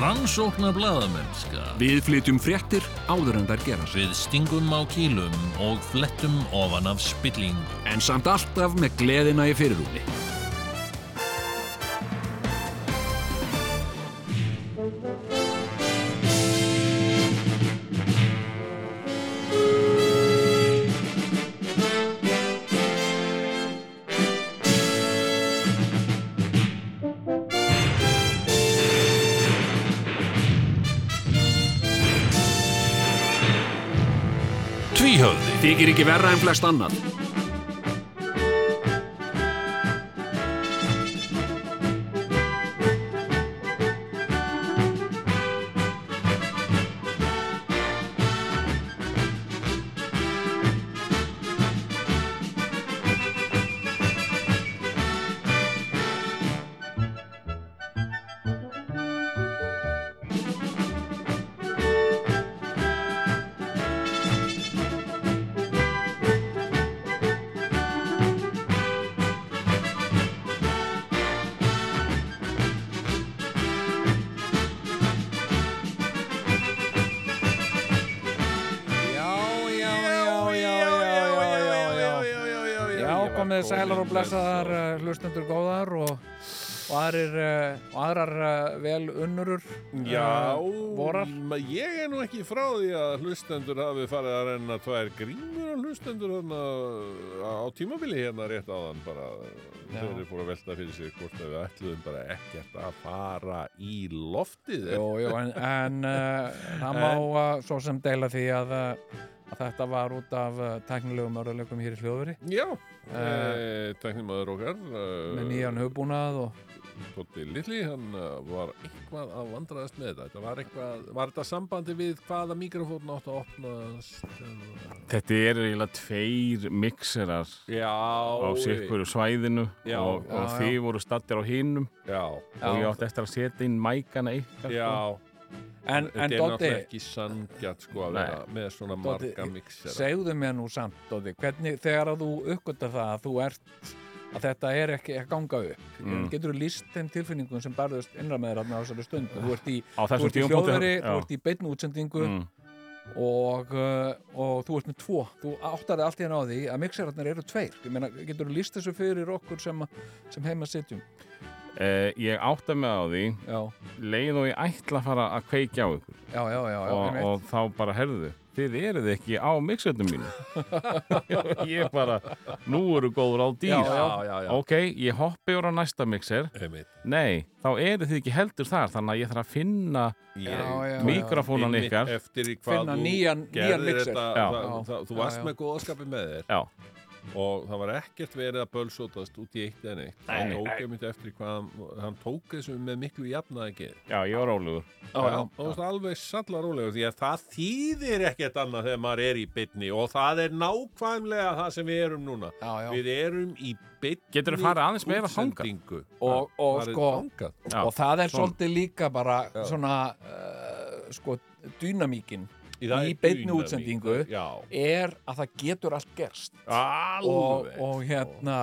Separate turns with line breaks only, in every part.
Rannsóknar blaðamennska
Við flytjum fréttir áður en þær gerast.
Við stingum á kýlum og flettum ofan af spillingu
En samt alltaf með gleðina í fyrirrúmi.
Tvíhöfði
Þykir ekki verra en flest annað.
Já, já, já, já, já, já, já, já, já, komið þið sælar og blessaðar uh, hlustendur góðar og, og aðrir uh, og aðrar uh, vel unnurur eh,
Já,
vorar.
ma- ég er nú ekki frá því að hlustendur hafi farið að renna tvær grímur á hlustendur hana, á tímabili hérna rétt áðan bara
Já.
þau eru búin að velta fyrir sig hvort að við ætluðum bara ekkert að fara í loftið
Jú, jú, en, en uh, það má uh, svo sem deila því að, uh, að þetta var út af uh, tæknilegum örðuleikum hér í hljóðveri
Já,
Eh,
uh, teknimaður okkar uh,
með nýjan hugbúnað og
Tótti Lilli, hann uh, var eitthvað að vandraðast með þetta þetta var, eitthvað, var þetta sambandi við hvaða mikrofón átt að opnast eða-
Þetta er eiginlega tveir mixerar
Já
á sérkveru svæðinu
Já,
og,
já,
og
já.
þið voru stattir á hinnum
Já,
og ég
Já.
átti eftir að setja inn mækana ykkar.
já
en,
Þetta
en
er
Dóti,
náttúrulega ekki sangjart sko að
Nei.
vera með svona
Doddi,
marga mixera.
segðu mér nú samt Dóti, hvernig þegar að þú uppgöndar það að þú ert að þetta er ekki að ganga upp
Mm.
getur þú líst þeim tilfinningum sem barðust innra með þér þarna á þessari stund þú ert í,
Á
þú ert
þessum
í
tímapunkti-
hljóðveri,
já.
þú ert í beinu útsendingu
Mm.
og, uh, og þú ert með tvo þú áttar allt í hann á því að mixerarnar eru tveir Ég meina, getur þú líst þessu fyrir okkur sem, sem heima sitjum
Eh, ég átti mig á því,
já,
leið og ég ætla að fara að kveikja á ykkur
já, já, já, já
og,
einmitt.
og þá bara herðu, þið eruð ekki á mixerunum mínu. ég bara, nú eru góður á dýr.
Já, já.
já,
Ok, ég hoppi úr á næsta mixer.
Einmitt.
Nei, þá eru þið ekki heldur þar, þannig að ég þarf að finna
Ég-
Já, já.
mikrofónan
einmitt
ykkar.
Eftir í hvað
finna
þú
nýjan, nýjan
gerðir
mixer
þetta,
Já.
það,
Já.
það, þú
Já,
varst
já.
með góðaskapi með þér
Já,
og það var ekkert verið að bölsótast út í eitt en eitt. Það
Nei, nei.
tók ég myndi eftir í hvað hann, hann tók þessu með miklu jafnaði
já, ég var ólugur.
Það varst alveg sallar rólegur því að það þýðir ekkert annað þegar maður er í bytni og það er nákvæmlega það sem við erum núna.
já, já.
Við erum í bytni
Geturðu farið aðeins meira þangað?
og, og
Farið
sko
þangað.
Já,
og það er
svona.
svolítið líka bara svona uh, sko dýnamíkin
í, það
í
er
beinni
dýnamík.
útsendingu.
já,
er að það getur allt gerst og,
alveg
og hérna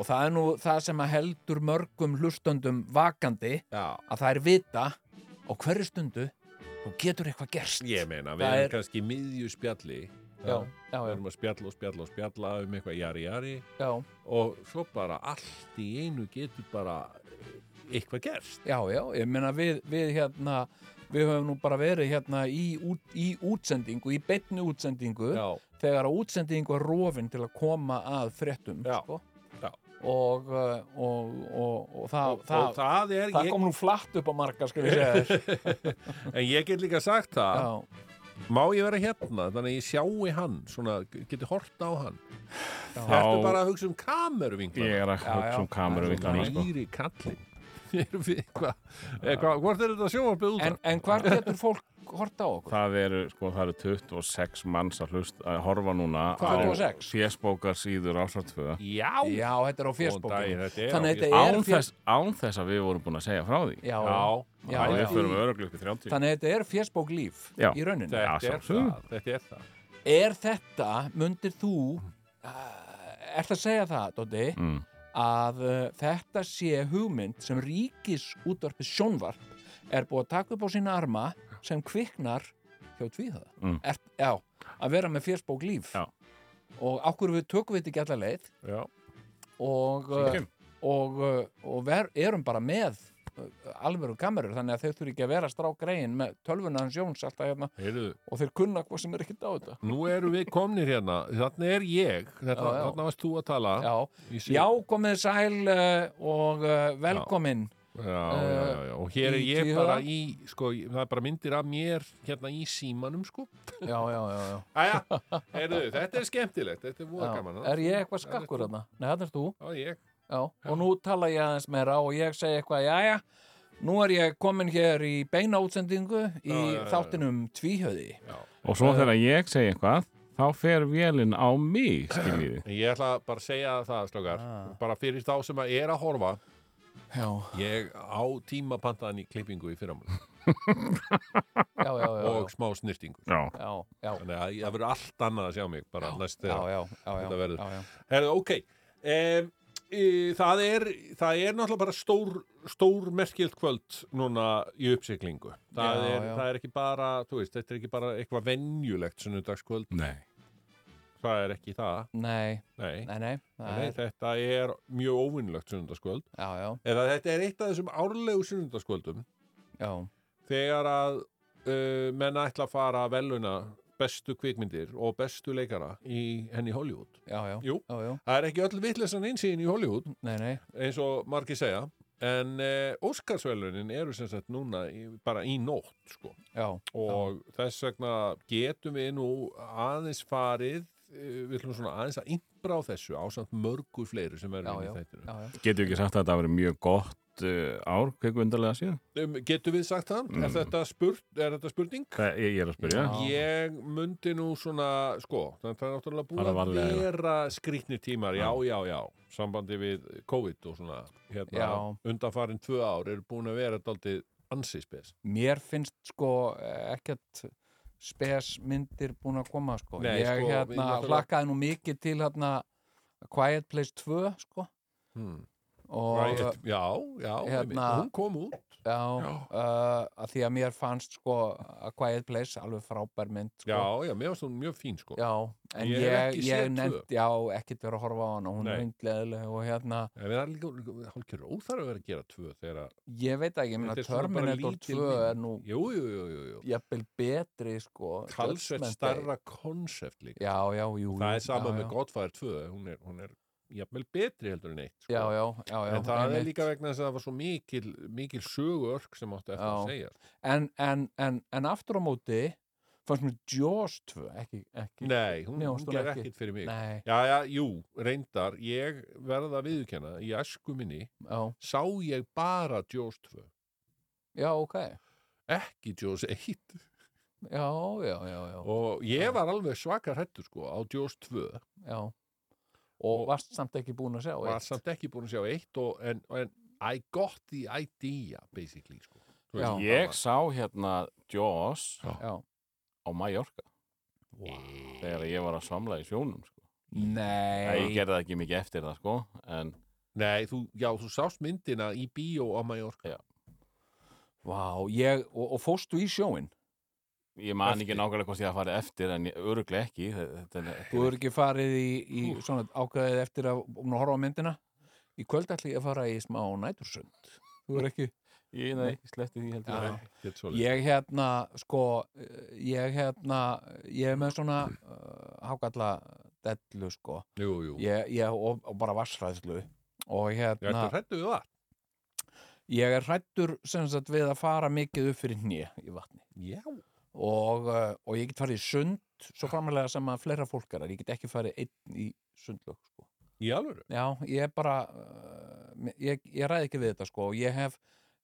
og það er nú það sem að heldur mörgum hlustöndum vakandi
já,
að það er vita á hverju stundu nú getur eitthvað gerst
ég meina, við
Það
erum
er-
kannski í miðju spjalli
já, já,
við
já,
erum að spjalla og spjalla og spjalla um eitthvað jari jari
já,
og svo bara allt í einu getur bara eh, eitthvað gerst
já, já ég meina við, við hérna við höfum nú bara verið hérna í, út, í útsendingu, í beinni útsendingu
já,
þegar að útsendingu er rofin til að koma að fréttum
Já,
sko.
já.
Og, uh, og, og, og það,
og,
það,
og það er
það
ég,
kom nú flatt upp á marga skal við segja þér
en ég get líka sagt það
Já.
má ég vera hérna, þannig að ég sjái hann svona, geti hort á hann
Já.
þetta er bara að hugsa um kameruvinklar
Ég er að
Já, já.
hugsa um kameruvinklana, sko.
Mæri kallinn Erum við eitthvað- eitthvað- eh, Hvort er þetta sjónvarpið út
en, en hvar getur fólk horta á okkur?
Það eru, sko, það eru 26 manns að hlust, að horfa núna
Hvað,
á
26?
fésbókar síður ásvartföða.
Já,
Já, þetta er á
Góðan
fésbókinu
daginn, þetta er á
þannig að þetta er
Án
fés-
þess, án þess að við vorum búin að segja frá því.
já,
Já,
já,
Æ,
já.
við förum öruglega upp í 30.
þannig að þetta er fésbók líf
Já.
í rauninni
Já,
þetta er
sjálfsögðu.
það, þetta er það.
er þetta, mundir þú uh, ert að segja það, eh, Dóti
Mm.
að uh, þetta sé hugmynd sem ríkis útvarpi sjónvarp er búið að taka upp á sína arma sem kviknar hjá tvíhöða
Mm.
er, já, að vera með fjörsbók líf
Já.
og okkur við tökum við þetta ekki alla leið
já,
og,
Sem
uh,
kemur.
og, uh, og ver, erum bara með uh, alvöru kamerur þannig að þau þurfi ekki að vera strákgrein með tölvuna hans Jóns alltaf hérna
heyrðu,
og þeir kunna hvað sem er ekkert á þetta
nú eru við komnir hérna, þannig er ég, þetta,
Já, já.
þannig varst þú að tala.
Já,
Ég sé-
já komið sæl uh, og uh, velkomin Eh,
Já, já, já, já, og hér er
í
ég
tvíhöfða.
bara í, sko, það er bara myndir af mér hérna í símanum, sko.
já, já, já, já.
Æja, heyrðu, þetta er skemmtilegt, þetta er voða gaman.
já. Er ég eitthvað skakkur
það?
þarna? Nei, þarna er þú
Já, ég,
Já, og nú tala ég aðeins meira og ég segi eitthvað, jæja, nú er ég komin hér í beina útsendingu í
Já, já, já, já.
þáttinum tvíhöði.
já.
Og
Eh,
svo þegar ég segi eitthvað, þá fer vélinn á mig, skiljiði.
En Ég ætla bara að segja það, slökar,
Ah.
bara fyrir þá sem að er að horfa,
Já,
ég á tíma pantaðan í klippingu í fyrramölu
já, já, já, já,
og smá snirtingu.
Já.
já, já,
Þannig að það verður allt annað að sjá mig, bara næst
já,
þegar.
já, já,
Þetta
já,
verður.
já, já.
Herðu, ok. Um, e, það, er, það er náttúrulega bara stór, stór merkilt kvöld núna í uppsiklingu. Það,
Já,
er,
já.
það er ekki bara, þú veist, þetta er ekki bara eitthvað venjulegt sunnudagskvöld.
Nei.
Það er ekki það,
Nei,
nei.
nei, nei, það
Nei,
er,
þetta er mjög óvinnlegt sunnudagskvöld.
já, já,
Eða þetta er eitt af þessum árlegu sunnudagskvöldum
já,
þegar að uh, menn ætla að fara að veluna bestu kvikmyndir og bestu leikara í henni Hollywood.
já, já,
Jú.
já, já,
Það er ekki öll vitleysan einsýn í Hollywood.
nei, nei,
eins og margir segja en eh, Óskarsvelunin eru sem sagt núna í, bara í nótt sko.
já,
og þess vegna getum við nú aðeins farið eh, við ætlum svona aðeins að innbrá þessu ásamt mörgu fleiri sem
Já,
eru inn í þættinu
já, já,
Getur ekki sagt að þetta hafi verið mjög gott uh, ár, kveikvöndarlega síðan?
um, Getum við sagt
Mm.
það? Er, þetta spurt, er þetta spurning?
Hvað, ég, ég er að spyrja.
Já.
Ég myndi nú svona, sko, þannig að það er náttúrulega búið
Fara
að
varlega, já.
vera skrýtnir tímar, já,
Já.
já, já, sambandi við COVID og svona, hérna,
Já.
undanfarin tvö ár eru búin að vera daldið ansið spes.
mér finnst sko eh, ekkert spesmyndir búin að koma sko
Nei,
ég
sko, við
hérna
náttúrulega-
hlakkaði nú mikið til hérna Quiet Place 2 sko
Hmm.
og
Right. Já,
Hérna-
já, hérna, hún kom út
já, uh, að því að mér fannst sko að Quiet Place alveg frábær mynd sko.
Já, já, mér varst hún mjög fín sko
Já, en
Ég
ég, ég,
hef ekki séð
nefnt, já, ekkert verið að horfa á hana, hún
Nei.
er hundleðileg og hérna,
En við erum líka hálfkjör óþarf að vera að gera tvö þegar að
ég veit ekki, ég meina
Þetta er svona bara
Terminator
lítil
2
mynd.
er nú
Jú, jú, jú, jú, jú.
jafnvel betri sko
Talsveit
judgment day.
starra konsept líka
Já, já, jú, jú
Það er sama
já,
með
já.
Godfather 2 Hún er, hún er jafnvel betri heldur en eitt sko.
já, já, já, já,
En það
einmitt.
er líka vegna þess að það var svo mikil, mikil söguörk sem átti eftir
Já.
að segja sko.
en, en, en, en aftur á móti fannst mér Jaws 2 ekki, ekki
Nei, hún,
Nei,
hún
hún stóð
ger
ekki.
ekkit fyrir mig
Nei,
Já, já, jú, reyndar Ég verða að viðurkenna Í æsku minni
já,
sá ég bara Jaws 2
já, ok
Ekki Jaws 1
já, já, já, já,
og ég var alveg svakar hættur sko á Jaws 2
já.
Og-
og varst samt ekki búin að sjá
var
eitt.
samt ekki búin að sjá eitt og, en, en I got the idea basically sko Þú
Já.
það
Ég sá hérna Jaws
já.
á Mallorca
var-
þegar ég var að samla í sjónum, sko. Nei, ég
Nei,
gerði það ekki mikið eftir það, sko, en
Nei, þú, já, þú sást myndina í bíó á Mallorca
vá, ég, og, og fórstu í sjóin
ég man
Eftir.
ekki nákvæmlega hvort ég að fara eftir, en ég öruglega ekki. Þetta, þetta,
þú eru ekki farið í, í svona ákveðið eftir að búin að horfa á myndina í kvöld ætli ég að fara í smá nætursund þú eru ekki
ég, nei, sleppti því heldur.
Já.
Já.
Get svoleiðis.
Ég hérna, sko, eh, ég hérna, ég er með svona uh, hákalla dellu, sko,
Jú, jú,
ég, ég, og, og bara vassræðslu og
ég ætla
hérna,
að hrættu við það
ég er hrættur sem sagt við að fara mikið upp fyrir hnið í vatni
Já,
og, uh, og ég get farið í sund, svo framlega sem að fleira fólk er, þar. ég get ekki farið einn í sundlög, sko.
í alvöru
Já, ég er bara, uh, ég, ég ræði ekki við þetta, sko, og ég hef,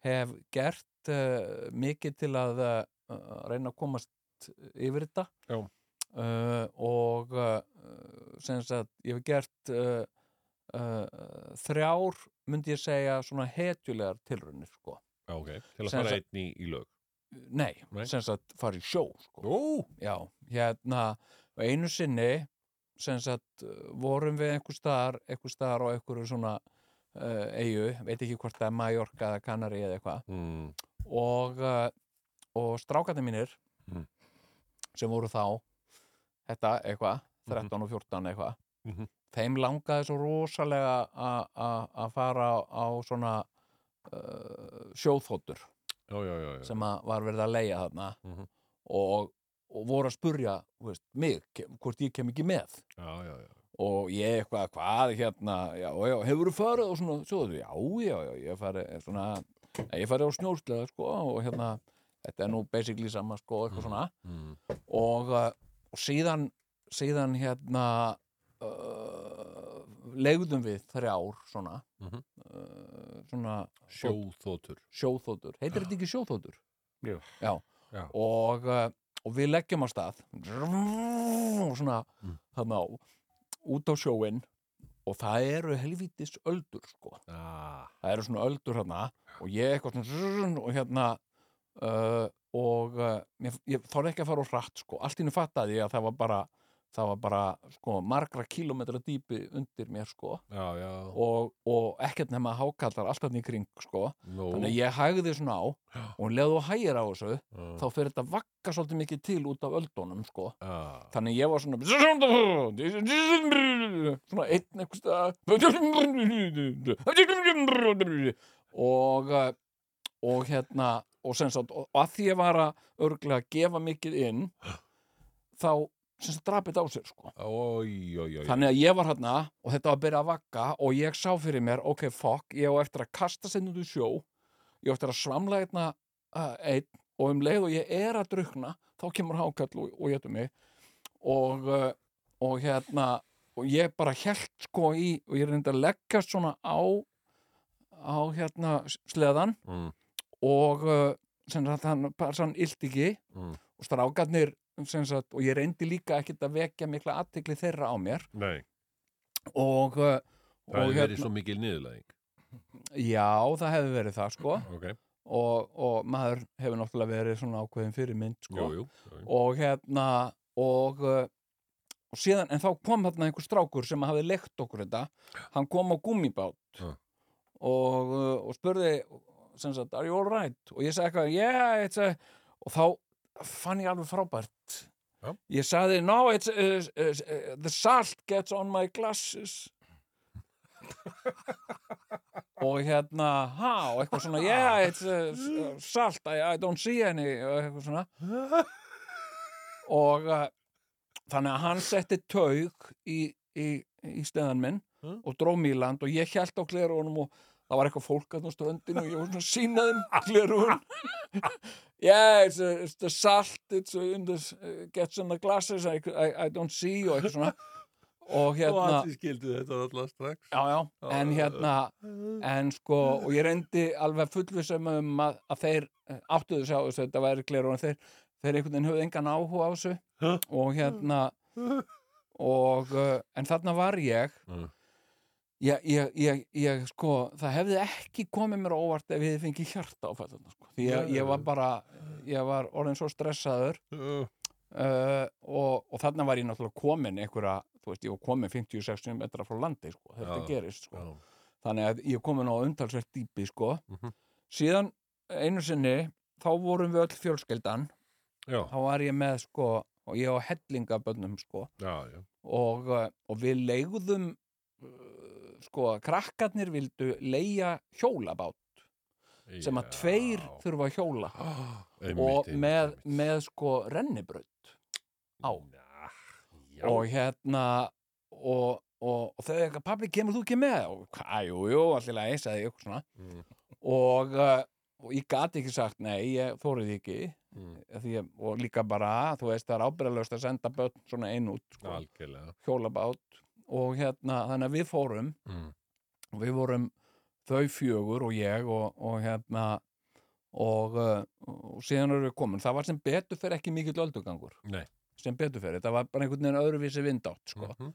hef gert uh, mikið til að uh, reyna að komast yfir þetta
Já.
uh, og uh, sem sagt, ég hef gert uh, uh, þrjár myndi ég segja svona hetjulegar tilraunir sko.
Já, ok, til að
Sem
fara
sagt-
einn í, í lög
Nei,
Nei.
sem sagt fara í sjó sko.
Jú,
Já, hérna og einu sinni sem sagt uh, vorum við einhver staðar, einhver staðar eh, á einhverju svona uh, eigu, veit ekki hvort það er Mallorca eða Kanari eða eitthvað
mm.
og, uh, og strákarnir mínir
Mhm.
sem voru þá þetta eitthvað, 13 og 14 eitthvað
Mhm.
þeim langaði svo rosalega a- a- að fara á, á svona uh, sjóðfótur
já, já, já, já.
sem að var verið að leia þarna
Mhm.
og, og voru að spurja veist, mig, kem, hvort ég kem ekki með
já, já, já.
og ég eitthvað, hvað hérna, já, já, hefur þú farið og svona, sjóðu, já, já, já, ég farið eh, svona, nei, ég farið á snjóslega, sko, og hérna, þetta er nú basically sama, sko, eitthvað svona,
Mm.
og, eh, og síðan, síðan, hérna, uh, legðum við þrjár, svona,
Mhm.
uh, svona,
Sjóþótur.
sjóþótur, heitir þetta ekki sjóþótur?
Jú.
Já,
Já.
Og, eh, og við leggjum á stað og svona
Mm.
þarna á, út á sjóin og það eru helvítis öldur sko,
Ah.
það eru svona öldur hérna og ég eitthvað svona og hérna uh, og uh, ég, ég þorði ekki að fara á hratt sko, allt í nú fattaði ég að það var bara það var bara sko margra kílómetra dýpi undir mér sko
Já, já.
og, og ekkert nema hákallar alltaf niður kring sko
Nú.
þannig að ég hægði svona á
Já.
og um leðu og hægir á þessu
Já.
þá fyrir þetta vakka svolítið mikið til út af öldunum sko.
Já.
þannig að ég var svona svona einn einhvers staðar. og eh, og hérna og, sem sagt, og og að því ég var að örglega gefa mikið inn þá sem sagt drapið á sér sko.
Oj, oj, oj.
þannig að ég var hérna og þetta var að byrja að vakka og ég sá fyrir mér, ok, fuck ég á eftir að kasta sinn út í sjó ég á eftir að svamla hérna uh, einn og um leið og ég er að drukna þá kemur hákall og, og getur mig og, uh, og hérna og ég bara held sko í og ég reyndi að leggast svona á á hérna s- sleðan
Mm.
og uh, sem sagt hann, hann illt ekki
Mm.
og strákarnir sem sagt, og ég reyndi líka ekkert að vekja mikla aðtikli þeirra á mér
Nei.
og, uh,
Það
og
hefur verið svo mikil niðurlæðing.
já, það hefði verið það sko
Ok.
og, og maður hefur náttúrulega verið svona ákveðin fyrir mynd sko
Jú, jú. jú.
og hérna og, uh, og síðan, en þá kom þarna einhver strákur sem hafði leikt okkur þetta hann kom á gummibát
Já.
og, uh, og spurði sem sagt, are you all right? og ég sagði eitthvað, yeah, it's a og þá fann ég alveg frábært
Já.
ég sagði, no, it's uh, uh, uh, the salt gets on my glasses og hérna, ha, og eitthvað svona yeah, it's uh, s- salt, I, I don't see any og eitthvað svona og uh, þannig að hann setti taug í, í, í steðan minn
Mm.
og dró mig í land og ég held á glerunum og það var eitthvað fólk að á ströndinu og ég var svona að sína þeim glerun yeah, it's, a, it's the salt it's a, in the, gets in the glasses I, I, I don't see og eitthvað svona og
Og
hérna
allir skildu þetta alltaf strax.
já, já, en
Já,
hérna en sko, og ég reyndi alveg fullvissum um að, að þeir eh, áttuðu sig á þessu, þetta væri glerun en þeir, þeir einhvern veginn höfðu engan áhuga á þessu
Ha?
og hérna og, eh, en þarna var ég
Mm.
ég, ég, ég, ég sko, það hefði ekki komið mér á óvart ef ég hefði fengið hjarta á fætuna, sko, því ég, ég var bara ég var orðin svo stressaður
Uh,
uh, og, og þarna var ég náttúrulega komin einhverja, þú veist, ég var komin 50-60 metra frá landi, sko, þetta
Já,
gerist sko.
já.
þannig að ég er komin á umtalsvert dýpi, sko,
Mhm.
síðan einu sinni, þá vorum við öll fjölskeldan,
Já,
þá var ég með sko, og ég á hellingabönnum, sko,
já, já.
og, uh, og við leigðum uh, sko, krakkarnir vildu leigja hjólabát sem að tveir þurfa að hjóla og með, með sko rennibraut á og hérna og, og, og þau eitthvað, pabbi, kemur þú ekki með? og hvað, jú, jú, allir lagi, sagði ég eitthvað svona
Mm.
og, uh, og ég gat ekki sagt nei, ég þórið ekki
Mm.
því, ég- og líka bara, þú veist, það er ábyrðalaust að senda börn svona einn út sko,
Algjörlega.
hjólabát og hérna, þannig að við fórum
Mm.
og við vorum þau fjögur og ég og, og hérna og, uh, og síðan erum við komin það var sem betur fyrir ekki mikill öldugangur
Nei.
sem betur fyrir, það var bara einhvern veginn öðruvísi vindátt sko.
Mhm.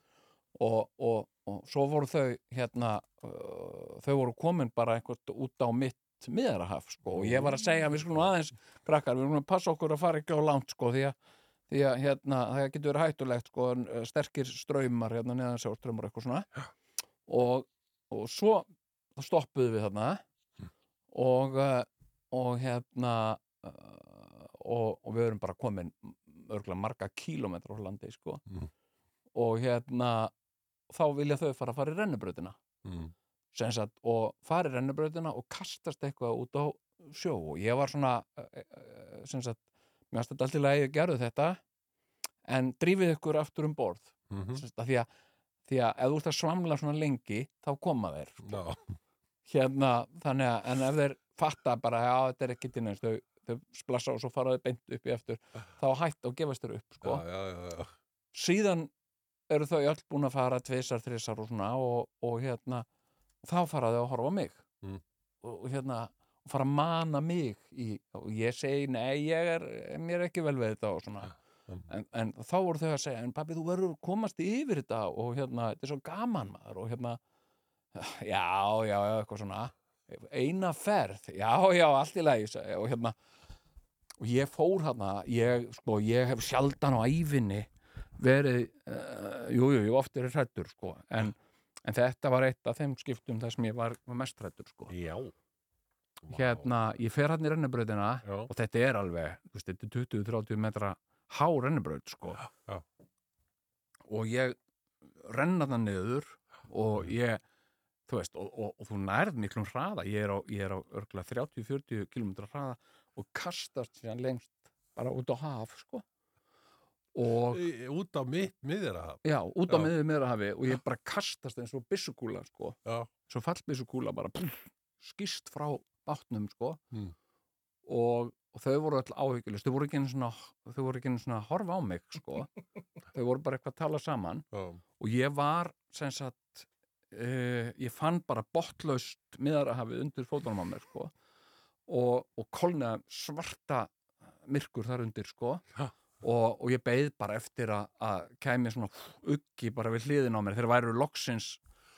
og, og, og svo voru þau hérna, uh, þau voru komin bara einhvern út á mitt miðarahaf sko. og ég var að segja, við skulum aðeins krakkar, við skulum að passa okkur að fara ekki á langt sko, því að, því að hérna, það getur verið hættulegt sko, en, eh, sterkir ströymar hérna, neðan sjálfströymar eitthvað svona og, og svo þá stoppuðum við þarna og, eh, og hérna uh, og, og við erum bara komin örgulega marga kílómetra frá landi sko.
Mhm.
og hérna þá vilja þau fara að fara í rennubrautina
Mm.
sem sagt, og fara í rennubrautina og kastast eitthvað út á sjó og ég var svona uh, uh, sem sagt, mér varst þetta alltaf að ég gerðu þetta en drífið ykkur aftur um borð
Mm
mm. að því, að, því að ef þú ert að svamla svona lengi þá koma þeir
Já,
hérna, þannig að en ef þeir fatta bara að þetta er ekki til neins þau, þau splassa og svo fara þau beint upp í eftir þá hætt og gefast þér upp sko.
já, já, já, já.
síðan eru þau öll búin að fara tvisar, þrisar og svona og, og hérna þá fara þau að horfa á mig
Mm.
og, og hérna og fara að mana mig í, og ég segi, nei, ég er mér er ekki vel við þetta og svona
Mm.
en, en þá voru þau að segja, en pabbi þú verður að komast yfir þetta og hérna, þetta er svo gaman maður og hérna, já, já, já, eitthvað svona eina ferð, já, já, allt í lagi sagði ég, og hérna og ég fór hérna, ég, sko, ég hef sjaldan á æfinni verið, uh, jú, jú, jú, oft er hrættur, sko, en, en þetta var eitt af þeim skiptum þar sem ég var, var mest hrættur, sko
Já. Vá.
hérna, ég fer hérna í rennubrautina
Já,
og þetta er alveg, þú veist, þetta er 20-30 metra há rennubraut, sko
já.
og ég renna það niður
Mm.
og ég, þú veist og, og, og þú nærð miklum hraða ég er á, ég er á örgulega 30-40 km hraða og kastast síðan lengst bara út á haf, sko og
Í- Út á mitt miðjara
já, út á
Já.
miður meira hafi og ég bara kastast eins og byssukúla, sko
Já.
svo fallbyssukúla bara pff, skýst frá bátnum, sko
Mm.
og, og þau voru öll áhyggjulist þau voru ekki einu svona, þau voru ekki einu svona að horfa á mig, sko þau voru bara eitthvað að tala saman
Já,
og ég var sem sagt uh, ég fann bara botlaust miðarahafið undir fótunum á mér sko og, og kolna svarta myrkur þar undir sko
Ha.
og, og ég beið bara eftir að, að kæmi svona uggi bara við hliðin á mér þegar væru loksins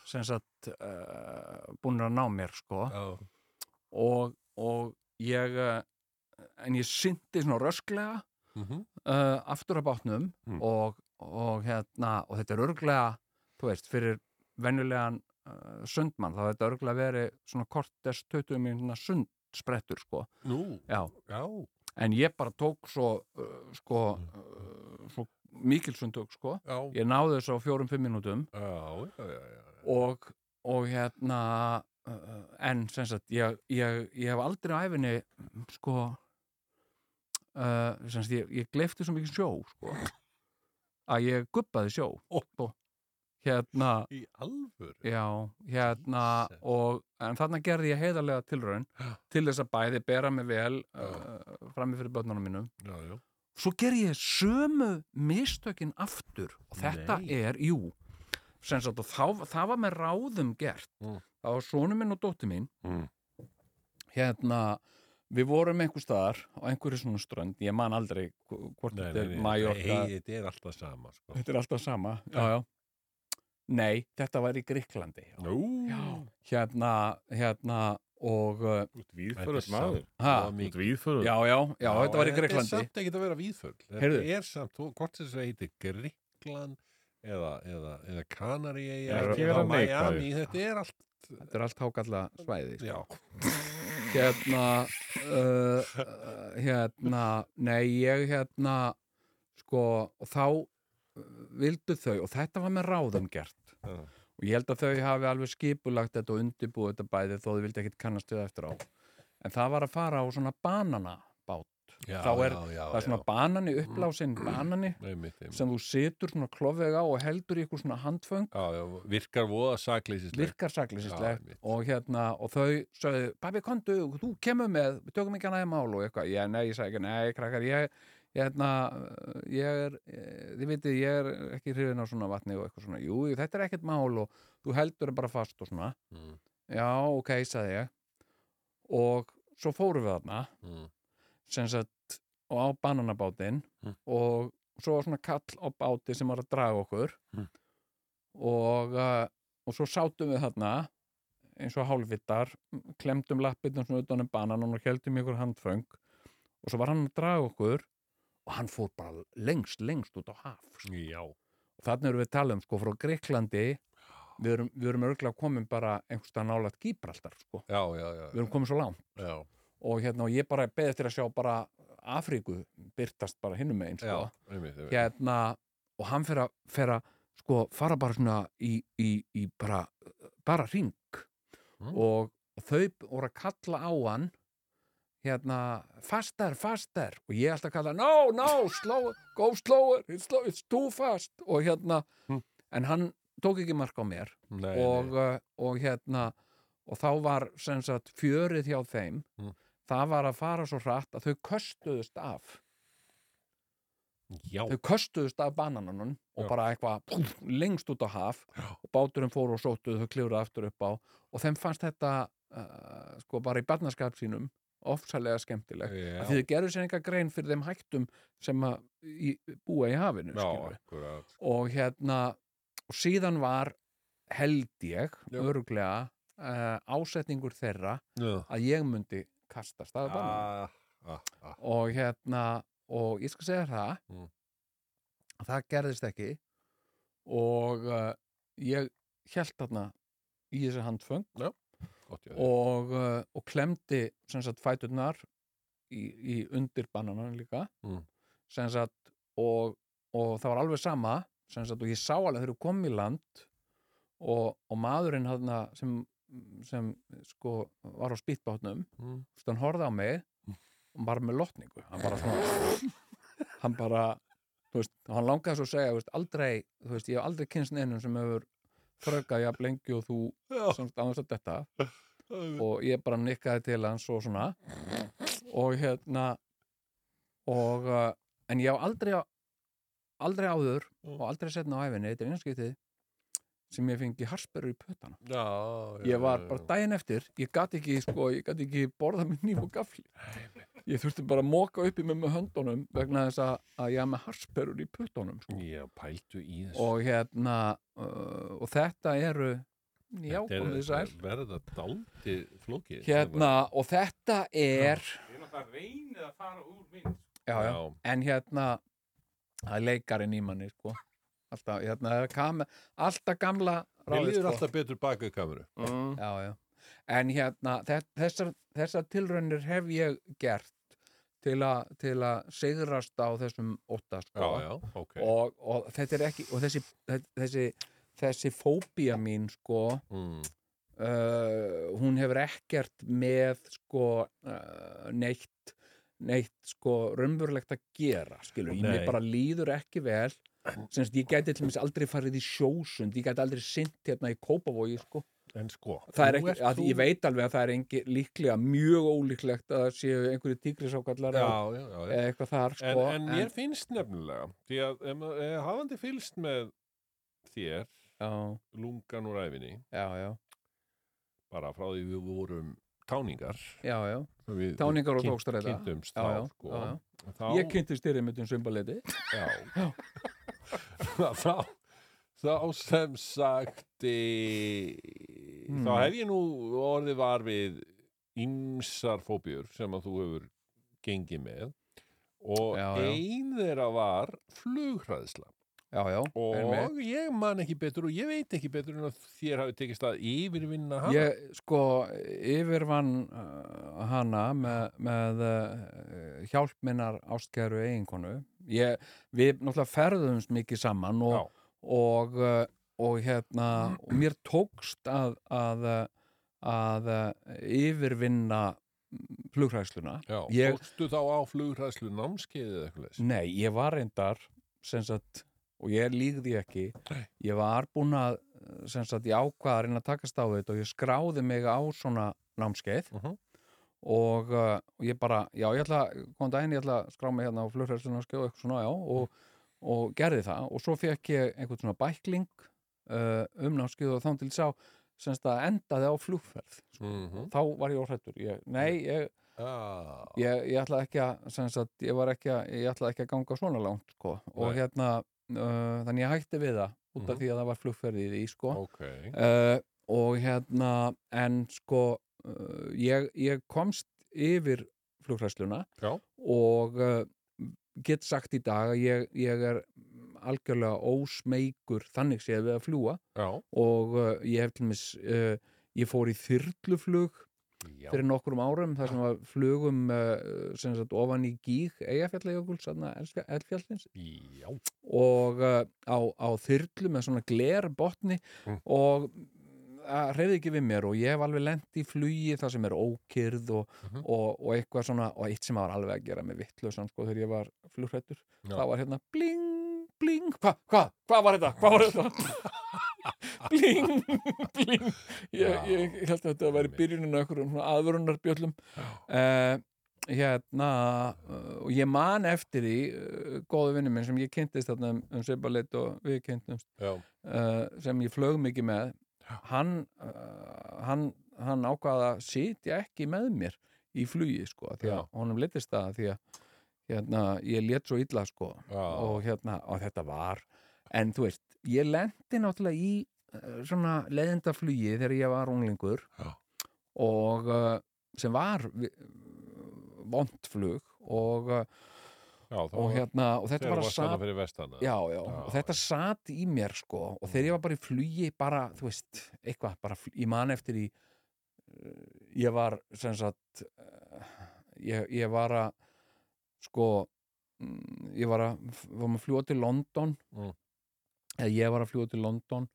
sem sagt uh, búin að ná mér sko
já,
og, og ég uh, en ég syndi svona rösklega
mhm,
uh, aftur að bátnum
Mm.
og, og, hérna, og þetta er örglega þú veist, fyrir venjulegan uh, sundmann, þá er þetta örglega verið svona kortest 20 mínúna sundsprettur sko,
nú,
já
já,
en ég bara tók svo uh, sko, uh, svo mikil sundtök sko,
já, já,
ég náði þessu á fjórum-fimm mínútum
já, já, já, já.
og, og hérna uh, en sem sagt ég, ég, ég hef aldrei á æfinni sko uh, sem sagt ég, ég gleifti svo mikið sjó sko, að ég gubbaði sjó
Ó.
og hérna
Í alvöru?
já, hérna
Jesus.
og, en þarna gerði ég heiðarlega tilraun
Já.
til þess að bæði bera mig vel
Já.
uh, frammi fyrir börnunum mínum
Já, já,
svo ger ég sömu mistökin aftur og þetta
Nei.
er, jú sem sagt, og þá, það var með ráðum gert
Mm.
það var sonu minn og dótti mín
Mm.
hérna við vorum einhver staðar á einhverju svona strönd, ég man aldrei hv- hvort
Nei,
þetta
nei,
er
nei,
Mallorca,
nei, þetta er alltaf sama, sko.
þetta er alltaf sama já, já nei, þetta var í Gríklandi
Nú,
hérna, hérna og, uh,
Þú ert víðförð
Þetta er
maður.
ha,
samt-
Þú ert
mikið.
víðförð.
já, já, Ah. já, þetta var í
Þetta er
Gríklandi
samt ekki að vera víðfull. Þetta
Heyrðu.
er samt, þú- hvort þess að heiti Gríkland eða, eða, eða Kanari
Já, ekki vera neikvæður.
Miami, þetta er allt,
þetta er allt hákalla svæði
já,
hérna uh, uh, hérna, nei ég hérna sko, og þá uh, vildu þau, og þetta var með ráðum gert
Já.
og ég held að þau hafi alveg skipulagt þetta og undirbúið þetta bæði þó þau vildi ekkit kannast við það eftir á en það var að fara á svona bananabát
já,
Þá er-
já, já,
það er svona banani, upplásin banani
já, einmitt, einmitt.
sem þú situr svona klofvega á og heldur í ykkur svona handföng
Já, já, virkar voða sakleysislega.
virkar
Já,
sakleysislegt
einmitt.
og hérna og þau sögðu, pabbi kondu, þú kemur með við tökum ekki hana í mál og eitthvað ég, nei, ég sagði ekki, nei, krakkar, ég ég, hérna, ég er eh, þið vitið, ég er ekki hrifin á svona vatni og eitthvað svona, jú, jú, þetta er ekkert mál og þú heldur það bara fast og svona
Mm,
já, ok, sagði ég og svo fórum við þarna
mm,
sem sagt, og á bananabátinn
Mm.
og svo var svona kall á báti sem var að draga okkur
Mm.
og uh, og svo sátum við þarna eins og hálfvittar klemdum lappirnum svona utan um bananan og heldum í ykkur handföng og svo var hann að draga okkur og hann fór bara lengst, lengst út á haf sko.
já,
og þarna erum við að tala um sko frá Greiklandi við erum, við erum örgulega komin bara einhverstað nálaðt Gíbraldar sko,
já, já, já,
við erum komin svo langt
já,
og hérna og ég bara beðið eftir að sjá bara Afríku byrtast bara hinnum megin sko.
einmitt, einmitt.
hérna og hann fer að, fer að sko fara bara svona í, í, í bara, bara ring
Mm.
og þau voru að kalla á hann hérna, fastar, fastar og ég alltaf að kalla, no, no, slow go slower, it's, slow, it's too fast og hérna,
Mm.
en hann tók ekki mark á mér
Nei, nei.
og, uh, og hérna og þá var sem sagt fjörið hjá þeim
Mm.
það var að fara svo hratt að þau köstuðust af
já,
þau köstuðust af bananunum og
Já.
bara eitthvað púf, lengst út á haf og báturinn fór og sóttuð þau klifruðu aftur upp á og þeim fannst þetta uh, sko bara í barnaskap sínum ofsalega skemmtilegt
já,
af því þau gerðu sér enga grein fyrir þeim hættum sem að í, búa í hafinu
já,
skilurðu.
akkurat
og hérna og síðan var held ég
Já.
öruglega uh, ásetningur þeirra
já,
að ég mundi kastast að bananum
ah, ah, ah.
og hérna og ég skal segja þér það
Mm.
að það gerðist ekki og uh, ég held þarna í þessi handföng
Gott, já, já.
og, uh, og klemdi sem sagt fæturnar í, í undir bananan líka
Mm.
sem sagt og, og það var alveg sama sem sagt og ég sá alveg þegar við komum í land og, og maðurinn hana, sem, sem sko var á spýtbátnum
Mm.
Vist, hann horfði á mig og bara með lotningu hann bara svona hann bara, þú veist, og hann langaði svo að segja þú veist, aldrei, þú veist, ég hef aldrei kynst neinum sem hefur frökað jafn lengi og þú
Já.
sem aðeins að detta og ég bara nikkaði til hans og svona og hérna og uh, en ég hef aldrei aldrei áður
Mm.
og aldrei setna á æfinni, þetta er einskiptið sem ég fengi harsperur í pötana
já, já,
ég var
já,
bara
já.
daginn eftir ég gat ekki, sko, ég gat ekki borða með nýf og gafli ég þurfti bara að móka upp í mig með höndunum vegna þess að, að ég haf með harsperur í puttunum sko.
já, pæltu í þessu
og hérna uh, og þetta eru já,
Þetta er-
komið þið sæl
verða daldi flóki
hérna, og þetta er
Ég er náttúrulega reynið að fara úr minn.
já, já, en hérna það er leikarinn í manni, sko alltaf, hérna, það er kam- alltaf gamla
Mér
ráðið,
líður
sko.
alltaf betur baka kameru
sko.
já, já. En hérna, þe- þessar, þessar tilraunir hef ég gert til, a, til að sigrast á þessum ótta,
Já,
sko.
já, ok
Og, og þetta er ekki, og þessi, þessi, þessi fóbía mín, sko,
mm.
uh, hún hefur ekkert með, sko, uh, neitt, neitt, sko, raunverulegt að gera, skilur. Ég
Nei.
mér bara líður ekki vel. Semst, ég gæti til dæmis aldrei farið í sjósund, ég gæti aldrei sint hérna í Kópavogi, sko
En sko
það er
nú
ekki,
ert
að
þú-
ég veit alveg að það er engi, líklega mjög ólíklegt að það séu einhverju tígrisákallar
Já,
eða
já, já, já.
eða eitthvað þar
en,
sko,
en mér finnst nefnilega Því að ef maður- eh, hafandi fylgst með þér
já,
lungan úr æfinni
já, já,
bara frá því við vorum táningar
já, já.
við,
Táningar og
kyn-
tókstræða.
kynntumst
Já,
þá,
já,
sko,
já, já.
Þá,
ég kynnti um styrirmyndum svimbaleiti Já.
já. þá, þá sem sagt e, þá
Hmm.
hef ég nú orðið var við ýmsar fóbjur sem að þú hefur gengið með og
Já, já.
ein þeirra var flughræðsla
já, já, einmitt.
og ég man ekki betur og ég veit ekki betur en að þér hafi tekist að yfirvinna hana
ég sko yfirvann uh, hana með, með uh, hjálp minnar ástgæru eiginkonu ég, við náttúrulega ferðumst mikið saman og,
Já.
og, uh, og hérna og mér tókst að að, uh, að uh, yfirvinna flugræsluna
já,
ég-
fórstu þá á flughræðslu námskeiðið eða eitthvað leys
nei, ég var reyndar sem sagt, og ég lígði ekki
Nei.
ég var búin að sem sagt, ég ákvað að reyna að takast á þetta og ég skráði mig á svona námskeið
Mhm.
og, uh, og ég bara, já, ég ætla góðan daginn, ég ætla að skrá mig hérna á flugræsluna og skjóða eitthvað svona, já, og, og gerði það og svo fekk ég einhvern svona bækling uh, um námskeið og þá til sá semst að endaði á flugferð
mm -hmm.
þá var ég óhrættur, ég, nei, ég
ah.
ég, ég ætlaði ekki að, sem sagt, ég var ekki að, ég ætlaði ekki að ganga svona langt, sko, og
Nei.
hérna, uh, þannig ég hætti við það, út af
Mhm.
því að það var flugferðið í, því, sko,
ok
uh, og hérna, en sko, uh, ég, ég komst yfir flugræsluna
já,
og uh, get sagt í dag að ég, ég er algjörlega ósmeykur þannig séð við að fljúa
já,
og uh, ég hef til mis, uh, ég fór í þyrluflug
Já.
fyrir nokkrum árum þar sem að flugum uh, sem sagt, ofan í gíg eigafjallajökul, sann að eldfjallins
Já.
og uh, á, á þyrlu með svona gler botni
Mm.
og það reyði ekki við mér og ég hef alveg lent í flugi það sem er ókyrð og,
Mhm.
og, og eitthvað svona, og eitt sem var alveg að gera með vittlausan sko þegar ég var flugrættur
Já.
það var hérna bling, bling hvað, hvað, hvað var þetta, hvað var þetta bling, bling ég,
Já.
ég held að þetta væri
Einmitt.
byrjunin á einhverjum aðvörunarbjöllum uh, hérna eh, og ég man eftir því uh, góðu vinnu minn sem ég kynntist þarna um, um Svibalit og við kynntumst
Já.
uh, sem ég flög mikið með hann, uh, hann, hann ákvaða að sitja ekki með mér í flugi sko, því að
Já.
honum litist það því að hérna, ég let svo illa sko
Já.
og hérna, og þetta var en þú veist, ég lendi náttúrulega í eh, svona leðenda flugi þegar ég var unglingur
Já.
og eh, sem var vond flug og, eh,
Já, þá
og hérna og þetta
Þegar
var
þú
að
varst hana
sat
fyrir vestana.
já, já,
Já, Mm.
og þetta sat í mér sko og þegar ég var bara í flugi bara, þú veist, eitthvað bara, fl- ég man eftir í eh, ég var sem sagt eh, ég, ég var að sko mm, ég var að, var að fljúa til London
Mm.
eða ég var að fljúa til London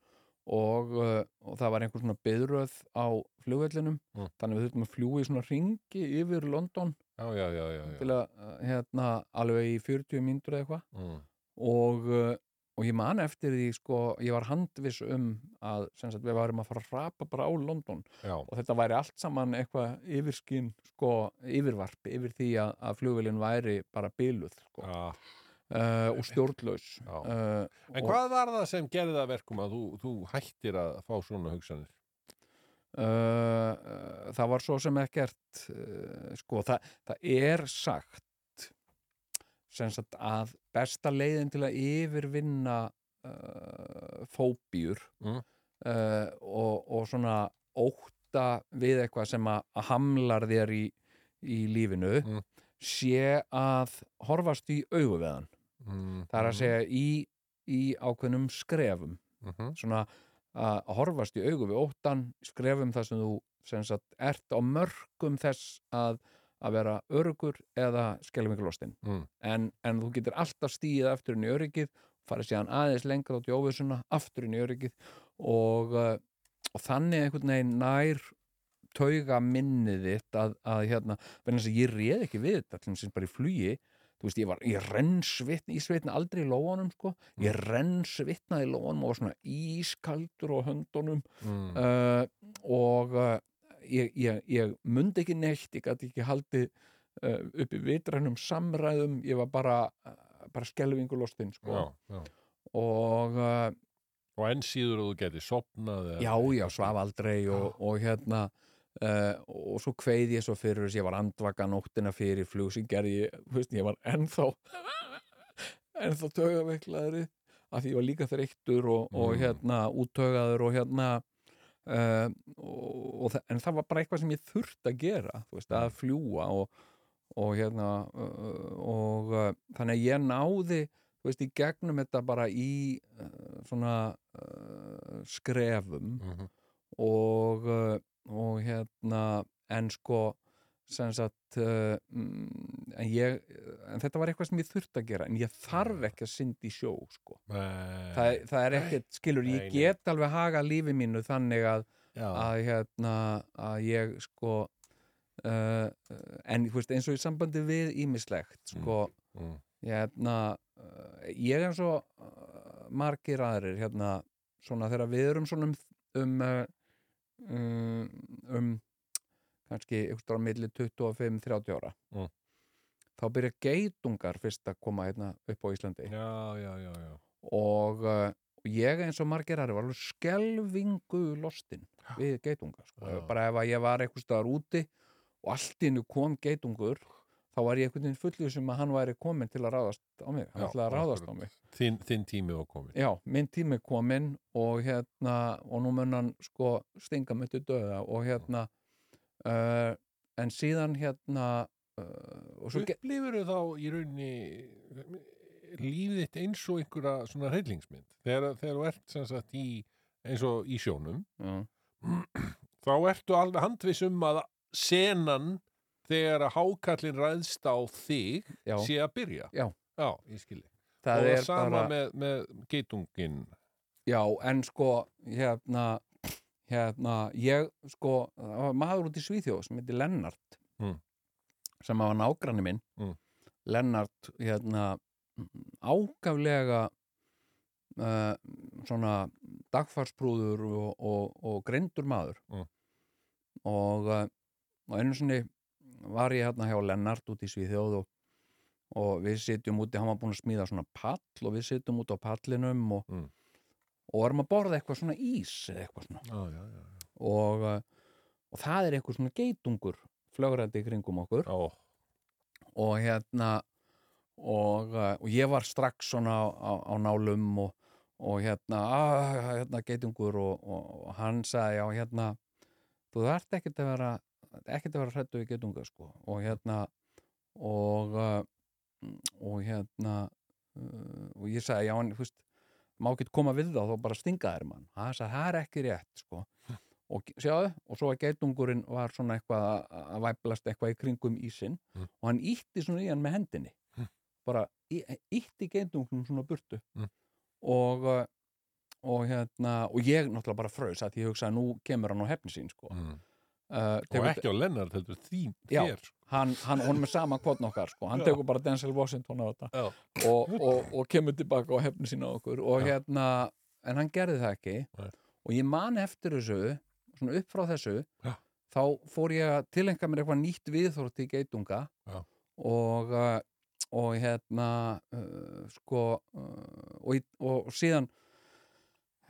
og, eh, og það var einhver svona byðröð á flugvellinum
Mm.
þannig að við þurfum að fljúa í svona ringi yfir London
Já, já, já, já. já.
til að eh, hérna, alveg í 40 mínútur eða eitthvað
Mm.
og, uh, og ég man eftir því sko, ég var handviss um að sem sagt, við varum að fara að rapa bara á London
Já,
og þetta væri allt saman eitthvað yfirskinn, sko, yfirvarp yfir því að, að flugvélinn væri bara byluð sko,
já.
uh, og stjórnlaus
Já.
uh,
Ah. En
og,
hvað var það sem gerði það að verkum að þú, þú hættir að fá svona hugsanir?
uh, það var svo sem ekkert uh, sko, það, það er sagt sem sagt að besta leiðin til að yfirvinna uh, fóbíur
Mm.
uh, og, og svona ótta við eitthvað sem að, að hamlar þér í, í lífinu
Mm.
sé að horfast í augu við hann
Mm.
það er að segja í, í ákveðnum skrefum
Mm -hmm.
svona að að horfast í augu við óttan skrefum það sem þú sem sagt, ert á mörgum þess að, að vera örugur eða skelfingalostin
Mm.
en, en þú getur alltaf stíð aftur inn í öryggið farið síðan aðeins lengra át í óvissuna aftur inn í öryggið og, eh, og þannig einhvern veginn nær tauga minnið þitt að, að hérna, verðin þess að ég réð ekki við þetta, allir sem bara í flugi þú veist, ég var, ég renn svitna, ég svitna aldrei í lóanum, sko, ég
Mm.
renn svitnaði í lóanum og var svona ískaldur á höndunum
Mm.
uh, og uh, ég, ég, ég mundi ekki neitt, ég gæti ekki haldið uh, uppi vitrænum samræðum, ég var bara, uh, bara skelfingulostinn, sko,
já, já.
og uh,
Og enn síður að þú geti sopnað eða-
já, já, svaf aldrei og, og hérna uh, og svo kveið ég svo fyrir þess ég var andvaka nóttina fyrir flug sem gerði ég, þú veist, ég var ennþá ennþá taugaveiklaðri af því ég var líka þreyttur og, og
Mm.
hérna úttaugaður og hérna uh, og, og það, en það var bara eitthvað sem ég þurft að gera þú veist, að fljúa og, og hérna uh, og uh, þannig að ég náði þú veist, í gegnum þetta bara í uh, svona uh, skrefum
Mhm.
og, uh, og hérna en sko sem sagt uh, mm, en, ég, en þetta var eitthvað sem ég þurft að gera en ég þarf ekki að synda í sjó sko.
Nei.
það, það er ekkert, skilur,
Nei, nei.
ég get alveg haga lífi mínu þannig að,
Já.
að hérna, að ég sko uh, en þú veist, eins og í sambandi við ímislegt, sko
Mm.
hérna, uh, ég eins og uh, margir aðrir hérna, svona þegar við erum svona um um, uh, um, um kannski ykkur á milli 25-30 ára
Mm.
þá byrja geitungar fyrst að koma hérna upp á Íslandi
já, já, já, já.
og uh, ég eins og margir aðrir var alveg skelvingu lostin við geitunga sko.
Já.
bara ef að ég var eitthvað staðar úti og allt innu kom geitungur þá var ég einhvern veginn fullið sem að hann væri komin til að ráðast á mig hann
Já,
ætlaði að ráðast á
akkurat.
mig
Þinn, þinn tími var komin.
já, minn tími er kominn og hérna og nú mun hann sko stinga mig til döða og hérna uh, en síðan hérna uh, og svo ge-
Upplifur þá í rauninni lífið þitt eins og einhverja svona reylingsmynd. Þegar, þegar þú ert sem sagt í, eins og í sjónum,
já,
þá ertu alveg handviss um að senan þegar að hákallin ræðst á þig
já,
sé að byrja
Já.
ég skilji
það
og
er
sama
bara
með, með geitungin
já, en sko, hérna hérna, ég sko það var maður út í Svíþjóð sem heiti Lennart
Mm.
sem hafa nágranni minn
Mm.
Lennart, hérna ágaflega uh, svona dagfarsprúður og, og, og grindur maður
Mm.
og, uh, og einu sinni var ég hérna hjá Lennart út í Svíþjóð og, og við sitjum úti, hann var búin að smíða svona pall og við sitjum út á pallinum og,
Mm.
og erum að borða eitthvað svona ís eða eitthvað svona
já, já, já.
og, uh, og það er eitthvað svona geitungur flögrandi í kringum okkur
Ó,
og hérna og, uh, og ég var strax svona á, á, á nálum og, og hérna, að, hérna geitungur og, og, og hann sagði já hérna þú þarft ekkert að vera ekkert að vera hrættu við geitunga sko og hérna og, uh, og hérna uh, og ég sagði já en þú veist má ekki koma við þá, þá bara stinga þér mann hann sagði það er ekki rétt sko og ge- sjáðu, og svo að geitungurinn var svona eitthvað að að væplast eitthvað í kringum ísinn
Mm.
og hann ítti svona í hann með hendinni
Mm.
bara í- ítti geitungnum svona burtu
Mm.
og uh, og hérna, og ég náttúrulega bara frös að ég hugsaði nú kemur hann á hefni sín sko
mm.
uh,
og
tekur,
ekki á Lennart heldur þín,
Já.
þér sko.
hann, hann, honum er sama kvotn okkar sko, hann
Já.
tekur bara Denzel Washington á þetta
Já.
og, og, og kemur tilbaka á hefni sína á okkur og
Já.
hérna, en hann gerði það ekki
Nei.
og ég man eftir þessu svona upp frá þessu
Já.
þá fór ég að tilengja mér eitthvað nýtt viðþórt í geitunga
Já.
og uh, og hérna uh, sko uh, og, í- og síðan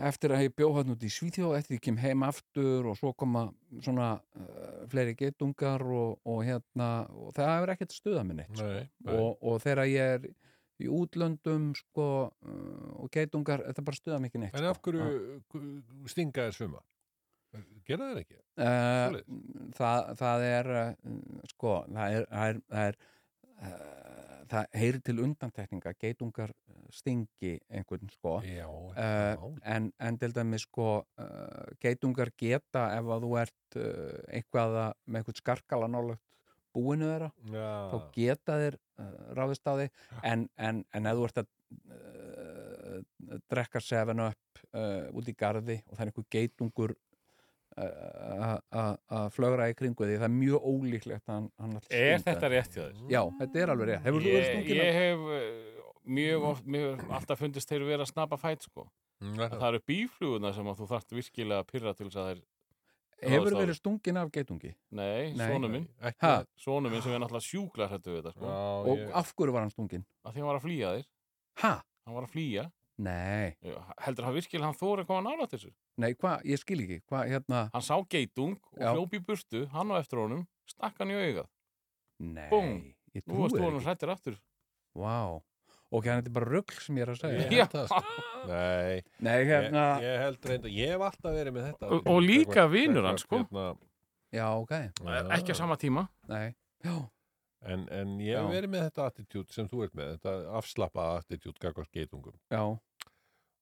eftir að ég bjó hann út í Svíþjóð eftir ég kem heim aftur og svo koma svona uh, fleiri geitungar og, og hérna og það hefur ekkert stuðað mér neitt
Nei, nei.
og, og þegar ég er í útlöndum sko uh, og geitungar, þetta bara stuðað mér ekki neitt
en af
sko.
hverju uh, stinga þér svuma gera þér ekki
Eh,
Svoleiðis?
það, það er eh, sko, það er það, er, það, er, eh, það heyri til undantekninga geitungar eh, stingi einhvern sko
já,
Eh,
já.
en, en til dæmis sko uh, geitungar geta ef að þú ert uh, eitthvað að, með eitthvað skarkala nálagt búinu þeirra þá
já.
geta þeir uh, ráðist á þig en, en, en ef þú ert að uh, drekka 7 upp uh, út í garði og það er einhver geitungur uh, að- að flögra í kringu því það er mjög ólíklegt að hann, hann ætli að
Er
stinga.
þetta rétt hjá þér?
Já, þetta er alveg rétt Hefur þú verið
Ég,
stungin?
ég hef uh, mjög oft, mér hefur alltaf fundist þeir vera að snappa fæt sko.
Já,
Það eru bífluguna sem að þú þarft virkilega að pyrra til þess að þeir,
Hefur
ráðist á
verið stungin af geitungi?
nei,
Nei.
sonu minn,
ekki
Ha,
sonu minn sem er náttúrulega sjúklar hættu við þetta sko.
Já,
og
ég,
af hverju var hann stungin?
Af því hann var að flýja þér,
Ha?
hann var að flýja,
Nei,
Já, heldur hann virkilega hann þóra að koma nála til þessu.
nei, hvað, ég skil ekki Hvað, hérna,
Hann sá geitung og
Já.
hljóp í burtu, hann á eftir honum, stakk hann í augað.
nei
Búmm.
Ég
Nú
trúi
varst þú
þér
honum
ekki
hrættir aftur.
Vá, ok, hann er þetta bara rugl sem ég er að segja
ég held það sko. Nei,
Nei,
ég,
hérna,
ég held reynda, ég hef alltaf verið með þetta
Og- og líka
Gagnvart-
vinur hans, sko. Eh,
gagnvart,
já, ok,
hérna,
Ekki á sama tíma.
nei, já,
en, en ég hef
Já.
verið með þetta attitút sem þú ert með, þetta afslappa attitút gagvart geitungum
já,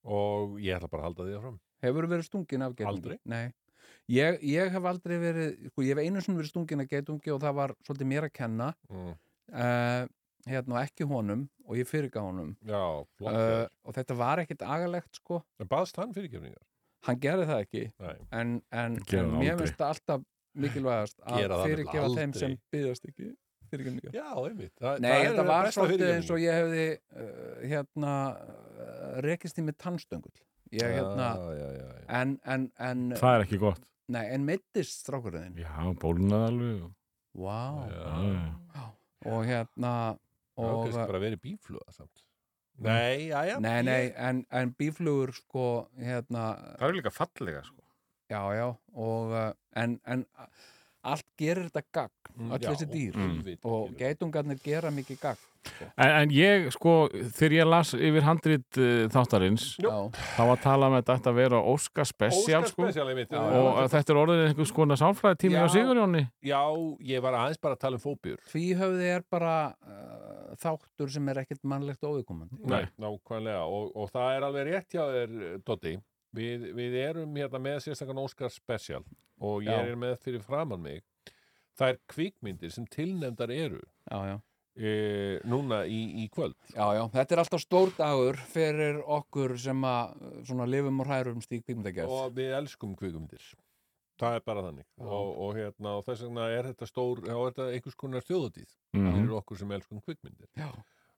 og ég ætla bara að halda því áfram
hefur verið stungin af geitungi?
Aldrei.
Nei, ég, ég hef aldrei verið, sko, ég hef einu sinni verið stungin af geitungi og það var svolítið mér að kenna,
mm.
uh, hérna, og ekki honum og ég fyrirga honum
Já, flott
uh,
uh,
og þetta var ekkert agalegt, sko,
En baðst hann fyrirgefningar?
hann gerði það ekki,
Nei,
en, en,
Gerði
en
það
mér
aldrei.
finnst það alltaf mikilvægast
Gera
að
það
fyrirgefa
nefnilega
þeim sem
aldrei.
byggðast ekki fyrirgefninga.
já, einmitt Þa,
Nei,
það
þetta
er
var
besta
svolítið
fyrirgefning.
eins og ég hefði uh, hérna uh, rekist í með tannstöngul ég hérna
já, já, já, já.
en, en, en,
Það er ekki gott.
nei, en meittist strákurðin
Já, bólunað alveg.
wow.
Já.
og hérna
Og
og, Mm.
kannski bara verið bífluga samt Nei, já, já
nei, nei, en, en bíflugur sko hérna,
Það eru líka fallega sko.
já, já og, uh, en, en a- allt gerir þetta gagn, öll þessi dýr Mm. og geitungarnir gera mikið gagn
En, en ég, sko, þegar ég las yfir handrit uh, þáttarins,
Jú.
já,
þá var talað með að þetta að vera Óskar Special, sko.
Óskarspesial, einmitt
Já,
Og að þetta er orðin einhvers konar sálfræði tími
Já.
á Sigurjóni.
Já, ég var aðeins bara að tala um fóbjur
tvíhöfði er bara uh, þáttur sem er ekkert mannlegt óvikomandi
Nei.
Nákvæmlega, og, og það er alveg rétt hjá þér, eh, Doddi Við, við erum hérna með sérstakann Óskar Special og ég
Já.
er með fyrir framann mig þær kvikmyndir sem tilnefndar eru
já, já.
e, núna í, í kvöld
Já, já, þetta er alltaf stór dagur fyrir okkur sem að uh, svona lifum og hrærum stík kvikmyndagerð.
og við elskum kvikmyndir það er bara þannig
Já.
og, og, hérna, og þess vegna er þetta stór þá er þetta einhvers konar þjóðatíð
Mhm.
fyrir okkur sem elskum kvikmyndir
Já.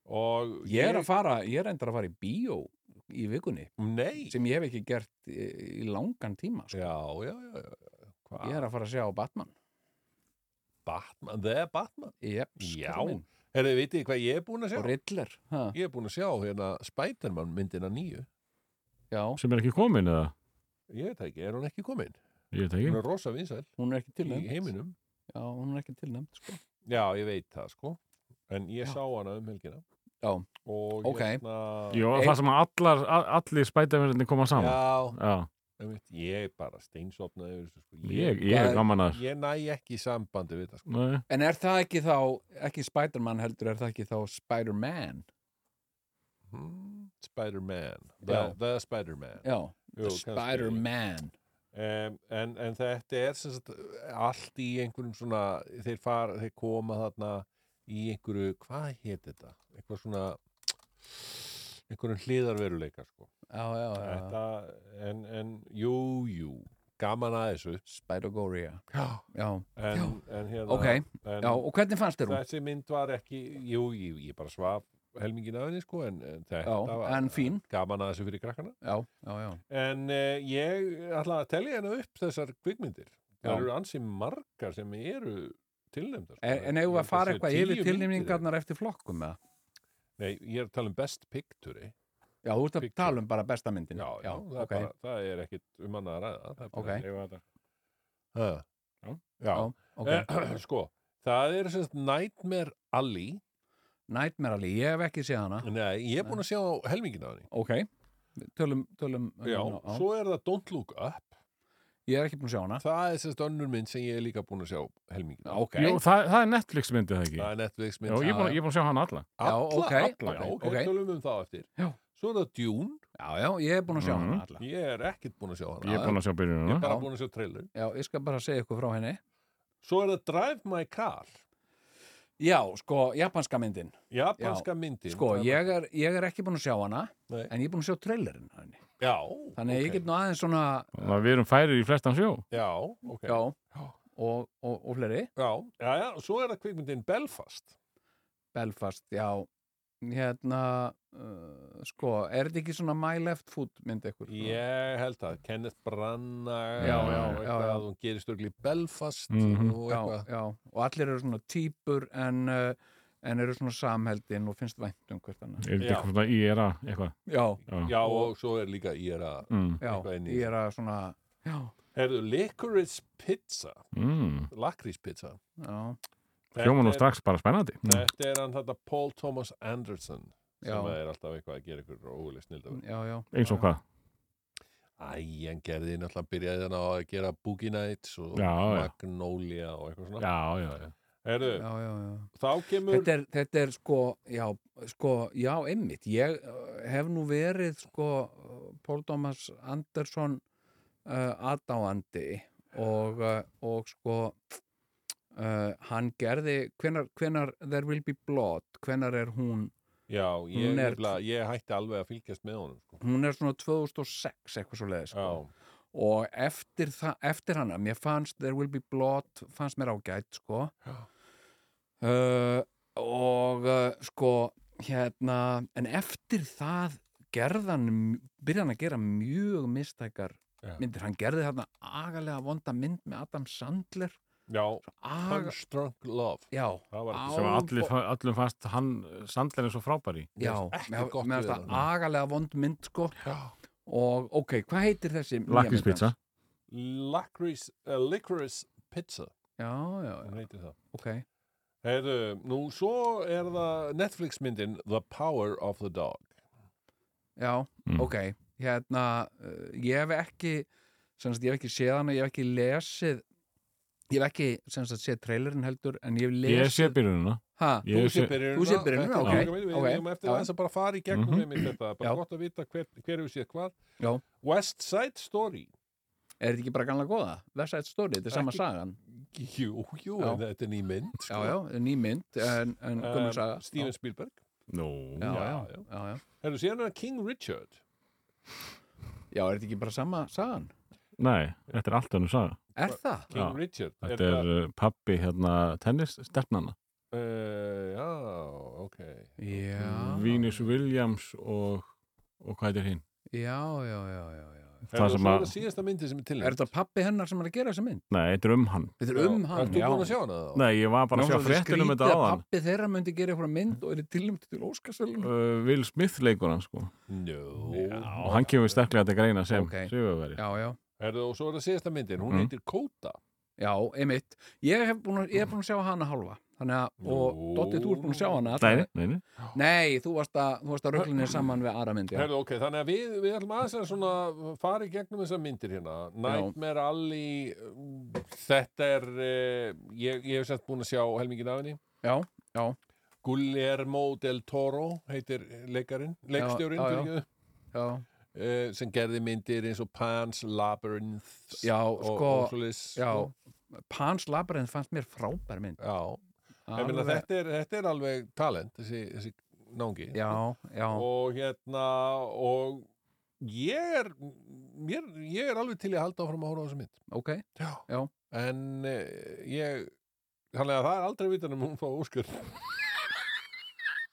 og
Ég er að fara, ég er endur að fara í bíó í vikunni
nei
sem ég hef ekki gert í, í langan tíma. Sko.
já, já, já, já. Hva?
Ég er að fara að sjá Batman.
Batman, The Batman
Yep,
Já. herrðu, vitið þið hvað ég er búin að sjá
Og Riddler. Ha,
ég er búin að sjá hérna Spiderman myndina nýju
já,
sem er ekki komin eða
ég veit það ekki, er hún ekki komin?
ég veit
hún
ekki
er rosa vinsæl
hún er ekki
í
tilnæmt.
heiminum
Já, hún er ekki tilnæmt, sko.
já, ég veit það sko en ég
Já.
sá hana um helgina
Já.
og
Ok.
hérna
Jó, það sem að allar, a- allir spætafjörðinni koma saman
já,
Já,
einmitt, ég bara steinsopnaði yfir þessu sko.
ég, ég er
Hvað-
gaman að
ég næ ekki sambandi við það sko.
Nei,
En er það ekki þá, ekki Spider-Man heldur, er það ekki þá Spider-Man?
hmm, Spider-Man the,
Já.
the Spider-Man
Já,
Jú, kannski.
Spider-Man.
um, en, en þetta er sem sagt, allt í einhverjum svona þeir, far, þeir koma þarna í einhverju, hvað hétt þetta? eitthvað svona einhverjum hliðarveruleika sko.
Já, já, já. já.
þetta, en, en jú, jú gaman að þessu
Spider-Goria.
já.
Já,
En, en hérna
ok.
en,
Já, og hvernig fannst þér hún?
þessi mynd var ekki jú, ég, ég bara svaf helmingin af henni sko, en, en þetta
Já,
var
en fín.
gaman að þessu fyrir krakkana
Já, já, já.
en uh, ég ætla að telja henni upp þessar kvikmyndir
Já.
það eru ansi margar sem eru tilnefndar sko.
En, en eigum við
Ég held
að fara
séu
eitthvað
tíu
yfir
myndir eða-
tilnefningarnar eftir flokkum eða?
nei, ég er að tala um best picture
Já, þú ert að
Picture.
tala um bara besta myndin.
já, já, það,
ok.
er bara, það er ekkit um annað að ræða það er bara
Ok.
að leyfa þetta. Ha.
Já.
já,
Já, ok.
Eh, sko það er sem sagt Nightmare Alley
Nightmare Alley, ég hef ekki séð hana.
Nei, ég er búin að sjá helmingin af henni
Ok, tölum, tölum. um
Já,
hana,
svo er það Don't Look Up
Ég er ekki búin að sjá hana.
Það er sérst önnur mynd sem ég er líka búin að sjá helmingin af.
Ok,
Jú, það, það er Netflix myndið það ekki
Það er Netflix
Já,
mynd
ég er búin að- ég er búin að sjá hann alla
Já, ok,
alla, já,
ok,
ok,
ok.
tölum um það eftir
Já.
Svo er það Dune,
já, já, ég er búin að sjá hana
Mhm.
alla.
ég er ekkert búin að sjá hana
Ég er búin að sjá
Ég er
byrjunum
bara
Mhm, Já.
búin að sjá trailer
Já, ég skal bara segja ykkur frá henni.
Svo er það Drive My Car
Já, sko, japanska myndin.
Japanska myndin
Sko,
Drive My-
ég er, ég er ekki búin að sjá hana,
Nei.
en ég er búin að sjá trailerinn af henni.
Já,
Þannig að
ok.
ég get nú aðeins svona,
Þannig að við erum færir í flestan sjó
Já, ok
já, og, og, og fleiri.
já, já, já, Svo er það kvikmyndin Belfast
Belfast, já hérna uh, sko, er þetta ekki svona My Left Foot mynd ekkur?
Ég held það, Kenneth Branagh
Já,
og
já,
eitthvað,
já, já.
Hún gerist örgli Belfast
Mhm.
já,
og eitthvað
já, og allir eru svona týpur en, uh, en eru svona samheldin og finnst vænt um hvert annað
Er þetta
Já.
eitthvað svona IRA eitthvað
Já,
Já,
Já, og svo er líka Íra
mm.
já,
Eitthvað inn í
ég er að svona já,
Herðu, Licorice Pizza
Mm.
Lakríspizza
já,
Hljóma nú
Þetta er-
strax bara spennandi Mm.
Þetta er hann þetta Paul Thomas Anderson sem
Já.
er alltaf eitthvað að gera ykkur óguleg snildafur
já, já
Eins og
já.
hvað
Æ, hann gerði náttúrulega byrjaði hann á að gera Boogie Nights og
Já, já.
Magnolia og eitthvað svona
Já, já, já
Herðu,
Já, já, já.
þá kemur
Þetta, er, þetta er sko, já, sko, já, einmitt, ég uh, hef nú verið sko uh, Paul Thomas Anderson uh, aðdáandi og, uh, og sko uh, hann gerði, hvenar, hvenar There Will Be Blood, hvenar er hún,
Já, ég,
Hún er-
nefnilega, ég hætti alveg að fylgjast með honum sko.
hún er svona 2006 eitthvað svo leiðis
Já,
sko og eftir, það, eftir hana mér fannst There Will Be Blood fannst mér ágætt sko uh, og uh, sko hérna en eftir það gerðan byrjaði hann að gera mjög mistækar
Já.
myndir, hann gerði þarna agalega vonda mynd með Adam Sandler
já
Aga,
Unstrunk Love
já,
Það var
Á-
ekki
Sem
Álbo-
allir, fa- öllum fannst hann sandlæðin svo frábæri
já
ekki
mér
gott
mér
við
fannst það
hana.
agalega vond mynd sko og ok, hvað heitir þessi nýja mynd
Lakríspizza
hans?
Lacris, uh, Licorice Pizza
já, já, já,
hún heitir það
ok
Heyrðu, nú svo er það Netflix myndin The Power of the Dog
já,
Mm.
ok, hérna uh, ég hef ekki sem sagt, ég hef ekki séð hana, ég hef ekki lesið ég hef ekki sem sagt, séð trailerin heldur, en ég hef lesið
Ég sé byrjununa
ha,
Ég
Þú sé
sé-
byrjunina
Þú sé byrjunina,
þetta er
ok,
langar mynd, Við
ok,
erum eftir
já.
aðeins að bara fara í gegnum
Mhm.
mm -hmm. þetta Bara
Já.
gott að vita hver, hver hefur séð hvað
Já.
West Side Story
er þetta ekki bara gamla góða? Vessætt stóri, þetta er sama
Ekki-
sagan
Jú, jú,
Já.
en þetta er ný mynd
já,
sko.
já, ný mynd en, en gömur saga
um, Steven Spielberg
já,
Nú,
já,
já.
já, já.
Herru, síðan er það King Richard
já, er þetta ekki bara sama sagan?
Nei, þetta er allt önnum saga.
Er það?
King
Já.
Richard
Þetta er uh, pappi hérna tennissterfnana.
uh, Já, ok
Já,
Venus Williams og, og hvað er hinn?
já, já, já, já, já.
Það
Herru,
sem
svo
að-
er það síðasta myndi sem er til
Er þetta pappi hennar sem er að gera þessa mynd?
Nei, þetta er um hann.
Þetta er um hann,
Ertu búin að sjá hana þá?
Nei, ég var bara að sjá
um
fréttunum þetta á hann.
Pappi þeirra myndi gera eitthvað mynd og er tilnæmt til Óskarsvælun
Uh, Will Smith leikur hann sko.
Njó
og hann kemur sterklega til greina sem
Ok.
okay. sigurveri.
Já, já,
Herru, og svo er það síðasta myndin, hún
Mm.
heitir Kóta
já, einmitt Ég hef búin að, ég hef búin að sjá hana hálfa Þannig að, og
Nú.
Dotti, þú ert búin að sjá hana alla.
Nei, nei, nei.
Nei, þú varst að, þú varst að röglinni saman við aðra mynd já.
Herðu, ok, þannig að við, við ætlum aðeins að svona fara í gegnum þessar myndir hérna Nightmare Alley um, Þetta er eh, ég, ég hef sett búin að sjá helmingin af henni
já, já,
Guillermo del Toro heitir leikarin, leikstjórin
já, já.
já, já,
já
eh, sem gerði myndir eins og Pan's Labyrinth
Já,
og,
sko,
og svoleiðis,
já
sko.
Pans Labyrinth fannst mér frábær mynd
já. Ég meina,
Alveg-
þetta, er, þetta er alveg talent þessi, þessi náungi
Já, já,
og hérna og ég er mér, ég er alveg til í að halda áfram að horfa á þessa mynd
ok
Já.
Já.
En uh, ég, þannig að það er aldrei vitan um hún fá Óskar.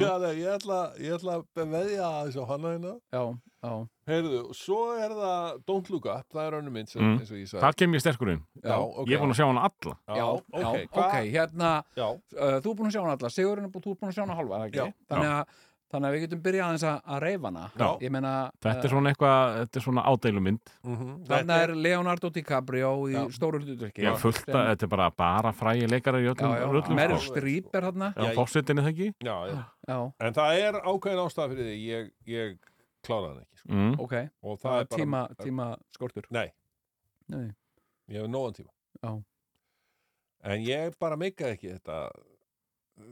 Já, nei, ég ætla, ég ætla að veðja aðeins á hana hérna.
Já, já,
Heyrðu, svo er það Don't Look Up, það er önnum mynd sem,
Mm.
eins og ég sagði.
Þar kem ég sterkur inn.
Já, ok.
Ég er búin að sjá hana alla.
já,
ok.
já,
hvað-
ok, hérna
Já,
uh, þú er búin að sjá hana alla, Sigurinn er búin, þú er búin að sjá hana hálfa, er það
Já.
ekki? Þannig að, þannig að við getum byrjað aðeins að, að reyfa hana.
Já.
Ég meina, eh,
Þetta er svona eitthvað, þetta er svona ádælumynd.
mhm,
þarna er Leonardo DiCaprio í
Já.
stóru hlutverki.
Ég fullta, þetta er bara bara frægi leikarar í
Já,
öllum
já,
rullum.
Meryl
sko.
Streep er þarna.
Já, fórsetinni það ekki?
já, já.
Já,
En það er ákveðin ástæða fyrir því, ég, ég kláraði hann ekki. Sko.
Mm.
ok.
Og
Það
það er
er
bara...
tíma, tíma skortur.
Nei,
Nei,
ég hef nógan tíma.
Já.
En ég bara meikaði ekki þetta,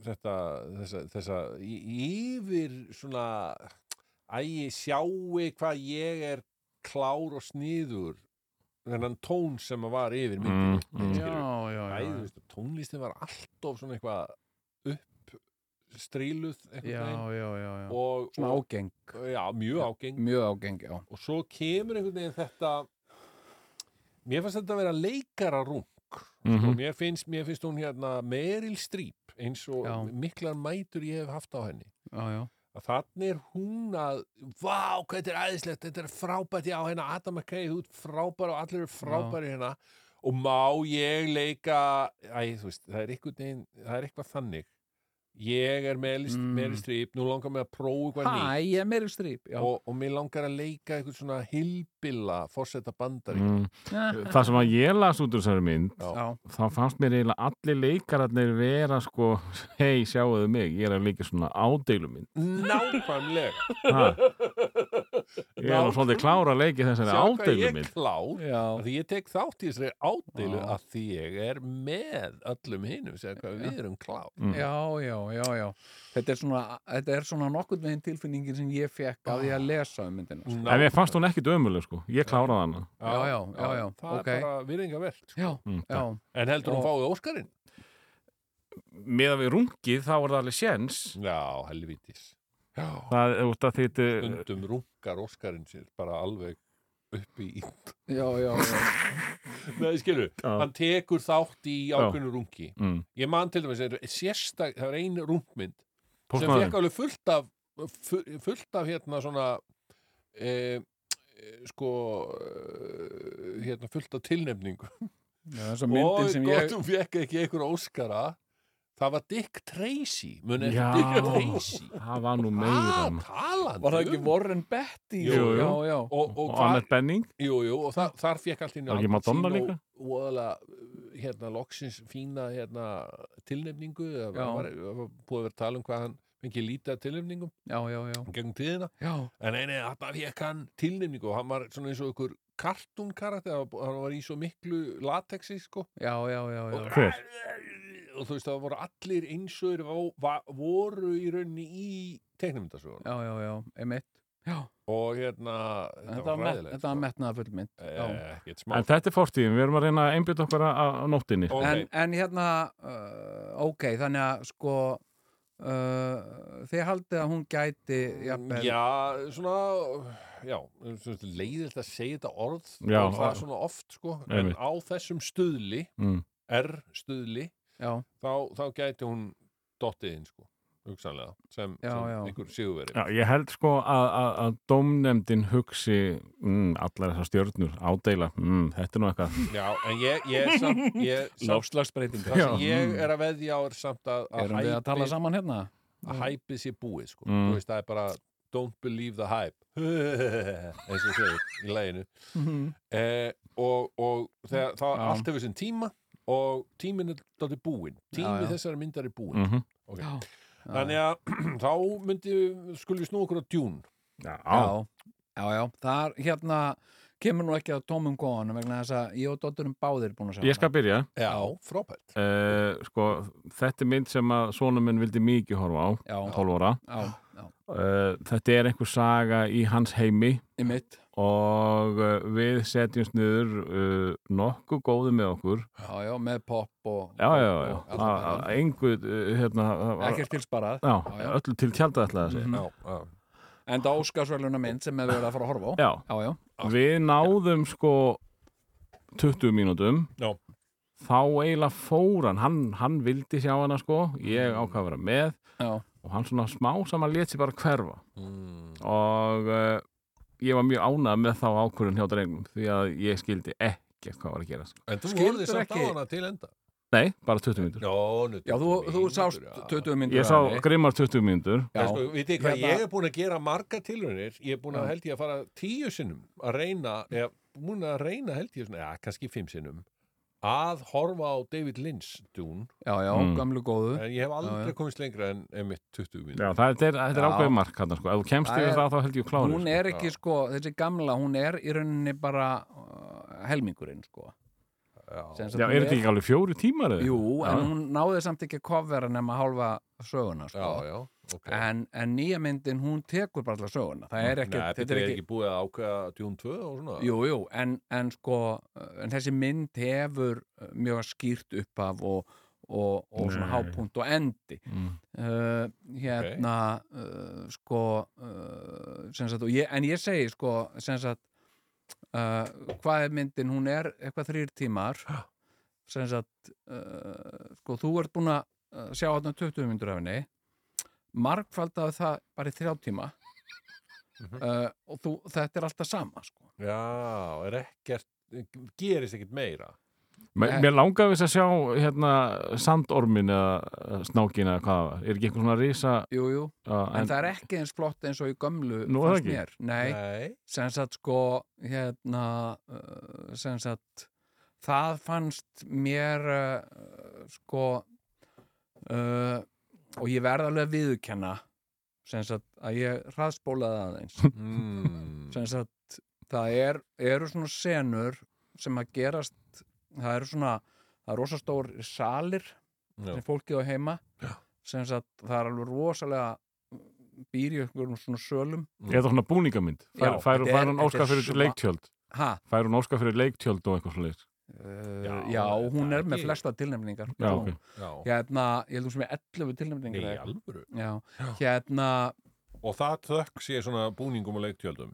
þetta, þessa, þessa í- yfir svona, æ, ég sjái hvað ég er klár og sniður, þennan tón sem að var yfir myndinni.
Mm, mm.
já, já,
Æ,
já.
þú veist, tónlistin var alltof svona eitthvað upp stríluð eitthvað
Já, já, já, já.
og,
Svona
og
ágeng,
já, mjög ágeng
mjög ágeng, já.
og svo kemur einhvern veginn þetta mér fannst þetta að vera leikara rung
Mhm.
mér, finnst, mér finnst hún hérna Meryl Streep eins og
Já.
miklar mætur ég hef haft á henni
Já, já.
að þannig er hún að vá, hvað þetta er æðislegt, þetta er frábært já, hérna Adam McKay, þú ert frábær og allir eru frábæri hérna og má ég leika æ, þú veist, það er eitthvað, neginn, það er eitthvað þannig ég er Meryl,
Mm.
Meryl Streep nú langar mig að prófa eitthvað nýtt
Hæ, ég er Meryl Streep, já.
og, og mér langar að leika eitthvað svona hilbilla fórseta bandari
Mm.
Já,
Það sem að ég las út úr þessari mynd,
Já.
já,
þá fannst mér eiginlega allir leikararnir vera sko, hei, sjáuðu mig, ég er að leika svona ádælumynd.
Mm.
nákvæmlega
Ha. Ég er nú svolítið klára að leiki þessari
sjá hvað ég
ádælumynd.
klár
já.
af því ég tek þátt í þessari ádeilu
Já.
af því ég er með öllum hinum sem hvað við erum klár
Mm.
Já, já, já, já. Þetta er svona, þetta er svona nokkurn veginn tilfinningin sem ég fekk að ég að lesa um myndina. sko.
En ég fannst hún ekki dömuleg sko, ég kláraði hana
Já, já, já, já,
það
ok.
er bara virðinga verð
Já,
mm,
já,
en heldur hún
Já.
fáið Óskarinn?
Meðan við rungið þá var það alveg séns
Já, helvítis já.
Það er út að þetta
stundum rungar Óskarinn sér bara alveg upp í
já, já, já.
Nei, skilur, hann tekur þátt í
Já.
ákveðnu rungi
mm,
Ég man til dæmis, er sérstak, það er ein rúmynd sem
Póstmaðurinn.
fekk alveg fullt af fu- fullt af hérna svona e, e, sko e, hérna fullt af tilnefningu
já þessa
og
myndin sem
gott
ég,
hún fekk ekki einhver óskara það var Dick Tracy mun
Já.
eftir Dick Tracy
Það var nú meira
hvað talandi
var það ekki
um?
Warren Betty?
Jú,
jú.
Já, já,
og, og,
Og
hvar,
Annette Benning
jú, jú, og þar, þar fekk allt inn
Var ekki Madonna líka?
voðalega hérna loksins fína hérna tilnefningu það var,
Já.
var, var búið að vera að tala um hvað hann fengi lítið af tilnefningum
já, já, já,
gegn tíðina
já,
en eini, þarna fekk hann tilnefningu og hann var svona eins og ykkur kartunkarakter hann var- hann var í svo miklu latexi sko
já, já, já, já,
og,
Hver?
og þú veist það voru allir eins og þeir vá- va- voru í rauninni í teknumyndasögun
já, já, já, emitt, já,
og hérna þetta
Þetta
var sko. Eh,
var, met,
ræðilegt
þetta var metnaða fullmynd.
ekkert smá
En þetta er fortíðin, við erum að reyna að einbytta okkur að- að að nóttinni.
Ok.
En, en hérna, uh, ok, þannig að sko, uh, þið haldið að hún gæti, jafnvel,
Mm, Já, svona já, svona leiðilt að segja þetta orð
Já.
og það er svona oft sko en
Einmitt.
á þessum stuðli,
Mm.
R stuðli
já,
þá, þá gæti hún dottiðin sko, hugsanlega sem,
Já,
sem
já.
einhver sigurveri
Já, ég held sko að, að, að dómnefndin hugsi mm, allar þessar stjörnur, ádeila, mm, þetta er nú eitthvað.
Já, en ég, ég samt, ég samt
lofslagsbreytingar.
það sem
Já.
ég er að veðja á er samt að, að
Erum við að tala
hæpið-
saman hérna?
að hæpið sé búið sko.
Mm.
þú veist, það er bara don't believe the hype eins og segir í læginu
Mhm.
eh, og, og þegar, það
Já.
allt hefur sinn tíma og tíminn er dálítið búinn tími
Já, já.
þessari myndar er búinn
Mm -hmm.
Ok.
Já.
þannig að þá myndi skulle við snú okkur á djún
Já,
Já, já, já, þar hérna kemur nú ekki að tómum góðanum vegna þess að ég og dótturum báðir búin að sjá
ég skal byrja.
já, frábært
Uh, sko, þetta er mynd sem að sonum minn vildi mikið horfa á,
Já,
12 óra.
já, já,
Uh, þetta er einhver saga í hans heimi
í mitt
og uh, við setjumst niður uh, nokkuð góðu með okkur.
Já, já, með pop og
Já, já, já,
og allt
að- að
þetta.
engu, uh, hérna, að- að-
Ekkert tilsparað
já,
Já, Mhm. já.
öllu til tjaldið ætlaði að segja.
Mm.
já, já.
En það óskarsverluna mynd sem við verðum að fara að horfa á
Já,
Já, já,
við náðum sko 20 mínútum
Já.
þá eiginlega fór hann hann, hann vildi sjá hana sko ég ákvað að vera með
já,
og hann svona smá saman lét sér bara hverfa
Mm.
og uh, ég var mjög ánað með þá ákvörðun hjá drengum því að ég skildi ekkert hvað var að gera sko.
en þú
skildir
skildir samt á
ekki-
hana til enda
nei, bara 20 mínútur
Jó, nú,
já þú, þú
mínútur,
sást
já.
20 myndur
ég sá grimmar 20 mínútur
Já,
Já,
sko, vitið þið hvað,
Hérna-
ég er búin að gera marga tilraunir, ég er búin að
Já.
held ég að fara tíu sinnum að reyna, eða búin að reyna held ég, svona, ja, kannski fimm sinnum, að horfa á David Lynch dún,
já, já,
Mm.
gamlu góðu
en ég hef aldrei
já.
komist lengra en einmitt 20 minn.
já, það, þetta er, þetta er
Já.
ákveðið mark hann sko. ef þú kemst
Það
yfir
er-
það þá held ég klári
Hún
sko.
er ekki sko, þessi gamla, hún er í rauninni bara uh, helmingurinn sko
Já,
Sem sagt,
já,
hún
er þetta ekki alveg fjóri tímar eða?
Jú, en
Já.
hún náði samt ekki að kofvera nema hálfa söguna sko
já, já, ok. Mm.
en, en nýja myndin hún tekur bara allar söguna það er ekki,
Nei,
þetta er ekki,
ekki búið að ákveða dún 2 og svona?
jú, jú, en, en sko uh, en þessi mynd hefur uh, mjög skýrt upphaf og, og, og svona
Nei.
hápunkt og endi
Mm.
uh, hérna uh, sko uh, sem sagt, og ég, en ég segi sko sem sagt uh, hvað er myndin, hún er eitthvað þrýr tímar sem sagt uh, sko þú ert búin að uh, sjá þarna 20 myndur af henni margfaldaði það bara í þrjá tíma
Mhm.
uh, og þú, þetta er alltaf sama sko.
Já, er ekkert, gerist ekkert meira.
Me,
Nei.
mér langaði þess að sjá hérna, sandormin eða snákin eða hvað það var. Er ekki eitthvað svona risa?
jú, jú.
Já,
En, það er ekki eins flott eins og í gömlu
Nú, er það
fannst
ekki?
mér, nei,
Nei.
sem sagt sko hérna uh, sem sagt það fannst mér uh, sko uh, og ég verð alveg að viðurkenna sem sagt að ég hraðspólaði aðeins
Mm.
sem sagt það er, eru svona senur sem að gerast það eru svona, það er rosastór salir
Já.
sem fólkið á heima
Já.
sem sagt það er alveg rosalega mm, býr í einhverjum svona sölum
Er það svona búningamynd? Fær,
Já,
fær,
þetta
fær
er-
hún
þetta
óskar
er
fyrir
sva-
leiktjöld?
ha,
Fær hún óskar fyrir leiktjöld og eitthvað svolítið?
Uh,
Já,
já,
er
hún
það
er með
ekki?
flesta tilnefningar
Já, ok.
Já.
hérna, ég held hún sem er 11 tilnefningar
Nei,
eða
í
eitthvað.
alvöru.
já. hérna,
Og það þökk sé svona búningum og leiktjöldum.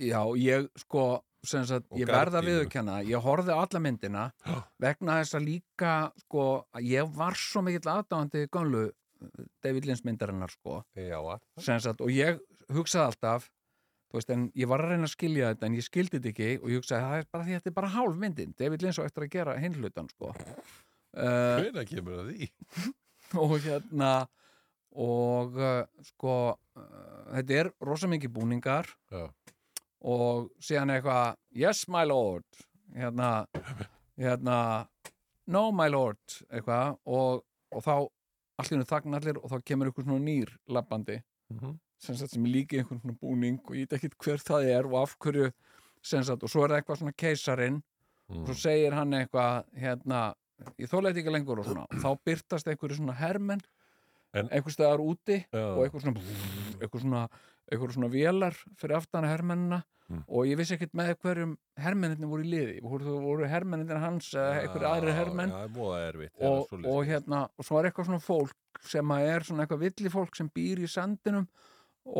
já, ég sko sem sagt,
Og
ég verða
gardínu.
viðurkenna ég horfði á alla myndina vegna þess að líka, sko að ég var svo mikill aðdáðandi gömlu uh, David Lynch myndarinnar, sko
Já, að.
sem sagt, og ég hugsaði alltaf þú veist, en ég var að reyna að skilja þetta en ég skildi þetta ekki og ég hugsaði það er bara því að þetta er bara hálf myndin, David Lynch á eftir að gera hinn hlutan, sko uh,
Hvena Eh. kemur það því?
og hérna og uh, sko uh, þetta er rosa mikið búningar
Já.
og síðan eitthvað yes my lord hérna, hérna no my lord eitthvað og, og þá allir þagna allir og þá kemur einhver svona nýr labbandi sem, sagt, sem er líka í einhvern svona búning og ég veit ekki hver það er og af hverju sem sagt, og svo er það eitthvað svona keisarinn
Mm.
og svo segir hann eitthvað hérna, ég þóla þetta ekki lengur og svona, þá byrtast einhverju svona hermenn
En-
einhvers staðar úti
Já.
og eitthvað svona, eitthvað svona, eitthvað svona vélar fyrir aftan hermennina
Mm.
og ég vissi ekkert með hverjum hermenninni voru í liði, voru, voru hermenninni hans eða einhverju aðri eh, hermenn
Já, það er búið erfitt þegar
og,
svoleiðis
og
gerist.
hérna, og svo er eitthvað svona fólk sem að er svona eitthvað villi fólk sem býr í sandinum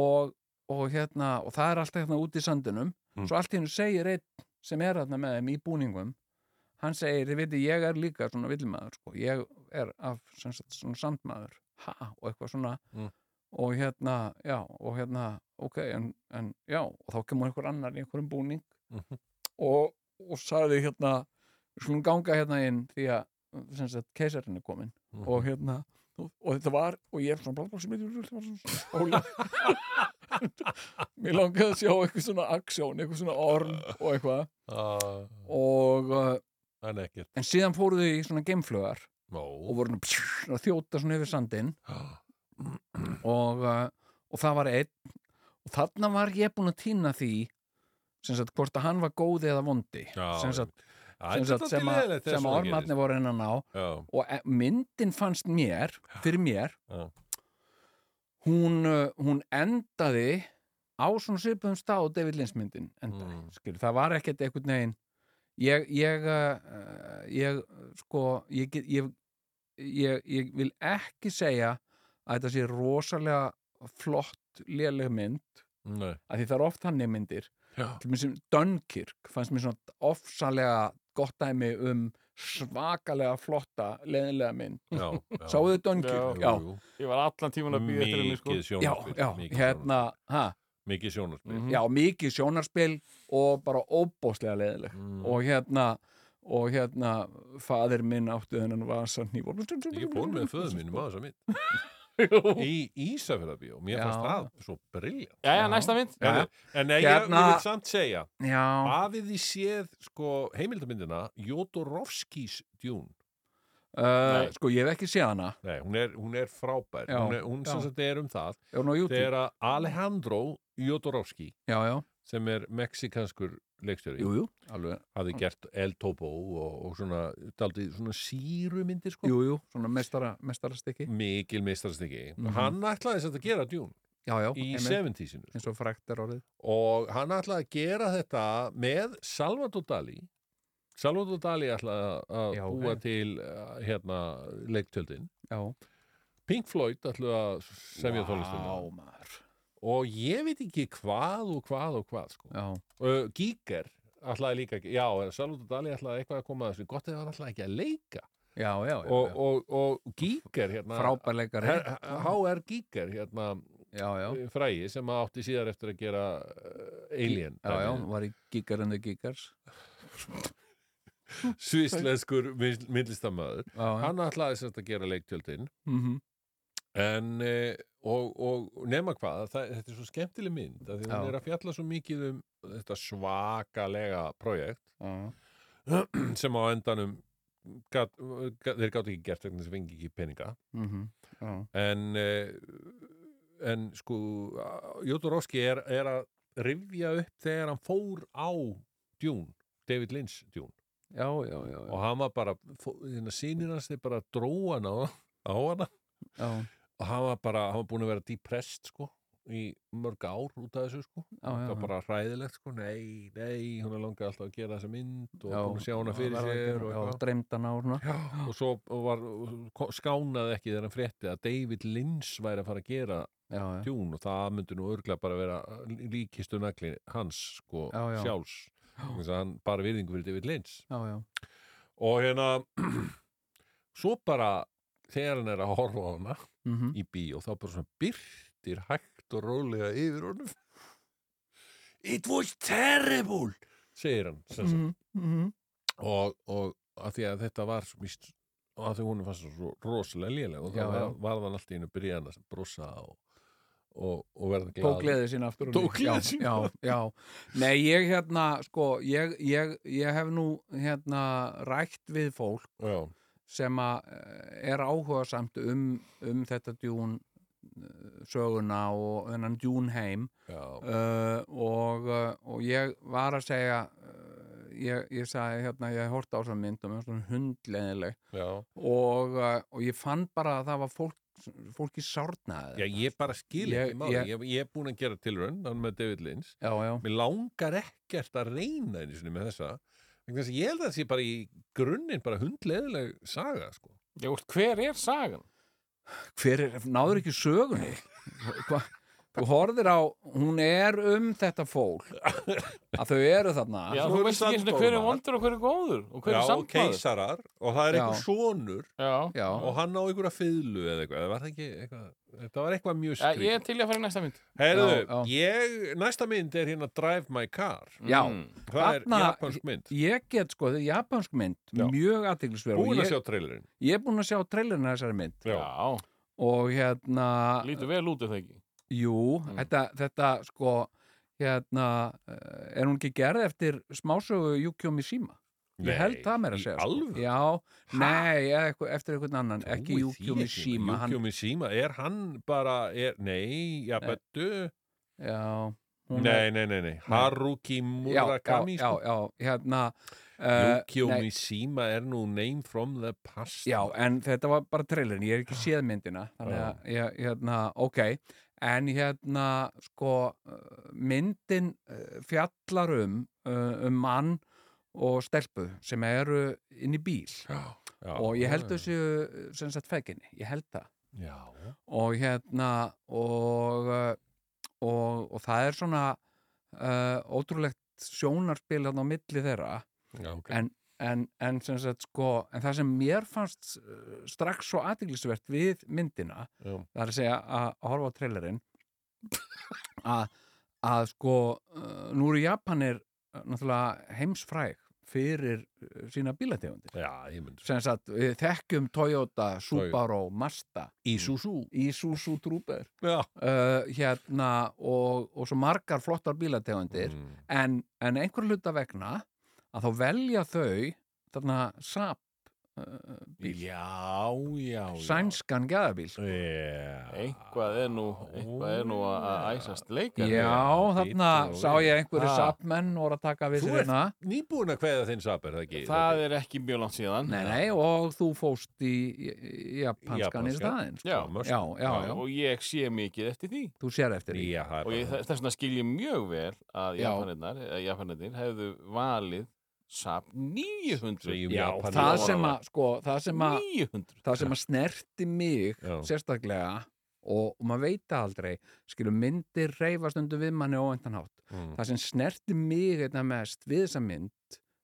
og, og hérna, og það er alltaf hérna úti í sandinum,
Mm.
svo allt í hennu segir einn sem er hérna með þeim í búningum hann segir, þið veitir, ég er líka svona villimaður, sko, ég er af sem sagt, svona sandmaður, ha, og eitthvað svona,
Mm.
og hérna já, og hérna, ok, en, en já, og þá kemur einhver annar í einhverjum búning
Mhm.
og, og sagði hérna, við skulum ganga hérna inn því að sem sagt keisarinn er komin
Mhm.
og hérna og, og þetta var, og ég er svona blablabla sem eitthvað svona ólega mér langaði að sjá eitthvað svona aksjón, eitthvað svona orn og eitthvað
Ah,
og, uh,
En ekkert
en síðan fóru þau í svona geimflögar og
Nó
voru nú pjú, að þjóta svona yfir sandinn
Ah,
og, uh, og það var einn og þarna var ég búin að týna því sem sagt hvort að hann var góði eða vondi
Já,
sem sagt,
Æ,
sem,
þetta er
sagt,
dálítið
sem, að,
leiðinlegt
sem
þegar
að
svona
ormarnir
gerist.
voru hennan á
Já,
og e- myndin fannst mér fyrir mér
Já.
hún, uh, hún endaði á svona svipum stað og David Lynch myndin endaði,
Mm.
skilur, það var ekkert einhvern veginn ég, ég, uh, ég uh, sko ég, get- ég, ég, ég vil ekki segja að þetta sé rosalega flott léleg mynd,
nei
að því það er oft hannig myndir
Já,
til mér sem Dunkirk fannst mér svona ofsalega gott dæmi um svakalega flotta leðinlega mynd
já, já
Sáuðu Dunkirk? Já,
jú,
Ég var allan tíman að býða eftir henni sko
Mikið
já,
sjónarspil
já,
mikið
hérna, ha,
sjónarspil, Mikið sjónarspil
Mhm.
já, mikið sjónarspil og bara óbóðslega leðileg
Mm.
og hérna, og hérna, fadir minn átti þennan vasan í voru.
Ég fór með föðu mínum á þessa mynd Í Ísafjörðabíó, mér
Já.
fannst það svo briljant
Jæja, næsta mynd
Já.
En, en nei,
Hérna-
ég, ég vil samt segja
Já,
Hafið þið séð sko, heimildamyndina Jodorowskis djún
uh,
Nei.
sko, ég hef ekki séð hana.
Nei, hún er, hún er frábær
Já,
Hún, er, hún sem
já.
sagt er um það
Er hún á YouTube?
Þegar að Alejandro Jodorowski
Já, já,
sem er mexikanskur leikstjóri
jú, jú, alveg,
hafði gert El Topo og, og svona, daldi, svona sírumyndir sko.
jú, jú, svona mestara, mestara
Mhm.
stikki.
mikil meistarstiki
Mhm.
hann ætlaði sem þetta að gera djún
Já, já,
í
einmitt,
70-sinu sko.
eins og frækt er orðið.
og hann ætlaði að gera þetta með Salvador Dali Salvador Dali ætlaði að
Já,
búa
ok.
til uh, hérna, leiktjöldin
Já.
Pink Floyd ætlaði að semja wow.
Vá,
þólistum
maður.
og ég veit ekki hvað og hvað og hvað sko.
Já,
uh, Giger ætlaði líka ekki, já, Salvador Dali ætlaði eitthvað að koma að þessu, gott eða hann ætlaði ekki að leika
já, já, já.
og,
já.
og, og Giger hérna,
Frábærleikari.
Her- HR Giger hérna,
Já, já.
frægi sem átti síðar eftir að gera uh, Alien
Já, já, var í Gigar and the Gigars
svislenskur myndlistamöður
Já, já
hann ætlaði sem sagt að gera leiktjöldin
Mhm.
en uh, og, og nema hvað, það, þetta er svo skemmtileg mynd að því
Já.
hún er að fjalla svo mikið um þetta svakalega projekt
Já,
sem á endanum gat, gat, þeir gátt ekki gert vegna þess að fengi ekki peninga
mhm, já.
en eh, en sko Jótorovski er, er að rifja upp þegar hann fór á Dune, David Lynch Dune
já, já, já, já.
og hann var bara, sínir hans þeir bara dróa hann á, á hana
já,
og hann var bara, hann var búin að vera depressed sko í mörg ár út af þessu sko
Já, já,
það var
já.
bara hræðilegt sko, nei, nei hún er langað alltaf að gera þessa mynd og
já,
búin að sjá hana
já,
fyrir
verða
sér
ekki-
og
Já,
eitthvað
dreymdana og svona
Já, og svo var, ko- skánaði ekki þegar hann frétti að David Lynch væri að fara að gera
Já, já,
djún og það myndi nú örglega bara vera líkistu nagli hans sko
Já, já.
sjálfs þess að hann bara virðingu fyrir David Lynch
já, já
og hérna svo bara þegar hann er að horfa á hana
mhm.
í bíó þá bara svona byrtir hægt og rólega yfir honum It was terrible segir hann sem sagt
Mhm, mhm.
og, og að því að þetta var svo mist, og að því hún fannst svo rosalega léleg og
Já,
það var,
já.
varð hann alltaf í einu byrjaðan að brosa og, og, og verða
Tók
glaður.
gleðið sína aftur og ný.
Tók gleði
Já,
sína.
Já, já Nei, ég hérna, sko ég, ég, ég hef nú hérna rætt við fólk
Já,
sem að eh, er áhugasamt um, um þetta djún eh, söguna og þennan djún heim Eh,
já,
uh, og, uh, og ég var að segja uh, ég, ég sagði hérna, ég horfði á þessar mynd og mér var svona hundleðileg
já.
og, uh, og ég fann bara að það var fólk, fólki
já,
sárnaði
ég bara skil
Ég-
ekki máli
ég-
ég, ég, er búin að gera tilraun hann með David Lynch
já, já,
mér langar ekkert að reyna einu sinni með þessa vegna þess að ég held að það sé bara í grunninn bara hundleðileg saga sko.
Já, úr, hver er sagan?
hver er, náður ekki sögunni Hva, þú horfir á hún er um þetta fólk að þau eru þarna
Já,
svo
þú
eru
veist ekki einu sinni hver er
sandbólar.
vondur og hver er góður og hver
já,
er
og
samtmaður.
keisarar og það er
Já.
einhver sonur
Já,
já,
og hann á einhverja fiðlu eða eitthvað, það var það ekki eitthvað þetta var eitthvað mjög
já ég
skrýt
er til í að fara í næsta mynd.
Heyrðu,
Já,
ég, næsta mynd er hérna Drive My Car
já.
Mm.
það er
Þarna-
japansk mynd
ég get sko, þetta er japansk mynd
Já.
mjög aðtiklisverð og
búin að
ég,
sjá trailerinn
ég er búin að sjá trailerna þessari mynd
Já.
Já,
og hérna
lítur vel út ef það ekki.
Jú,
Mm.
þetta, þetta sko hérna, eh, er hún ekki gerð eftir smásögu Yukio Mishima? ég held það meira að segja sko.
alveg
Já, nei, eða eitthvað, eftir einhvern annan ekki Yukio Mishima hann,
Yukio Mishima, er hann bara er, nei, já,
Nei.
betu
Já, hún
nei, nei, nei, nei, Haruki
já, já,
Murakami
já,
sko.
já, hérna eh,
Yukio
nei,
Mishima er nú name from the past
Já, en þetta var bara trailerin, ég er ekki séð myndina þannig
Já.
að, ég, hérna, ok en hérna, sko eh, myndin eh, fjallar um eh, um mann og stelpu sem eru inn í bíl
Já.
og ég held þessu eh, sem sagt feginni, ég held það
já,
og hérna og, eh, og, og það er svona uh, ótrúlegt sjónarspil hann á milli þeirra
já, ok
en, en, sem sagt, sko, en það sem mér fannst uh, strax svo aðtiklisvert við myndina
Já.
það er að segja að, að horfa á trailerinn að, að sko uh, nú eru Japanir uh, náttúrulega heimsfræg fyrir uh, sína bílategundir
já, ég myndi
sem sagt, við þekkjum Toyota, Subaru, Mazda
Isuzu
Isuzu Trooper
já.
uh, hérna og, og svo margar flottar bílategundir
Mm.
en, en einhver hluta vegna að þá velja þau þarna sap uh, bíl,
já, já, já
sænskan gæðabíl
Yeah.
Eitthvað er nú, eitthvað er nú að- að æsast leikar.
Já, þarna
bíll og
sá ég einhverju
Ha.
sapmenn og voru að taka við
Þú
sér
ert-
hérna
Nýbúin að kveða þinn sap er það ekki?
Það er ekki mjög langt síðan.
Nei, nei, og þú fóst í í- í japanskan í
Japanskan.
staðinn sko.
Já,
mörg.
já, já, já,
Og ég sé mikið eftir því.
þú sér eftir því
Já, það er
Og ég,
bara-
þess vegna skil ég mjög vel að
Já.
Japanirnar, eh, Japanirnir hefðu valið SAP 900.
Segjum
Já,
Japanir
það
ofan
sem
á
að, sko, það sem að
900.
það sem að snerti mig
Já.
sérstaklega og, og maður veit það aldrei skilur myndir reyfast undir við manni óvæntan hátt
Mm.
það sem snerti mig einna mest við þessa mynd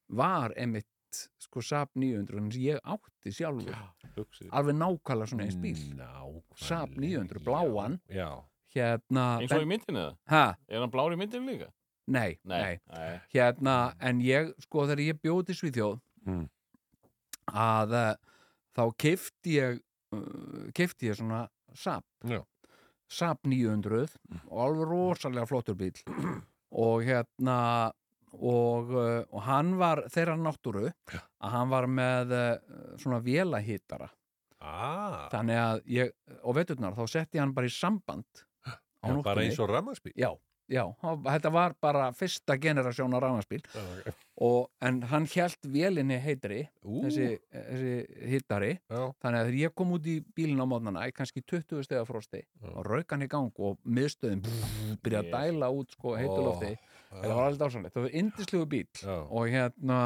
var einmitt sko Saab 900 sem ég átti sjálfur
Hugsið.
alveg nákvæmlega svona eins bíl
Mm.
Nákvæmlega.
Saab 900, bláan.
Já,
hérna
Eins og í myndinu það.
ha,
Er hann blár í myndinu líka?
nei, nei,
nei.
hérna en ég sko þegar ég bjóði Svíþjóð
Mm.
að eh, þá kefti ég uh, kefti ég svona Saab
Já. Mm.
Saab 900 og alveg rosalega flottur bíl og hérna og, uh, og hann var þeirra náttúru að hann var með uh, svona vélahittara
Ah,
þannig að ég, og veiturnar þá setti ég hann bara í samband á
já, bara eins
nóttunni
og rammarsbíl.
já, já, hann- þetta var bara fyrsta generasjón á rafnarspíl og, en hann hjælt vélinni heitri
Ú,
þessi, þessi hittari
já,
þannig að þegar ég kom út í bílinn á mótnana í kannski 20 stegar frosti
Já.
og rauk hann í gang og miðstöðin byrja að
Jesus.
dæla út sko heitu
Ó,
lofti þetta var alveg dásanlegt, það var indislegu bíl
já,
og hérna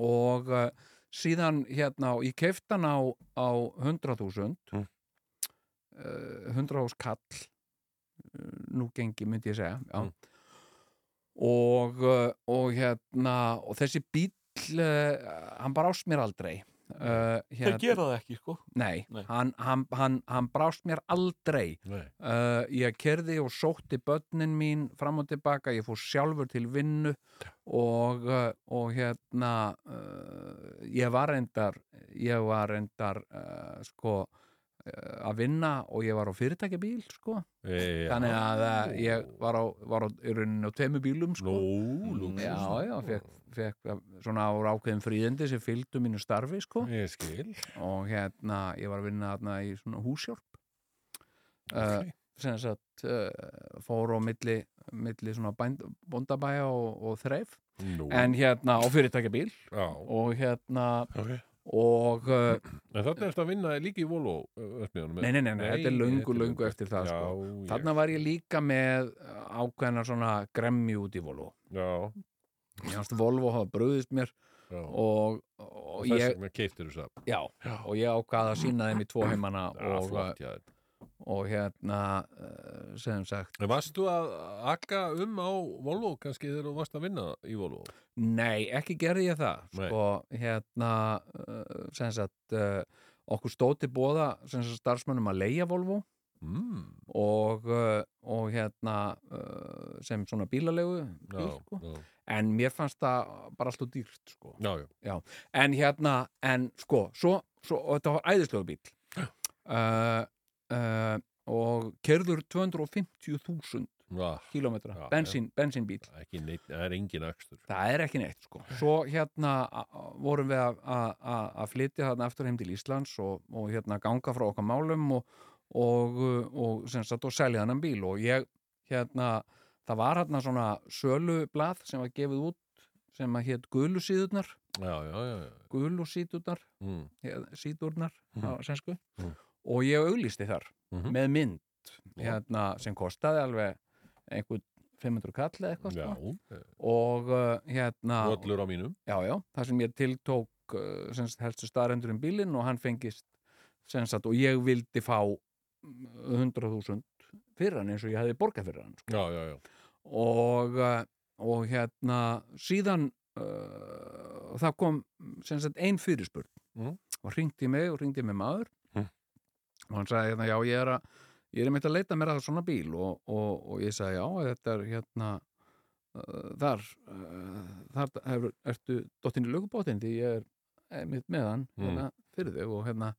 og uh, síðan hérna og ég kefti hann á, á 100.000
Mm.
uh, 100.000 kall uh, nú gengi myndi ég segja já.
Mm.
og uh, og hérna og þessi bíl uh, hann bara ást mér aldrei uh,
Það gera það ekki, sko.
Nei,
Nei.
Hann, hann, hann, hann brást mér aldrei.
nei,
Uh, ég kerði og sótti börnin mín fram og tilbaka, ég fór sjálfur til vinnu og, uh, og hérna, uh, ég var reyndar, ég var reyndar uh, sko, uh, að vinna og ég var á fyrirtækjabíl, sko.
já.
Þannig að uh, ég var á, var á, í rauninni á tveimu bílum, sko.
Nú, lúksus.
Já, já, fekk, fekk uh, svona á ákveðin fríðindi sem fylgdu mínu starfi, sko
Ég skil.
og hérna ég var að vinna þarna í svona húsjálp uh,
Ok.
sem eh, sagt uh, fór á milli, milli svona bænd, bóndabæja og, og þreif
Nú,
en hérna á fyrirtækjabíl
já,
og hérna
ok.
og uh,
En þarna ertu að vinna líka í Volvo verðsmiðunum?
Nei, nei, nei, nei, þetta er löngu, löngu eftir það,
já,
sko.
ég-
þarna var ég líka með ákveðna svona gremmi út í Volvo
Já,
Mér fannst Volvo hafa bröðist mér
já.
og, og
Þess
ég
vegna keiftir þess að
já, og ég ákvað að sína þeim í tvo heimana og,
flott, já.
og hérna eh, sem sagt,
En varstu að akka um á Volvo kannski þegar þú varst að vinna í Volvo?
nei, ekki gerði ég það
Nei.
sko, hérna eh, sem sagt eh, okkur stóti bóða sem sagt starfsmönnum að leigja Volvo
Mm,
og, eh, og hérna eh, sem svona bílalegu
já,
bíl, sko.
já,
en mér fannst það bara alltaf dýrt sko.
já, já.
en hérna, en sko svo, svo, og þetta var æðislegu bíl uh, uh, og kerður 250.000
já.
kilometra,
Já,
bensín, bensínbíl
Ekki neitt, það er engin akstur.
það er ekki neitt sko svo hérna a- a- vorum við að- að að- að flytja þarna aftur heim til Íslands og, og hérna ganga frá okkar málum og, og, uh, og sem sagt og selja þennan bíl og ég hérna, það var hérna svona sölublað sem var gefið út sem að hétt gulusíðurnar
Já, já, já, já.
gulusíðurnar
Mm,
hér- síðurnar
Mhm.
á sænsku
Mhm.
og ég auglýsti þar
Mhm.
með mynd
Já.
hérna, sem kostaði alveg einhvern 500 kall eða eitthvað
já, Eh,
sko. og uh, hérna
völlur á mínum.
já, já, það sem ég tiltók uh, sem sagt, helstu staðrendur um bílinn og hann fengist sem sagt, og ég vildi fá mm, 100.000 fyrir hann eins og ég hefði borgað fyrir hann sko.
Já, já, já.
og, uh, og hérna síðan uh, það kom sem sagt ein fyrirspurn
Mhm.
og hringdi í mig og hringdi í mig maður
Mhm.
og hann sagði hérna, já, ég er að ég er meitt að leita mér að svona bíl og, og, og ég sagði, já, þetta er hérna uh, þar uh, þar hefur, ertu dottinn í lögubótinn því ég er einmitt með hann
Mm.
hérna, fyrir þig og hérna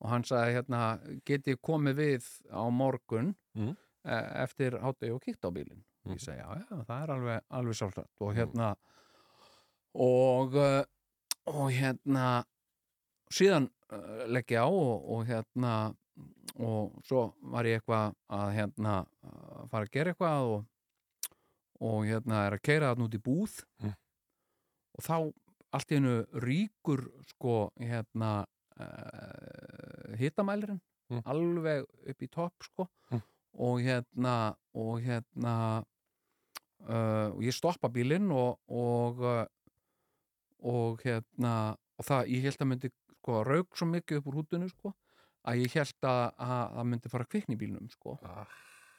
og hann sagði hérna, get ég komið við á morgun
Mm.
e eftir hátegi og kíkt á bílinn
Mm.
ég sagði, já, já, það er alveg, alveg sjálfsagt og hérna og uh, og hérna síðan uh, legg ég á og, og hérna og svo var ég eitthvað að hérna að fara að gera eitthvað og, og hérna er að keira þarna út í búð
Mm.
og þá allt í hennu ríkur sko hérna uh, hittamælirinn
Mm.
alveg upp í topp sko
Mm.
og hérna og hérna uh, og ég stoppa bílinn og og, uh, og hérna og það, ég held að myndi sko rauk svo mikið upp úr hútinu sko að ég held að að það myndi fara að kvikna í bílnum sko
Ah.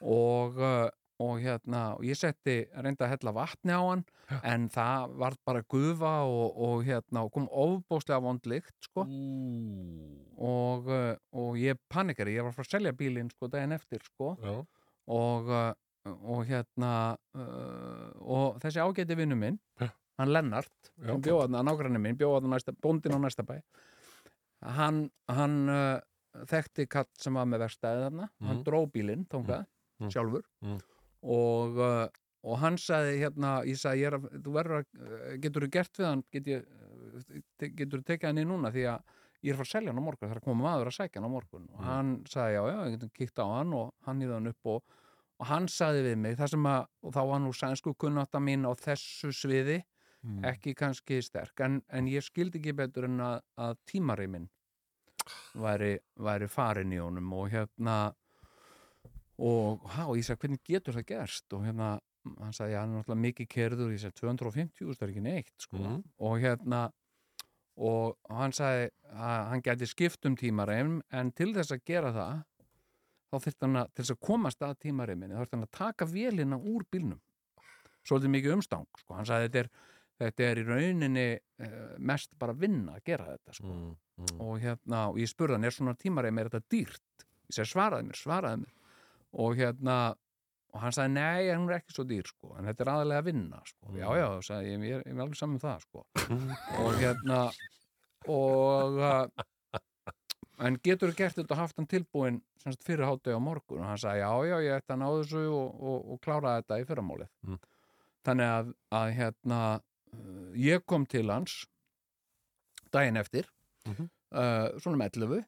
og, uh, og hérna og ég setti reynda að hella vatni á hann
Já.
en það var bara gufa og, og hérna og kom ofbóðslega vondlikt sko
Mm. Ú,
og, uh, og ég panikari, ég var að fara að selja bílinn sko daginn eftir sko
já,
og, uh, og hérna uh, og þessi ágæti vinnu minn
Já.
hann Lennart
Já.
sem bjóða þarna, nágranni minn, bjóða þarna næsta, bóndin á næsta bæ hann, hann uh, þekkti katt sem var með verstaðið þarna hann
Mhm.
dró bílinn, þóngað,
Mhm.
sjálfur
Mhm.
og uh, og hann sagði hérna, ég sagði, ég er að, þú verður að, getur þú gert við hann, get ég, getur þú tekið hann í núna því að ég er að fara að selja hann á morgun, það er að koma maður að sækja hann á morgun og
Mm.
hann sagði, já, já, ég getum kíkt á hann og hann hýði hann upp og, og hann sagði við mig, það sem að, og þá var nú sænsku kunnáta mín á þessu sviði,
Mm.
ekki kannski sterk, en, en ég skildi ekki betur en að, að tímari minn væri, væri farin í honum og hérna og há, ég sagði, hvernig getur það gerst og hérna, hann sagði, já, hann er náttúrulega mikið kerður, ég sagði, 250, það er ekki neitt sko
Mhm.
og hérna og hann sagði að hann gæti skipt um tímareim en til þess að gera það þá þurfti hann að, til þess að komast að tímareiminni þá þurfti hann að taka vélina úr bílnum svolítið mikið umstang sko. hann sagði þetta er, þetta er í rauninni eh, mest bara vinna að gera þetta sko.
Mm, mm.
og hérna, og ég spurði hann er svona tímareim, er þetta dýrt? ég segi svaraði mér, svaraði mér og hérna, og hann sagði nei, hún er ekki svo dýr sko, en þetta er aðalega vinna sko. já,
Mm.
já, sagði ég, ég, er- ég er alveg saman um það sko og hérna og uh, en getur þú gert þetta og haft hann tilbúin semst fyrir hátau á morgun og hann sagði já já ég ætti að ná þessu og, og, og klára þetta í fyrramálið
Mm.
þannig að, að hérna uh, ég kom til hans daginn eftir
Mhm.
uh, svona með 11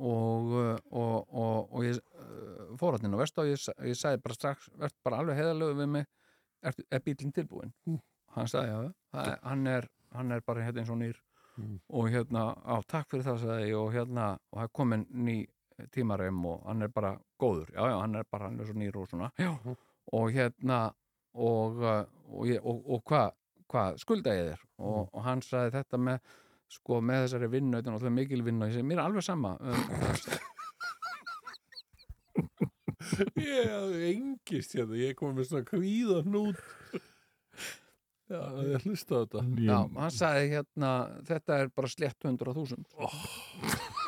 og, uh, og, og, og ég uh, fór hann inn á vest og ég, sa- ég sagði bara strax, verð bara alveg heiðalegu við mig er, er bílinn tilbúin hann sagði já, það er- hann er, hann er bara hérna eins og nýr
Mm.
og hérna, á takk fyrir það sagði ég og hérna, og það er komin ný tímareim og hann er bara góður já, já, hann er bara, hann er svo nýr og svona já. og hérna og, uh, og, ég- og, og hvað hva, skulda ég þér og, og hann sagði þetta með sko með þessari vinnu, þetta er náttúrulega mikil vinnu og ég segi, mér er alveg sama um,
Ég hafði engist hérna, ég kom með svona kvíðan út Já, ég hlusta á þetta
Já, hann sagði hérna þetta er bara slett 100.000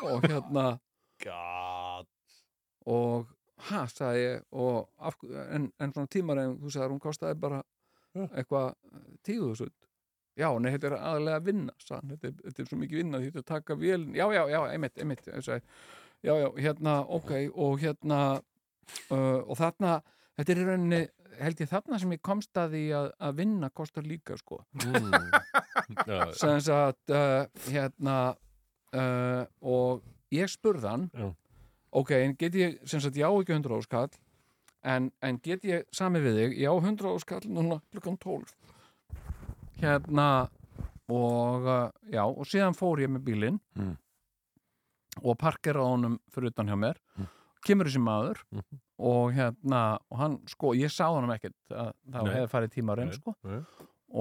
og hérna
God
og hæ, sagði ég og af, en, en svona tímareim, þú sagði hún kostaði bara
Já.
eitthvað eh, tíu þúsund já, nei, þetta er aðalega að vinna sann, þetta, er- þetta er svo mikið vinna, þetta er að taka vel já, já, já, einmitt, einmitt ég sagði, já, já, hérna, ok, og hérna uh, og þarna þetta er í rauninni, held ég þarna sem ég komst að því að, að vinna kostar líka, sko
mm. Já,
sem sagt uh, hérna uh, og ég spurði hann
Já.
ok, en get ég sem sagt, ég á ekki 100 óskall en, en get ég sami við þig, ég á 100 óskall núna klukkan 12 hérna og uh, já, og síðan fór ég með bílinn
Mm.
og parkera honum fyrir utan hjá mér
Mm.
kemur þessi maður og hérna, og hann sko, ég sá hann ekkert að það
Nei.
hefði farið tímarinn
Nei,
sko
nei.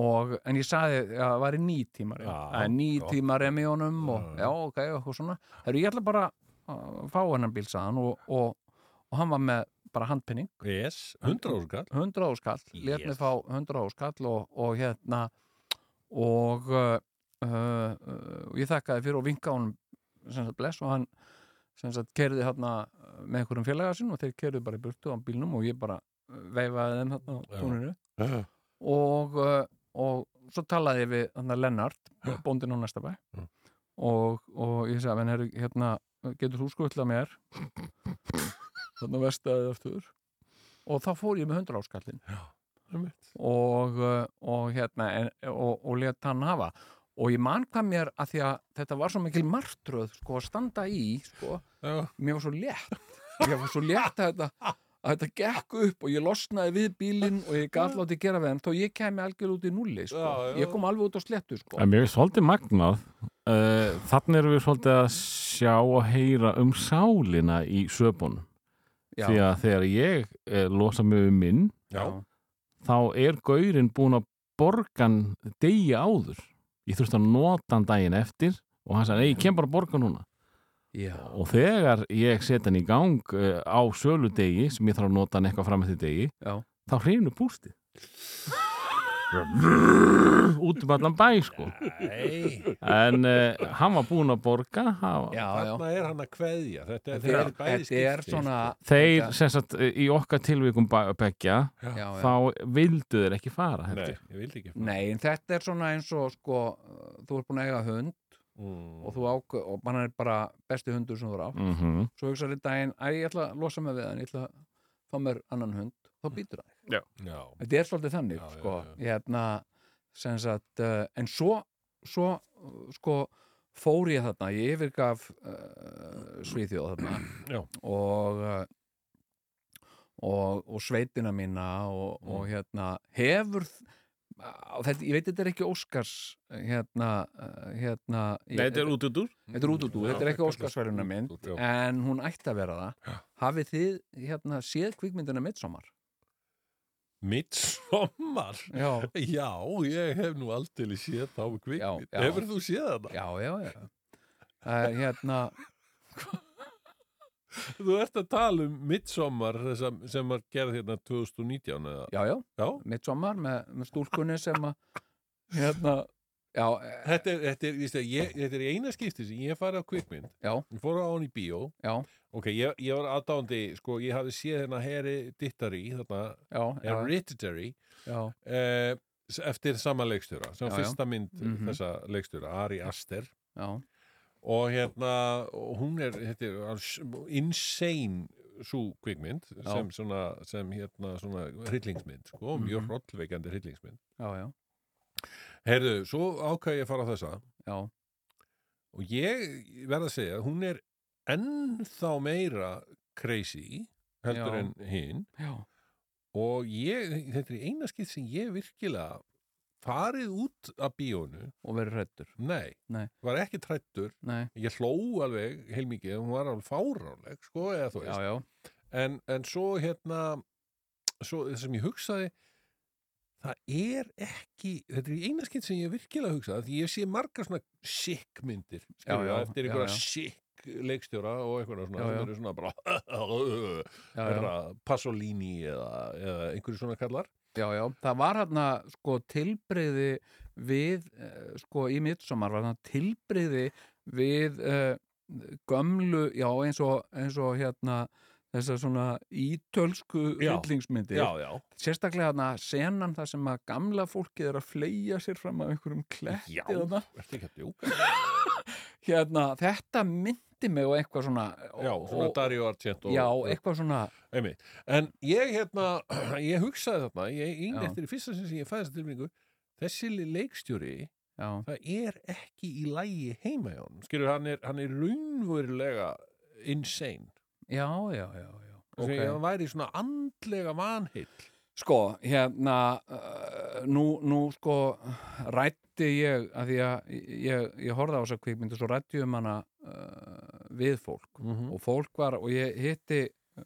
og, en ég saði að það væri ný tímarem
Já,
það er ný
gott.
tímarem í honum og
Já, já.
já, ok, og eitthvað svona Heru, ég ætla bara að fá hennan bíl sagði hann og, og, og hann var með bara handpenning,
Yes, 100 ára kall
100 áskall let
Yes.
mig fá 100 áskall og, og hérna og uh, uh, uh, ég þakkaði fyrir og vinka honum sem sagt bless og hann sem sagt kerði hérna með einhverjum félaga sinn og þeir kerði bara í burtu á bílnum og ég bara uh, veifaði þeim hérna á
Já.
túninu og, uh, og svo talaði ég við hann Lennart, bóndin á næsta bæ
Mm.
og, og ég sagði menn, heru, hérna, getur þú skutlað mér þannig vestaðið aftur og þá fór ég með 100 áskallin og, uh, og hérna en, og, og let hann hafa og ég man hvað mér að því að þetta var svo mikil martröð sko að standa í sko,
Já.
mér var svo létt mér var svo létt að þetta að þetta gekk upp og ég losnaði við bílinn og ég gaf látið gera við hann þó ég kemi algjör út í nulli sko.
Já, já.
ég kom alveg út á slettu sko.
En mér er svolítið magnað uh, Þannig erum við svolítið að sjá og heyra um sálina í söpunum
já,
Því að þegar ég uh, losa mig um minn
Já,
þá er gaurinn búin að borgan degi áður Ég þurfti að nota hann daginn eftir og hann sagði, nei, ég kem bara að borga núna
já,
og þegar ég set hann í gang uh, á söludegi sem ég þarf að nota hann eitthvað fram eftir degi
já,
þá hrifinu pústið út um allan bæ sko
nei
en uh, hann var búin að borga hann,
já, já.
Þarna er hann að kveðja Þetta er,
Þetta, er,
bæði sko.
þetta er
skipti.
svona
þeir
þetta-
sem sagt uh, í okkar tilvikum ba- beggja
já, já.
þá vildu þeir ekki fara
Nei,
heldur.
ég vildi ekki
Nei, en þetta er svona eins og sko, uh, þú er búin að eiga hund
mm.
og þú ákveð, og hann er bara besti hundur sem þú er á,
Mm -hmm.
svo hugsaði daginn að ég ætla að losa mig við hann, ég ætla að fá mér annan hund, þá býtur það
Já,
þetta er svolítið þannig,
Já, já,
sko
já.
Hérna, sem sagt, uh, en svo svo, uh, sko fór ég þarna, ég yfirgaf uh, Svíþjóð
Já.
þarna og uh, og, og sveitina mína og, og
Mm.
hérna, hefur þ- á þetta, ég veit þetta er ekki Óskars hérna, uh, hérna ég-
út út úr
Þetta er útúrdúr,
Mm. Já,
þetta er ekki
þetta er
Óskarsverðuna mynd
útúrdúr,
en hún ætti að vera það Hafið þið hérna séð kvikmyndina Midsommar?
Midsommar
Já,
Já, ég hef nú aldrei séð þá kvikmynd.
Já, já.
Hefur þú séð þetta?
já, já, já. Uh, hérna,
Þú ert að tala um Midsommar sem, sem var gerð hérna 2019 eða?
já, já,
Já,
Midsommar með, með stúlkunni sem að hérna, já, eh,
þetta er, þetta er, víst, að ég, þetta er í eina skipti sem ég farið á kvikmynd
Já.
Ég fór á hann í bíó
já,
Ok, ég, ég var aðdándi, sko, ég hafði séð hérna Heri Dittari, þarna
já, já,
Hereditary
já,
eh, s- eftir sama leikstjóra sem
Já, já.
fyrsta mynd
Mhm.
þessa leikstjóra, Ari Aster
já,
og hérna og hún er þetta er alls- insane svo kvikmynd
Já.
sem svona, sem hérna svona hryllingsmynd sko, mjög
Mhm.
hrollveikandi hryllingsmynd
já, já,
heyrðu, svo ákvað ég að fara á þessa
já,
og ég verð að segja, hún er ennþá meira crazy heldur
Já.
en hinn
já,
og ég, þetta er í eina skið sem ég virkilega farið út af bíónu,
og verið hrættur
nei,
Nei.
var ekki trættur,
Nei,
ég hló alveg heilmikið, hún var alveg fáránleg, sko, eða þú
já,
veist,
já,
en, en svo hérna, svo það sem ég hugsaði, það er ekki, þetta er eina skinn sem ég virkilega hugsaði, því ég sé margar svona sick myndir, skilur,
já,
eftir
já,
einhverja
já.
sick leikstjóra og einhverja svona,
Já, já.
sem eru svona bara,
já, já.
herra, Pasolini eða, eða einhverju svona kallar
Já, já, það var hérna sko tilbreyði við eh, sko í mittsommar var hérna tilbreyði við eh, gömlu, já eins og, eins og hérna þessar svona ítölsku
Já.
hryllingsmyndir
já,
sérstaklega hérna senan þar sem að gamla fólkið er að fleia sér fram af einhverjum kletti
já,
þarna.
ertu ekki að djóka
hérna, þetta myndi mig og eitthvað svona
já, svona
og,
Dario Argento
já, e- eitthvað svona
einmitt. en ég hérna, ég hugsaði þarna ég yngri
Já.
eftir í fyrsta sinn sem ég fæði þessa tilbyggingu þessi leikstjóri
já,
það er ekki í lægi heima hjá honum skilur, hann er, hann er raunverulega insane
já, já, já, já.
okay.
ok.
hann væri svona andlega vanhill
Sko, hérna, uh, nú, nú sko rætti ég, að því að ég, ég horfði á þessa kvikmyndu, svo rætti ég um hana uh, við fólk
mm -hmm.
og fólk var, og ég hitti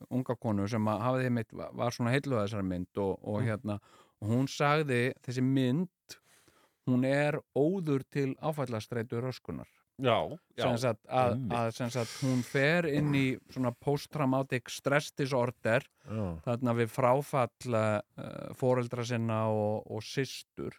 unga konu sem að hafði mitt, var svona heilluð að þessari mynd og, og
Mhm.
hérna, og hún sagði, þessi mynd, hún er óður til áfællastreitu röskunar
já, já,
sem sagt, að,
einmitt.
að sem sagt, hún fer inn í svona post-traumatic stress disorder
já.
þarna við fráfall uh, foreldra sinna og, og systur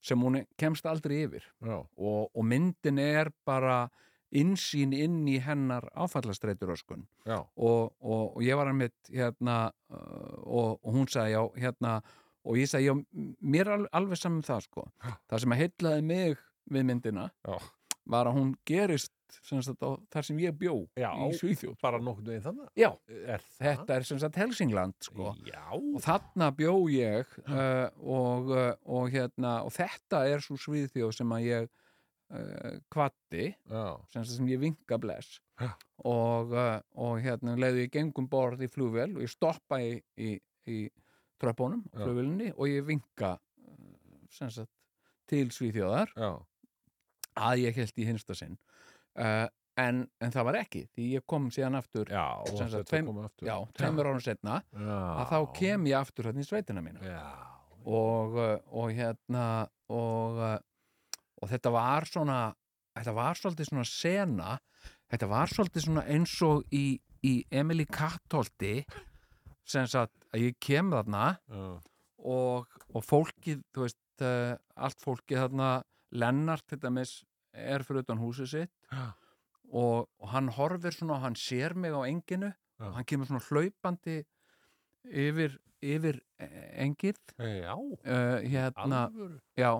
sem hún kemst aldrei yfir
já.
og, og myndin er bara innsýn inn í hennar áfallastreituröskun
já.
og, og, og ég var einmitt hérna uh, og, og hún sagði já hérna og ég sagði já m- mér er al- alveg saman það sko það sem að heitlaði mig við myndina
Já.
var að hún gerist sem sagt, á, þar sem ég bjó
Já.
í Svíþjóð
bara nokkuð veginn þannig
já,
er það?
þetta er sem sagt Helsingland sko
já,
og þarna bjó ég uh, og, uh, og, hérna, og þetta er svo sviðþjóð sem að ég uh, kvatti
já.
sem, sem ég vinka bless
Já.
og, uh, og hérna leiði ég gengum borð í flugvél og ég stoppa í, í, í tröppunum
Já.
flugvélinni og ég vinka uh, sem sagt, til sviðþjóðar
já.
að ég held í hinsta sinn uh, en, en það var ekki því ég kom síðan aftur
Já, og
Sem sagt,
þetta
tveim-
kom aftur.
já, tveimur árum setna
já.
að þá kem ég aftur hérna í sveitina mína
Já,
og, uh, og hérna og, uh, og þetta var svona þetta var svolítið svona sena þetta var svolítið svona eins og í, í Emily Kattolti sem sagt að ég kem þarna
já,
og, og fólkið, þú veist, uh, allt fólkið þarna, Lennart til dæmis er fyrir utan húsið sitt
Já.
og, og hann horfir svona og hann sér mig á enginu
Já.
og hann kemur svona hlaupandi yfir, yfir e, engið
já
uh, hérna,
alvöru.
já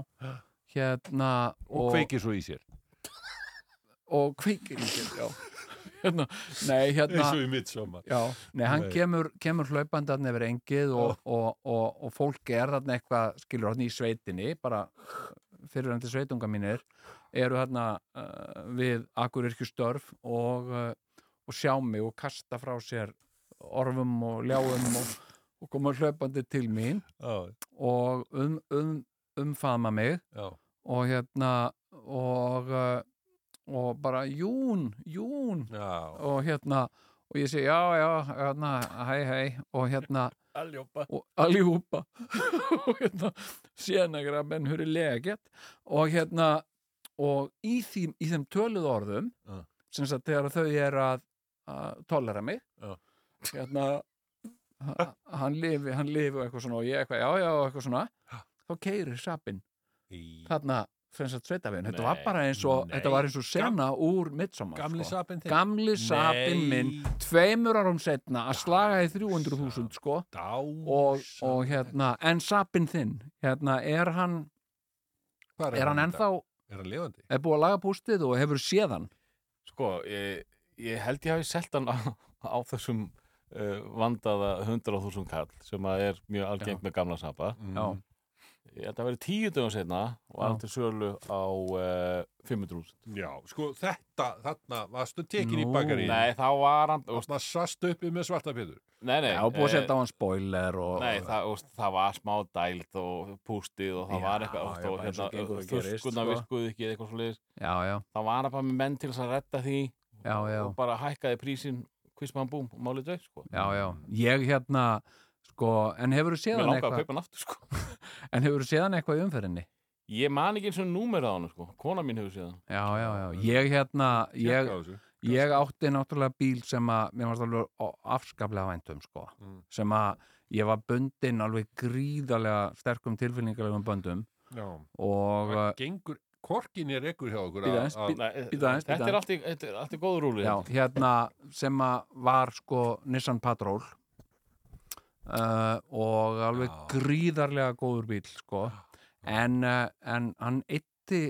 hérna
Og kveikir svo í sér.
og kveikir í sér, já hérna, nei, hérna
í mitt saman.
Já, nei, hann
Nei.
kemur, kemur hlaupandi hann yfir engið og, og, og, og fólk er þarna eitthvað, skilur hann í sveitinni, bara fyrirandi sveitunga mínir, eru þarna uh, við Akureyrkjustörf og, uh, og sjá mig og kasta frá sér orfum og ljáum og, og koma hlaupandi til mín
Já,
og um, um, umfaðma mig
já.
og hérna og, uh, og bara Jún, Jún
Já,
og hérna og ég segi já, já, hérna, hæ, hæ og hérna,
aljópa.
og allihúpa og hérna, sénagra menn hurri legett og hérna og í, því, í þeim töluð orðum
Já.
sem sagt þegar þau eru að, að tolera mig
Já.
hérna ha- hann lifi, hann lifi og eitthvað svona og ég eitthvað, já, já, og eitthvað svona þá keirir sapin
Í
þarna sem sagt sveitavegin, þetta var
Nei,
bara eins og
nei.
þetta var eins og sena úr midsommar
gamli
sko.
sapin þinn.
gamli sapin minn tveimur árum setna að slaga í 300.000 sko
Dá.
og, og hérna, en sapin þinn hérna, er hann, er hann ennþá
Er hann lifandi?
er búið að laga pústið og hefur séð hann
Sko, ég, ég held ég hafi selt hann á, á þessum eh, uh, vandaða 100.000 kall sem að er mjög algengt með gamla sapa
Mm.
Já.
Ég held að vera tíu dögum setna og var
Já.
hann til sölu á uh, 500 rúst.
Já, sko, þetta, þarna, varstu tekin í
Nú,
bakarín
Nei, þá var hann, úst,
Þarna sast uppi með svarta pétur
nei, nei.
Já, búið að
eh,
setja á hann spoiler og...
Nei, það, úst, það var smá dælt og pústið og það
Já,
var eitthvað, úst,
já,
og
bara
hérna,
eins og gengur og gerist,
þurrskuna
sko.
virkuðu ekki eða eitthvað svo leiðis.
Já, já,
Það var hann bara með menn til þess að redda því
já, já.
og bara hækkaði prísin, kvismaðan búm og málið dveik, sko.
Já, já. Ég hérna, sko, en hefur þú séð
Mér
hann
langaði
eitthvað?
að kaupa hann aftur, sko.
En hefur þú séð hann eitthvað í umferðinni?
Ég man ekki eins og númerið á hann, sko. Kona mín hefur séð hann.
Já, já, já. Ég hérna, ég,
Tékkaðu þessu.
ég átti náttúrulega bíl sem að mér varst alveg á- afskaplega væntum sko,
Mm.
sem að ég var bundinn alveg gríðarlega sterkum tilfinningalegum böndum
Já,
og
það gengur Korkin er ekkur hjá okkur
Bíddu aðeins, bíddu-
að
Nei,
Bíddu aðeins, bíddu
Þetta
aðeins.
er allt í- þetta er allt í góð
um
rúli.
já, hérna sem að var sko Nissan Patrol uh, og alveg
Já.
gríðarlega góður bíl sko, en, uh, en hann ytti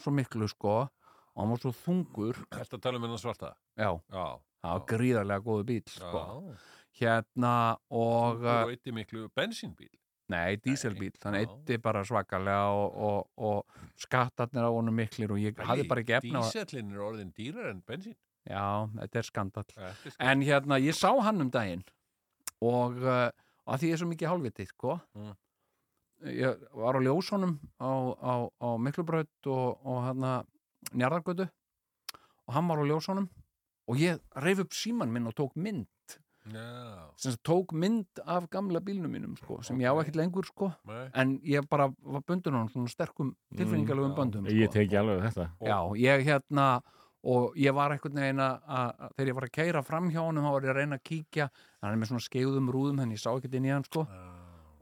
svo miklu sko og hann var svo þungur
Þetta tala um hennar svarta
já,
Já,
það var
Já.
gríðarlega góður bíl sko,
já
hérna og eh,
Og eitt miklu bensínbíl
Nei, díselbíl, þannig
já.
eitti bara svakalega og, og, og skattarnir á honum miklir og ég hafði bara ekki efna á
Dísellin er orðin dýrar en bensín
Já, þetta er skandall
Þetta er sko-
En hérna, ég sá hann um daginn og uh, að því ég er svo mikið hálfviti, sko
Mm.
Ég var á ljósunum á, á, á Miklubraut og, og hérna Njarðargötu og hann var á ljósunum og ég reif upp síman minn og tók mynd
Já,
sem sagt, tók mynd af gamla bílnum mínum, sko, sem ég á
Ok.
ekkert lengur, sko
nei
en ég bara var bundin á hann svona sterkum tilfinningalegum
já.
böndum
Ég
sko.
teki alveg þetta.
já, ég hérna og ég var einhvern veginn að, að þegar ég var að keira fram hjá honum þá var ég að reyna að kíkja hann er með svona skeiðum rúðum þannig ég sá ekkert inn í hann sko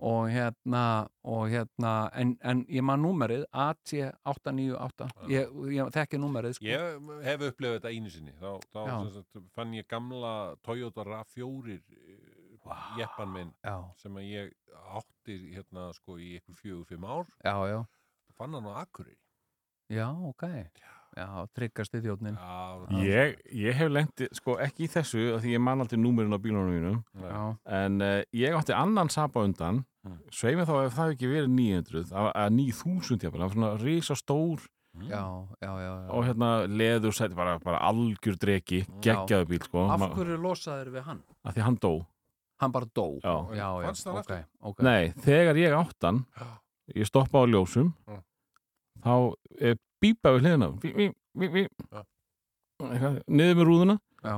og hérna, og hérna en, en ég maður númerið AT898 ég, ég þekki númerið sko.
Ég hef upplefað þetta einu sinni þá, þá
Já.
sem sagt, fann ég gamla Toyota RAV4 wow. jeppan minn
já,
sem að ég átti hérna sko í ykkur fjögur, fimm ár
já, já,
fann hann á Akureyri
já, ok já, tryggast í þjóðnin
Já,
Ég, ég hef lendi, sko, ekki í þessu af því ég man aldrei númerinn á bílunum mínum
já,
en uh, ég átti annan sapa undan
Mm.
sveimi þá ef það hefði ekki verið 900 að, að 9000 jafnvel, það var svona risa stór
já, já, já,
og
já.
hérna leður sæti bara, bara algjör dreki, geggjaðu bíl sko,
af
ma-
hverju losaður við hann?
af því hann dó
hann bara dó
já.
Og
já, já,
fannst hann
ok,
aftur?
ok
Nei, þegar ég áttan ég stoppaði á ljósum
Mm.
þá e, bípaði við hliðina bí, bí, bí, bí.
Já.
Eitthvað, niður með rúðuna
já,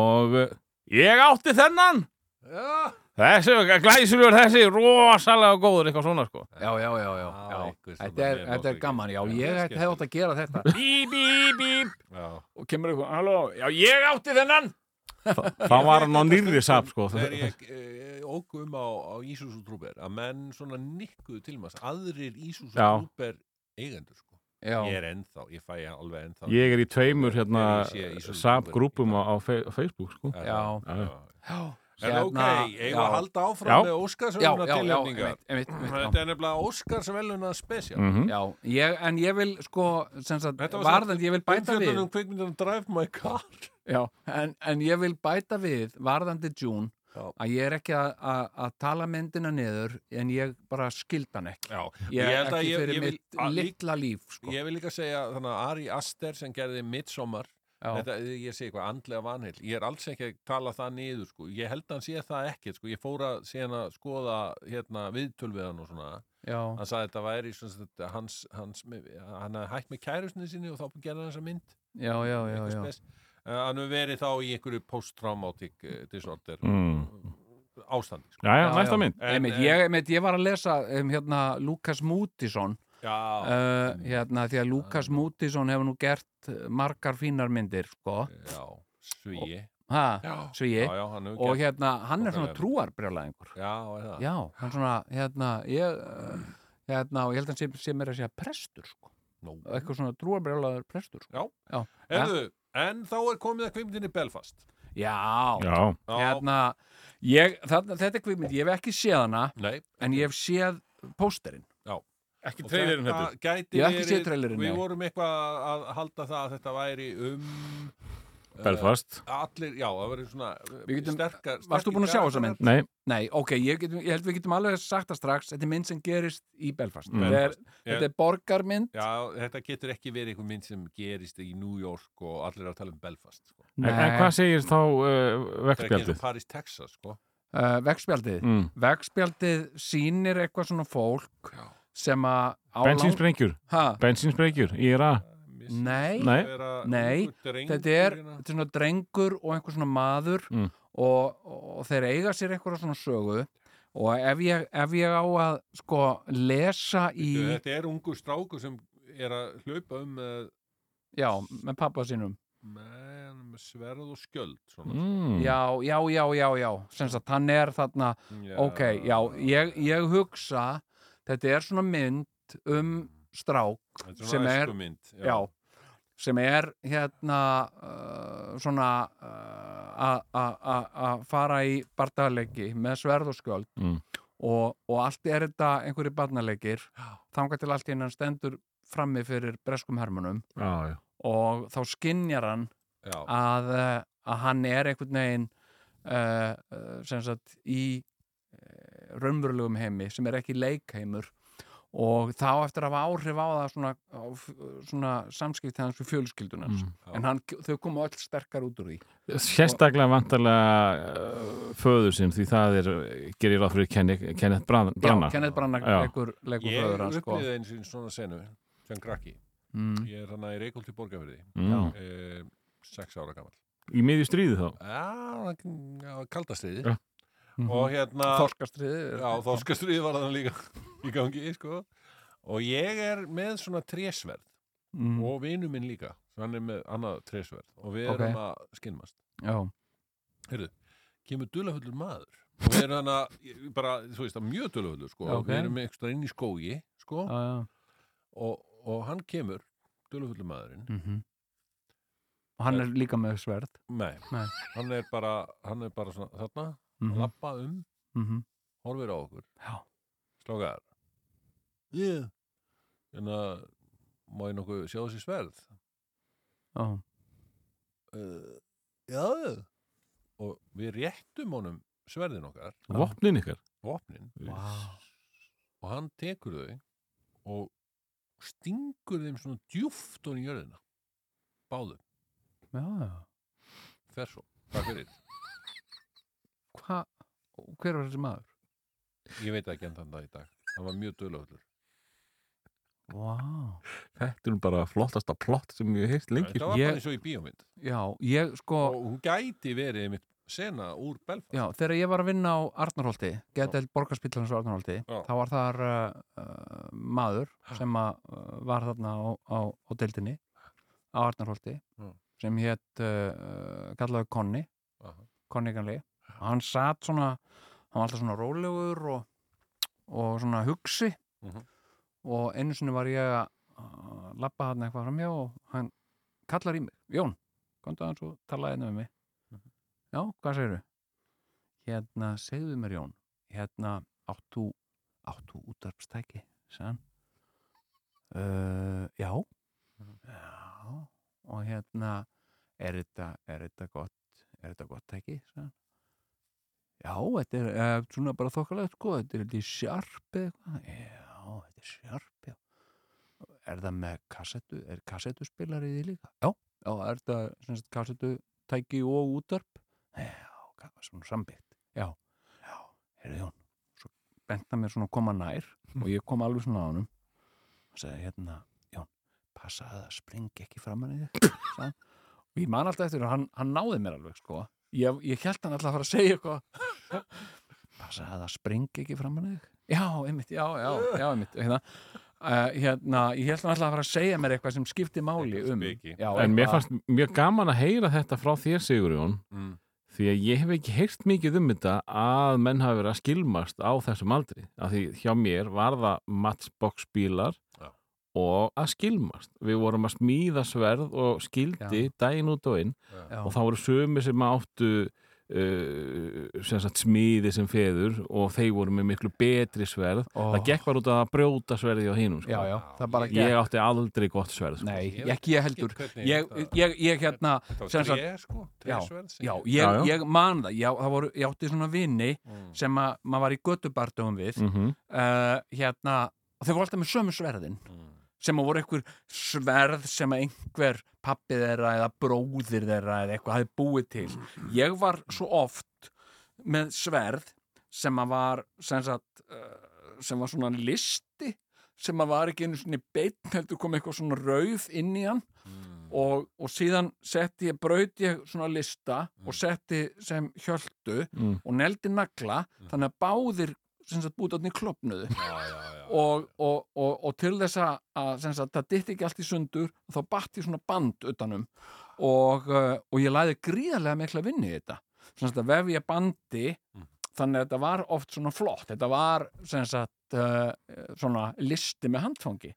og eh, ég átti þennan
Já,
Þessi, glæsilegur þessi, rosalega góður, eitthvað svona, sko.
já, já, já, já,
Já,
já.
einhver svona
Þetta, er,
meðal
þetta er
ástæður.
gaman, já,
Já,
ég
það er
hefði átt að gera þetta
Bí, bí, bí.
já.
og kemur ykkur, halló, já, ég átti þennan
Þá var hann á nýrri sap, sko.
Þegar ég eh, ók um á, á Ísus og Trúber að menn svona nikkuðu til maður aðrir Ísus og
Já.
Trúber eigendur sko. Ég
já,
er ennþá, ég fæ alveg ennþá
Ég er í tveimur, hérna,
Þegar ég sé í svona
sap-grúpum á, á fe- Facebook, sko.
Já,
Já.
já.
já
En ok, ég var að halda áfram
Já.
með Óskars
já, já, já,
tilnefningar
einmitt, einmitt, einmitt
Þetta er nefnilega Óskars veluna spesial
Mm
já, já, ég, en ég vil sko, sem sagt,
Þetta var samt
varðandi ég vil bæta við,
Umfjöldunum kvikmyndanum Drive My Car sko.
já, en, en ég vil bæta við, varðandi June
Já.
að ég er ekki að- að að tala myndina niður, en ég bara skildan ekki,
Já,
ég
Ég
er
held að
ekki
ég-
fyrir
ég vil-
mitt
að-
litla líf, sko,
Ég vil líka segja þannig að Ari Aster sem gerði Midsommar
já,
þetta, ég segi eitthvað andlega vanheil ég er alls ekki að tala það niður sko. ég held að hann sé það ekkert sko. ég fór að síðan að skoða hérna, viðtöl við hann og svona
já
hann sagði að þetta væri svona, þetta, hans, hans, hann hafði hægt með kærusni sinni og þá gerði hann þessa mynd
Já, já, já,
eitthvað
já.
spes. Eh, hann hefur verið þá í einhverju post-traumatic eh, disorder
Mm.
ástandi sko.
Já, já,
Já,
næsta
já.
mynd.
En- eh,
Einmitt,
en-
ég, einmitt, ég var að lesa um hérna Lukas Mútisson uh,
já,
hérna því að Lukas Mútisson hefur nú gert eh, margar fínar myndir sko,
já, svíi
ha,
já,
svo ég
já, já, hann hefur
og
gert
hérna, hann er svona
Okkarlega.
trúarbrjálæðingur
já, er það?
já, hann svona, hérna ég, eh, hérna, og ég held að hann sé, sé mér að segja prestur, sko,
Nú.
eitthvað svona trúarbrjálæður prestur, sko,
Já. Erðu, en þá er komið að kveimdinni Belfast
já,
Já.
Já,
hérna ég, það, þetta er kvikmynd, ég hef ekki séð hana
nei,
en ég hef séð pósterinn
Ekki
og þetta gæti
Ég hef ekki
verið-
séð trailerinn,
Við
nei.
vorum eitthvað að halda það að þetta væri um
Belfast
Allir, já, það verður svona
Við getum-
sterkar, sterkir
Varstu búin að sjá
karakterar.
þessa mynd?
Nei,
Nei, ok, ég, getum, ég held við getum alveg sagt það strax Þetta er mynd sem gerist í Belfast
Mm.
Þetta er,
Ég-
þetta er borgarmynd
Já, þetta getur ekki verið einhver mynd sem gerist í New York og allir eru að tala um Belfast sko.
en, en hvað segir þá uh,
Það er ekki eins
vektspjaldið?
og Paris, Texas sko.
uh, Vegspjaldið
Mm.
Vegspjaldið sýnir eitthvað svona fólk sem að á lang-
Bensínsprengjur,
Ha?
bensínsprengjur, íra
Nei,
Nei.
Nei, þetta er,
hérna.
þetta er svona drengur og einhver svona maður
Mm.
og, og þeir eiga sér einhverja svona sögu og ef ég, ef ég á að sko lesa í
eh.
Þetta er ungu stráku sem er að hlaupa um með,
já, með pappa sínum
með, með sverð og skjöld svona.
mm.
já, já, já, já, já sem sagt hann er þarna
Já.
Mm. ok, já, ég, ég hugsa þetta er svona mynd um strák
Þetta er
sem
svona
er-
æskumynd
já, sem er hérna uh, svona uh, að- að- að að fara í barndagleiki með sverð og skjöld
Mm.
og, og allt er þetta einhverju barnaleikir þangað til allt í hann stendur frammi fyrir breskum hermunum
Já, já.
og þá skinjar hann
já.
að, eh, að hann er einhvern veginn uh, sem sagt í uh, raunverulegum heimi sem er ekki leikheimur og þá eftir að hafa áhrif á það svona, á f- svona samskipt hans við fjölskyldun hans
Mm.
já.
en hann, þau komu öll sterkar út úr því
Sérstaklega vantarlega uh, föður sinn því það er, gerir ráð fyrir Kenneth, Kenneth Branagh
Já, Kenneth Branagh
Já.
leikur, leikur
Ég
föður hans sko.
upplýði eins og svona senu sem krakki.
mm.
Ég er hann að í Reykjólt í Borgafyrði
mm.
eh, sex ára gammal.
Í miðju stríði þá
Já, já kaldastriði.
Já.
Mhm.
Og hérna...
Þorskastriði
Já, þorskastrið var þannig líka í gangi, sko. Og ég er með svona trésverð
mm.
og vinu minn líka. Hann er með annað trésverð og við
Ok.
erum að skinnmast.
Já.
Heyrðu, kemur duðlahullur maður. Og við erum hann að, bara, þú veist, að mjög duðlahullur, sko.
Já, ok.
Við erum með eitthvað inn í skógi, sko.
Já, já.
Og, og hann kemur, duðlahullur maðurinn.
Mhm. og hann er líka með sverð
Nei.
Nei.
Hann er bara, hann er bara svona, þarna,
mm
að lappa um,
-hmm.
horfir á okkur.
Já.
Slókar. Yeah. En að, má ég nokkuð sjá þessi sverð?
Já.
uh, já og við réttum honum sverðin okkar,
Vopnin ykkar
vopnin
Vá.
og hann tekur þau og stingur þeim svona djúft honum í jörðina báðum,
Já, já.
fer svo Takk fyrir,
Hva? hver var þessi maður?
ég veit ekki enn þann dag í dag hann var mjög dölöflur
Vá.
Þetta er nú bara flottasta plott sem ég heist lengi
þetta var
Ég-
bara eins og í bíómynd
Já, ég
og
sko,
hún gæti verið einmitt sena úr Belfast
já, þegar ég var að vinna á Arnarholti, getið borgarspillans á Arnarholti,
Já.
þá var þar uh, uh, maður sem að uh, var þarna á, á, á deildinni á Arnarholti
Já.
sem hétt, uh, kallaðu Konni,
Aha.
Konni Ganli og hann satt svona, hann var alltaf svona rólegur og, og svona hugsi
Mhm.
og einu sinni var ég að uh, labba hann eitthvað framhjá og hann kallar í mig, Jón, komdu aðeins og talaði hérna við mig
Mhm.
Já, hvað segirðu? Hérna, segðu mér Jón hérna, áttu áttu útarpstæki, sagðan uh, Já Já og hérna, er þetta er þetta gott, er þetta gott tæki, sagðan Já, þetta er uh, svona bara þokkalegt sko, þetta er þetta í sjarp eða eitthvað Já, þetta er sjarp, já Er það með kassettu, er kassettuspilari í því líka? Já, já, er þetta sem sagt kassettutæki og útarp? Já, hvað var svona sambyggt? Já, já, heyrðu Jón, svo benta mér svona að koma nær og ég kom alveg svona á honum og sagði hérna, Jón, passa að það springi ekki framan í þig, sagði hann. og ég man alltaf eftir og hann, hann náði mér alveg, sko. Ég, ég held hann alltaf að fara að segja eitthvað. passa að það springi ekki framan í þig. Já, einmitt, já, já, já, einmitt, hérna. Uh, hérna, ég held hann alltaf að fara að segja mér eitthvað sem skipti máli
Eitthvað
um
speki.
já,
En mér
eitthvað-
fannst mjög gaman að heyra þetta frá þér Sigurjón
mm.
því að ég hef ekki heyrt mikið um þetta að menn hafi verið að skilmast á þessum aldri af því hjá mér var það matchbox bílar
Já.
og að skilmast við vorum að smíða sverð og skildi daginn út og inn
Já.
og þá voru sömi sem áttu uh, sem sagt, smíði sem feður og þeir voru með miklu betri sverð
Ó.
það gekk bara út að brjóta sverði á hinum sko.
já, já, það bara
ég átti aldrei gott sverð sko.
Nei,
Ég veit
ekki ég heldur
hvernig
ég,
þetta-
ég, ég hérna
Þetta
sem
var
sagt-
tré, sko,
Já,
trésverð sem-
já, ég,
Já, já.
ég man það, já, það voru, ég átti svona vini
Mm.
sem að maður var í göttubartöfum við mm.
Mhm.
hérna, og þau voru alltaf með sömu sverðin
Mm.
sem að voru einhver sverð sem að einhver pappi þeirra eða bróðir þeirra eða eitthvað hafi búið til. Ég var svo oft með sverð sem að var sem, sagt, eh, sem var svona listi sem að var ekki einu svona beinn heldur kom eitthvað svona rauð inn í hann og, og síðan setti ég, braut ég svona lista og setti sem hjöldu
Mm.
og neldi nagla þannig að báðir sem sagt bútarnir klopnuðu
Já, já, já.
og, og, og, og til þess að- að sem sagt, það ditti ekki allt í sundur þá batt ég svona band utanum og, uh, og ég læði gríðarlega mikla vinnu í þetta sem sagt að vefja bandi
Mm.
þannig að þetta var oft svona flott þetta var sem sagt uh, svona listi með handfangi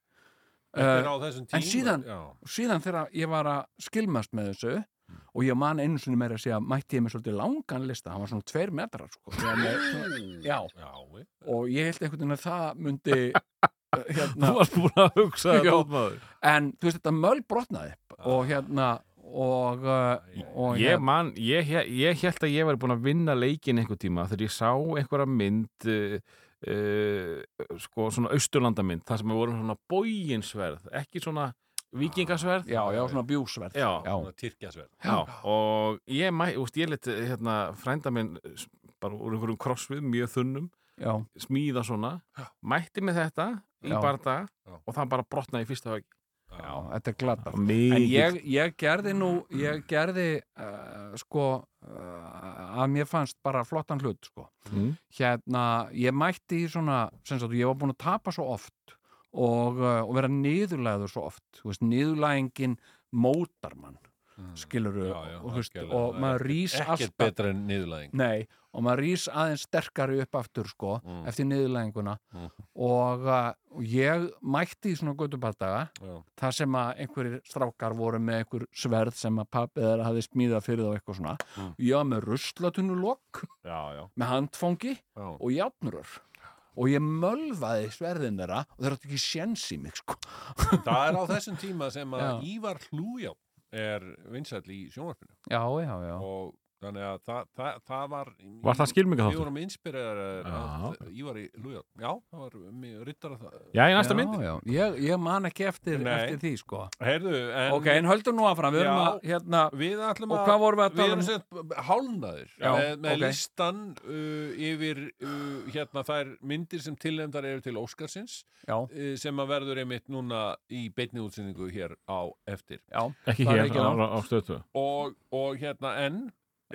Uh,
Þetta er á þessum
eh,
tíma
en síðan-
já.
og síðan þegar ég var að skilmast með þessu og ég man einu sinni meira að segja mætti ég með svolítið langan lista, hann var svona tveir metrar sko. Ég var með, svona, já,
Já, við-
og ég held einhvern veginn að það myndi uh, hérna,
þú varst búin að hugsa
Já.
þetta út maður
en þú veist þetta möl brotnaði og hérna og, uh, og
Ah. Ég man, ég, ég, ég held að ég væri búin að vinna leikin einhver tíma þegar ég sá einhverja mynd uh, uh, sko svona austurlandamynd, það sem voru svona bóginsverð, ekki svona vikingasverð
já, já, svona bjúsverð
já, já.
svona tyrkjasverð
og ég, mæ, úst, ég let hérna, frænda minn eh, s- bara úr einhverjum krossvið, mjög þunnum
já,
smíða svona, mætti með þetta í
Já.
barða
Já.
og það bara brotnaði í fyrsta högg
já, þetta er glata
Mikið
En ég, ég gerði nú, ég gerði uh, sko uh, að mér fannst bara flottan hlut sko.
Mm.
Hérna, ég mætti í svona, sem sagt, ég var búin að tapa svo oft og, uh, og vera niðurlæður svo oft. Þú veist, niðurlæðingin mótar mann, skilur
Mm. Já, já,
og, þú veist,
algjörlega.
og
Það er
maður rís
ekkert
alltaf,
betra en niðurlæðing
nei, og maður rís aðeins sterkari upp aftur sko,
Mm.
eftir niðurlæðinguna
Mm.
og uh, og ég mætti í svona göttubardaga
Já.
þar sem að einhverjir strákar voru með einhver sverð sem að pappið þeirra hafi smíðað fyrir þá eitthvað svona
Mm.
ég var með ruslatunulokk,
já, já,
með handfangi
já.
og játnurur og ég mölvaði sverðin þeirra og þeir áttu ekki sjens í mig sko.
það er á þessum tíma sem að
Já.
Ívar Hlújá er vinsall í sjónvarpinu
já, já, já
og þannig að það, það, það var
Var það
Við
skilmingaþáttur?
vorum inspireraðir af
Já.
Ívar í Hlújá Já, það var mjög rittara það
Já, í næsta mynd
já, já. Ég, ég man ekki eftir,
Nei.
eftir því sko.
Heyrðu, en,
ok, en höldum nú áfram við erum
Já.
að, hérna,
við ætlum
og
að
hvað vorum við að
Við
tala
erum
um
sem sagt hálnaðir
Já,
með, með
ok.
listan uh, yfir uh, hérna þær myndir sem tilnefndar eru til Óskarsins
já,
uh, sem að verður einmitt núna í beinni útsendingu hér á eftir
já,
Ekki
Það er
hér,
ekki
á,
langt.
á, á stötu
og, og hérna en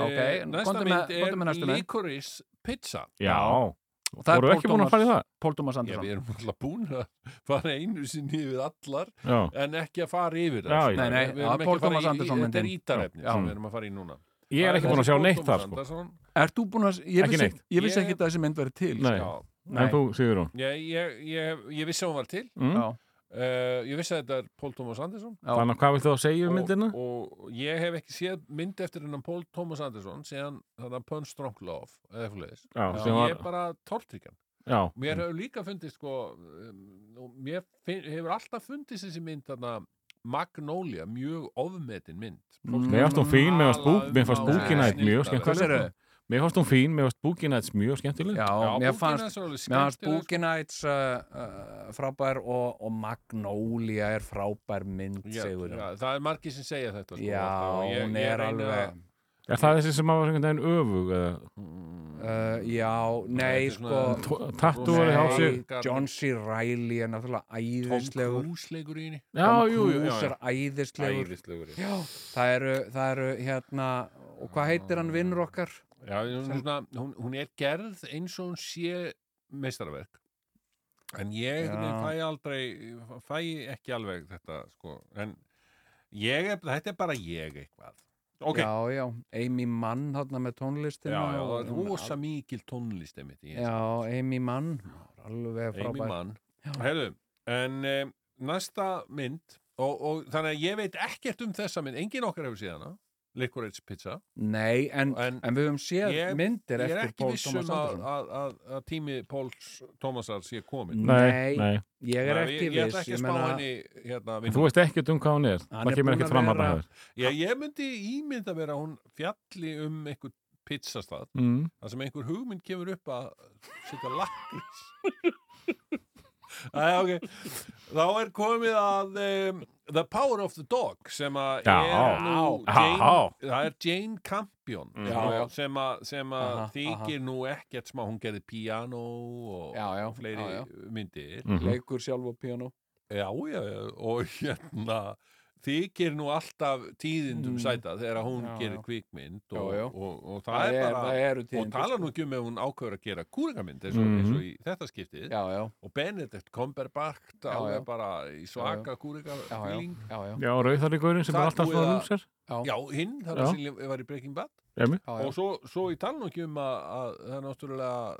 Ok,
eh, næsta
komdu með-
mynd
komdu með næstu
er
mynd.
Licorice Pizza
Já,
Og það er
voru
Pól
ekki búin að
Tómas-
fara í það?
Pól Tómas
Já,
Andersson
við erum alltaf búin að fara einu sinni við allar
Já,
en ekki að fara yfir
Já,
það
já.
sko.
Nei, nei,
Við
já,
erum ekki
Paul
að fara
Thomas
í-
Anderson
Þetta er
myndin.
ítarefni
Já.
sem við erum að fara í núna
ég er ekki búin að sjá neitt þar sko.
Er þú búin að, ég
Ekki
vissi,
neitt.
ég vissi
Ég-
ekki að þessi mynd verið til
Nei.
sko.
Já,
En þú, Sigur hún
ég, ég, ég, ég vissi að hún var til
mm?
Já.
Uh, ég vissi að þetta er Pól Tómas Andersson
Já.
Þannig að hvað vilt þú að segja um myndina?
og, og ég hef ekki séð mynd eftir hennan Pól Tómas Andersson síðan þannig að Pönn Stronglov eða eitthvað leiðis
Já, sem
ég
var, Mm.
er bara tortrykjan
já,
mér hefur líka fundist sko, um, og mér finn, hefur alltaf fundist þessi mynd þarna Magnolia, mjög ofmetin mynd
Mm.
Mér fannst hún fín, mér fannst búk- mér fannst
Talað um
Boogie
á-
Nights
Nei,
mjög
snilldarverk.
skemmtileg. sko.
Hvað sérðu?
mér fannst hún fín, mér fannst búkinæts mjög skemmtileg
Já,
Já,
mér
Boogie
fannst
Nights er alveg
Mér fannst
skemmtileg, sko.
Boogie Nights uh, uh, frábær og, og Magnolia er frábær mynd
Já,
Sigurður.
já, það er margir sem segja þetta sko,
Já,
alltaf, og ég-
hún
ég
er
reyni að-
alveg
Er það þessi sem var einhvern veginn öfug? eða?
uh, Já, nei,
Þetta er
sko
svona-
Tó- Tattoo var í
Nei.
hálsi
hálsi.
John C. Reilly er náttúrulega
Tom
æðislegur
Cruise leikur í henni
Já,
Tom
jú, jú, já,
Cruise
já
er æðislegur
Æðislegur í henni.
Já, það eru, það eru hérna og hvað heitir hann vinnur okkar?
Já, hún, er svona, hún, hún er gerð eins og hún sé meistarverk en ég einhvern veginn
Já.
fæ aldrei fæ ekki alveg þetta sko. en ég er, þetta er bara ég eitthvað ok, já,
Já, já, Amy Mann þarna með
já,
tónlistina
já, það
og-
er rosa mikil tónlist einmitt í
Já, Amy Mann, alveg
þessu. Amy
frábær
Mann
Já.
Heyrðu, en um, næsta mynd og, og þannig að ég veit ekkert um þessa mynd engin okkar hefur síðana Licorice pizza
Nei, en,
En-
en, við höfum séð
Ég-
myndir
Ég er
eftir
ekki
Pól
viss um
Thomas
að,
Andersson
að, að, að tími Póls Tómasar sé komin
Nei,
nei.
ég er
Þannig að
ekki
ég, ég ætla
viss
ekki að
ég
spá
meina-
henni hérna,
En
vinnu.
Þú veist ekkert um hvað hún er.
Hann
það
er
kemur
búinn
ekkert
að
fram að
vera-
það.
ég, ég myndi ímynda vera að hún fjalli um einhver pizzastað
Mm.
þar sem einhver hugmynd kemur upp að setja lakrís Æja, ok Þá er komið að um, The Power of the Dog sem að
Já.
er nú
Já.
Jane,
Já.
það er Jane Campion
Já,
sko,
Mm. já.
sem að, sem að
Aha,
þykir nú ekkert smá, hún gerði piano og
Já, já,
fleiri
já, já.
myndir
Mhm.
leikur sjálf á piano
Já, já, já, og hérna þykir nú alltaf
Mm.
tíðindum sæta þegar hún
Já,
gerir
já.
kvikmynd
Já,
og,
já.
og, og, það er bara
það eru
og
tíðindi,
tala
sko. Mm.
nú ekki um ef hún ákveður að gera kúringamynd eins og,
Mhm.
eins og í þetta
Já,
skiptið
já,
og Benedikt Cumberbatch
Já,
alveg
já.
bara í
já,
svaka
já,
kúringamynd
já, já,
Já, rauðarleikurinn sem
Það
er
er
alltaf
búið
svona
að-
lúmsar.
já, hinn, það
Já.
var sem var í Breaking Bad
Emi.
já, já.
og svo, svo ég tala nú ekki um að, að það er náttúrulega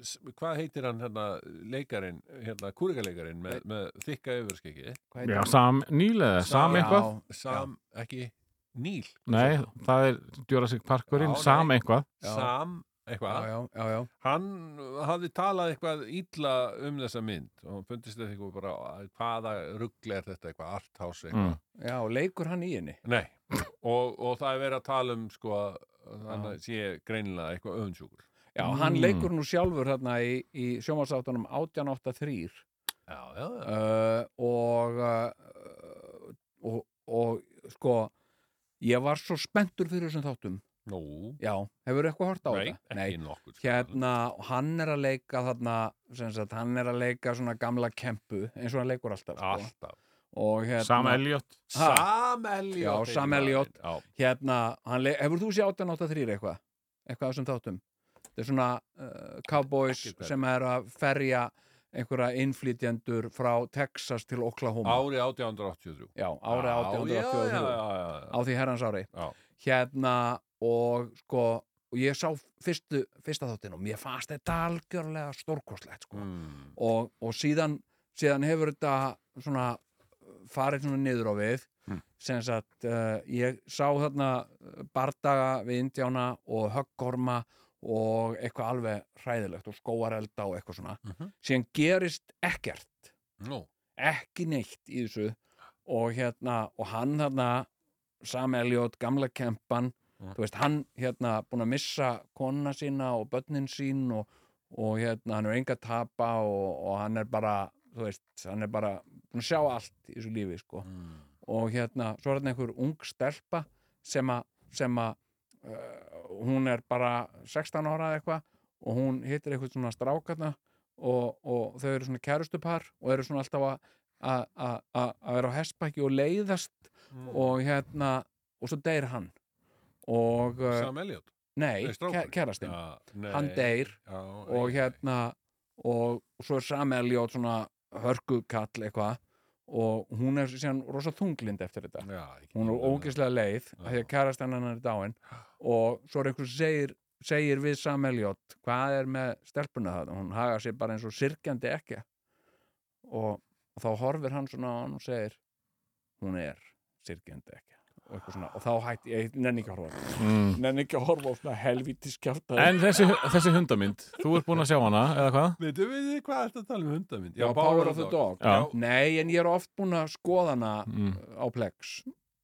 s- hvað heitir hann hérna leikarin, hérna kúringaleikarin með, með þykka yfirskeggi
Hvað heitir
Já,
hann?
sam nýlega, sam
Já.
eitthvað.
Sam, ekki Níl
Nei, það er Jurassic Parkurinn,
Já,
sam
nei.
eitthvað.
Já.
Sam,
já,
eitthvað
já, já, já,
hann hafði talað eitthvað illa um þessa mynd og hann fundist þetta eitthvað bara hvaða ruggli er þetta eitthvað, arthouse
Mm.
eitthvað
já, leikur hann í henni
Nei, og, og það er verið að tala um sko að þannig að sé greinilega eitthvað öfundsjúkur
Já, hann
Mm.
leikur nú sjálfur hérna í, í sjómasáttunum 1883
Já, já, já
uh, og, uh, og, og sko, ég var svo spenntur fyrir þessum þáttum.
Nú,
Já, hefur eitthvað hort á
nei,
þetta?
ekki nokkur sko.
Hérna, hann er að leika þarna, sem sagt, hann er að leika svona gamla kempu, eins og hann leikur alltaf. Sko.
Alltaf
Og hérna,
Sam Elliot.
Ha?
Sam Elliot
Já, Sam
heitir
Elliot.
maðurinn. Já,
hérna, hann leik, hefur þú séð 1883 eitthvað? Eitthvað af þessum þáttum? Þetta er svona uh, cowboys
Ekki hvernig.
sem er að ferja einhverja innflytjendur frá Texas til Oklahoma.
Árið 1883
Já, árið
Já, já,
1883
já, já, já.
á því herrans ári
Já.
hérna og sko og ég sá fyrstu, fyrsta þáttinn og mér fannst þetta algjörlega stórkostlegt sko.
Mm.
og, og síðan, síðan hefur þetta svona farið svona niður á við
Mm.
sem sagt, uh, ég sá þarna eh, bardaga við Indjána og höggorma og eitthvað alveg hræðilegt og skóarelda og eitthvað svona
Mhm.
síðan gerist ekkert
Nú,
ekki neitt í þessu og hérna, og hann þarna Sam Elliot, gamla kempan
Mm.
þú veist, hann hérna búin að missa konuna sína og börnin sín og, og hérna, hann er enga að tapa og, og hann er bara þú veist, hann er bara búin að sjá allt í þessu lífi, sko
mm.
og hérna, svo er hérna einhver ung stelpa sem að sem að uh, hún er bara 16 ára eða eitthvað og hún hittir eitthvað svona strákarna og, og þau eru svona kærustupar og eru svona alltaf að að- að að- að vera á hestbæki og leiðast
mm.
og hérna og svo deyr hann og, uh,
Sam Elliot
nei,
Nei,
kæ,
strákurinn.
kærastinn
Já, nei.
hann deyr
Já,
og
ei,
hérna og, og svo er Sam Elliot svona hörkukall eitthvað og hún er síðan rosa þunglind eftir þetta
ei. Já, ekki
hún er
tíma.
ógeðslega leið að því að kærast hennar er dáin og svo er einhver sem segir, segir við Sam Elliot hvað er með stelpuna það hún hagar sér bara eins og sirkjandi ekki og þá horfir hann svona á hann og segir hún er sirkjandi ekki og, eitthvað svona, og þá hætti ég nenni ekki að horfa á þetta.
Mm.
nenni ekki að horfa á svona helvítis kjáta
En þessi, þessi hundamind, þú ert búin að sjá hana, eða hvað?
Veitu, veitu, hvað er þetta að tala um hundamind?
já, Power of the Dog
Já.
nei en ég er oft búin að skoða hana uh,
Mm.
á Plex